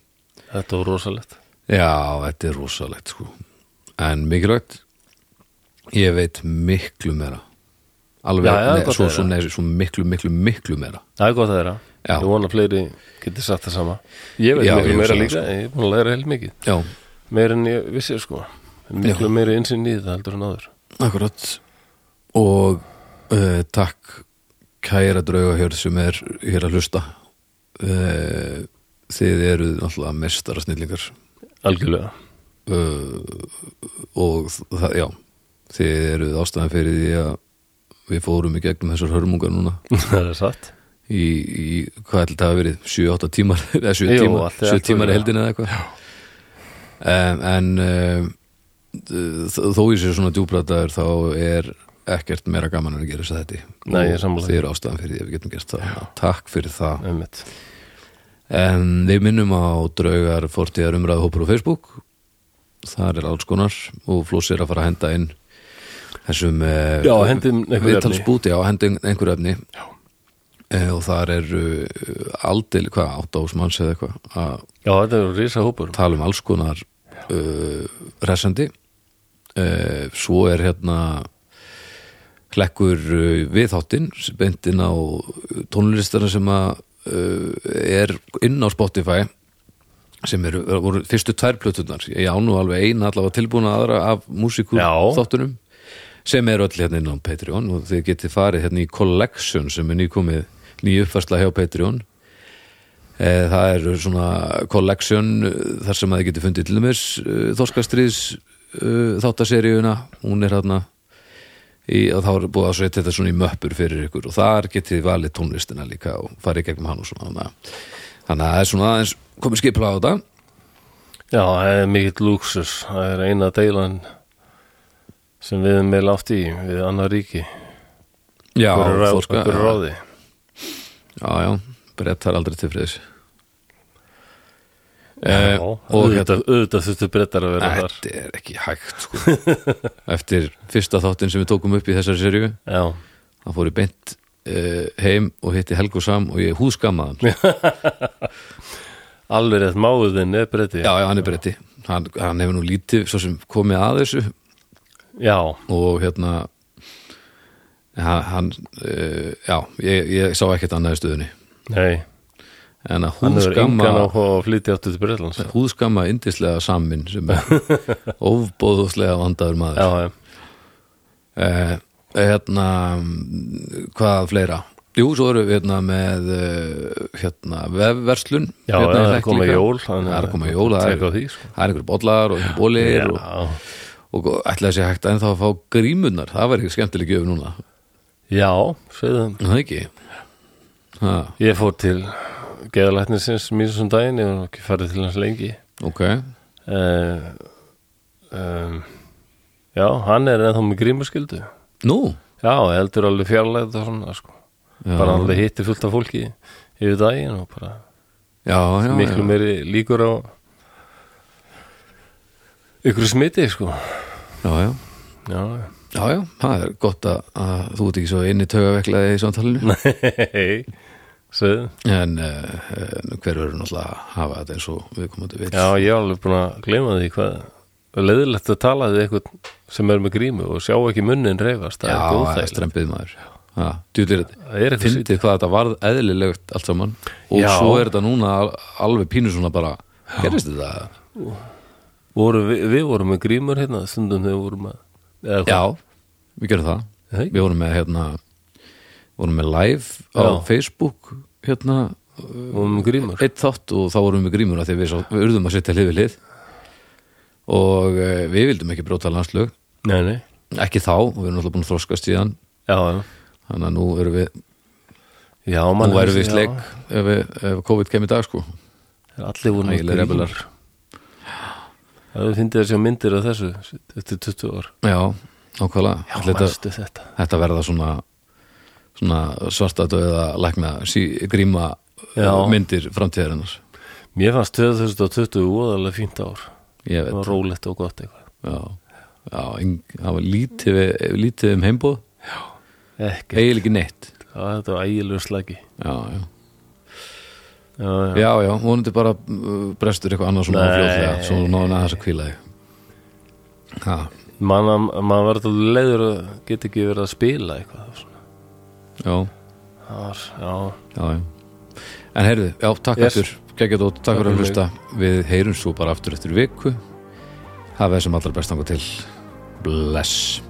þetta var rosalegt já, þetta er rosalegt sko en mikilvægt ég veit miklu meira alveg, Já, já, nei, gott svo, að svo, heyra. nei, svo miklu, miklu, miklu meira það er gott að þeirra, Já. ég vona að fleiri getur sagt það sama ég veit Já, miklu ég meira hugsa það, sko. líka, ég er búin að læra heil mikið já, meira en ég vissi sko miklu meiri innsinn í það heldur en áður Akkurat og uh, takk kæra draugahjörð sem er hér að hlusta uh, þið eru náttúrulega mestara snillingar algjörlega, uh, og það, já þið eru ástæðan fyrir því að við fórum í gegnum þessar hörmungar núna það er satt í, í hvað ætli það hafi verið 7-8 tímar eða 7 Jú, tímar, allt er 7 allt tímar fyrir heldin eða eitthvað um, en um, þ- þó ég sé svona djúbrataður þá er ekkert meira gaman en að gera þess að þetta Nei, ég er sammála þið eru ástæðan fyrir því að við getum gert það takk fyrir það einmitt, en við minnum á draugar fortíðar umræðahópur á Facebook þar er alls konar og flósi er að fara að henda inn þessum eh, Já, hendum einhverju viðtalsbúti, efni. já, hendum einhverju efni Eh, og þar er uh, aldil, hvað, átt ás manns eða eitthvað að já þetta eru risa hópur tala um alls konar uh, resandi uh, svo er hérna hlekkur uh, viðháttinn beintinn á tónlistana sem að uh, er inn á Spotify sem eru, voru fyrstu tvær plötunar ég á nú alveg eina allavega tilbúna aðra af músíkur Já. þáttunum sem eru öll hérna inn á Patreon og þið getið farið hérna í Collection sem er nýkomið nýuppfærsla hjá Patreon Eh, Það eru svona collection eh, þar sem að þið getur fundið til dæmis eh, Þorskastriðs eh, þáttaseríuna, hún er hérna í, og þá er búið að setja þetta svona í möppur fyrir ykkur og þar getið þið valið tónlistina líka og farið í gegnum hann og svona þannig að- þannig að það er svona aðeins komið skipla á þetta Já, það er mikill lúksus það er eina deilan sem við erum meil átt í við annar ríki Já, Hver er Þorska okkur ráði Já, já, brett er aldrei til friðis Já, Eh, og auðvitað, auðvitað þurftu brettar að vera þar Þetta er ekki hægt sko. Eftir fyrsta þáttinn sem við tókum upp í þessari seríu Já, hann fór í beint uh, heim og hitti Helgu Sam og ég húðskammaði hann alveg rétt máðin er bretti já, já, hann er bretti hann, hann hefur nú lítið svo sem komið að þessu já, og hérna hann, hann uh, já, ég, ég sá ekkert annað í stöðunni nei en að hann hefur engan húðskamma áhuga á að flytja áttu til Bretlands Já, húðskamma yndislega samin sem er ofbóðuslega vandaður maður já, uh, hérna mm, hvað fleira Jú, svo erum við hérna með eh, hérna, vefverslun hérna, já, í það er Hlekk að koma líka. jól Það er að koma jól, það er- Tekka á því, sko það er einhverjum bollar og einhverjum bólir og, Já, og ætlaði sér hægt að ennþá að fá grímunar það var ekki skemmtileg gjöf núna já, segðum það ekki ha, Ég fór til geðalæknisins mínusum daginn, ég var ekki farið til hans lengi ok, uh, um, Já, hann er ennþá með grímaskyldu nú Já, heldur alveg fjarlægt og svona sko. já, bara alveg hitti fullt af fólki yfir daginn og bara já, já, miklu já. meiri líkur á ykkur smiti sko já, já, Já, já, já, það er gott að, að þú ert ekki svo inn í taugaveiklaði í samtalinu nei Sveðu. en uh, hver verður náttúrulega að hafa þetta eins og við komandi vill Já, ég er alveg búin að gleyma því hvað leðilegt að tala við eitthvað sem er með grímu og sjá ekki munnin reyfast það já er það er góðþægilegt strempið maður Ha, djúlir þetta Það er eitthvað fyndið hvað þetta varð eðlilegt allt saman og Já. svo er þetta núna al- alveg pínu svona bara gerist þetta? voru, við, við vorum með grímur hérna stundum þegar við vorum að eða, Já, við gerum það Nei. Við vorum með hérna vorum með live á Já. Facebook hérna, við vorum með grímur eitt þátt og þá vorum við grímur að því við, sá, við urðum að setja hlið við hlið og e, við vildum ekki bróta landslög Nei, nei, ekki þá, og við erum alltaf búin að þroskast síðan já, já þannig að nú erum við Já, mann nú erum við í sleik ef, við, ef COVID kemur í dag sko Allir voru með Ægilegir grímur rebelar. Það við fyndið að sjá myndir af þessu eftir 20 ár Já, nákvæmlega Já, Ætli þetta, manstu þetta þetta verða svona, svona svarta döða lækna sí, gríma Já. myndir framtíðarinnar Mér fannst 2020 óðalega fínt ár ég Það veit var rólegt og gott eitthvað já, já, eng, það var lítið, við- lítið um heimboð Ekki, eiginlega ekki neitt Já, þetta var ægilegu slagi já, já, Já, já, já, já vonandi bara uh, brestur eitthvað annað svona Nei. fljóðlega svo náðan aðeins að kvíla þig já, mann man var þetta leiður að geta ekki verið að spila eitthvað svona. já, Það var, já, já, já en heyrðu, já, takk Yes. aftur geggja dótt, takk fyrir að fyrir mig. hlusta við heyrum svo bara aftur eftir viku hafa þessum allra best þangað til bless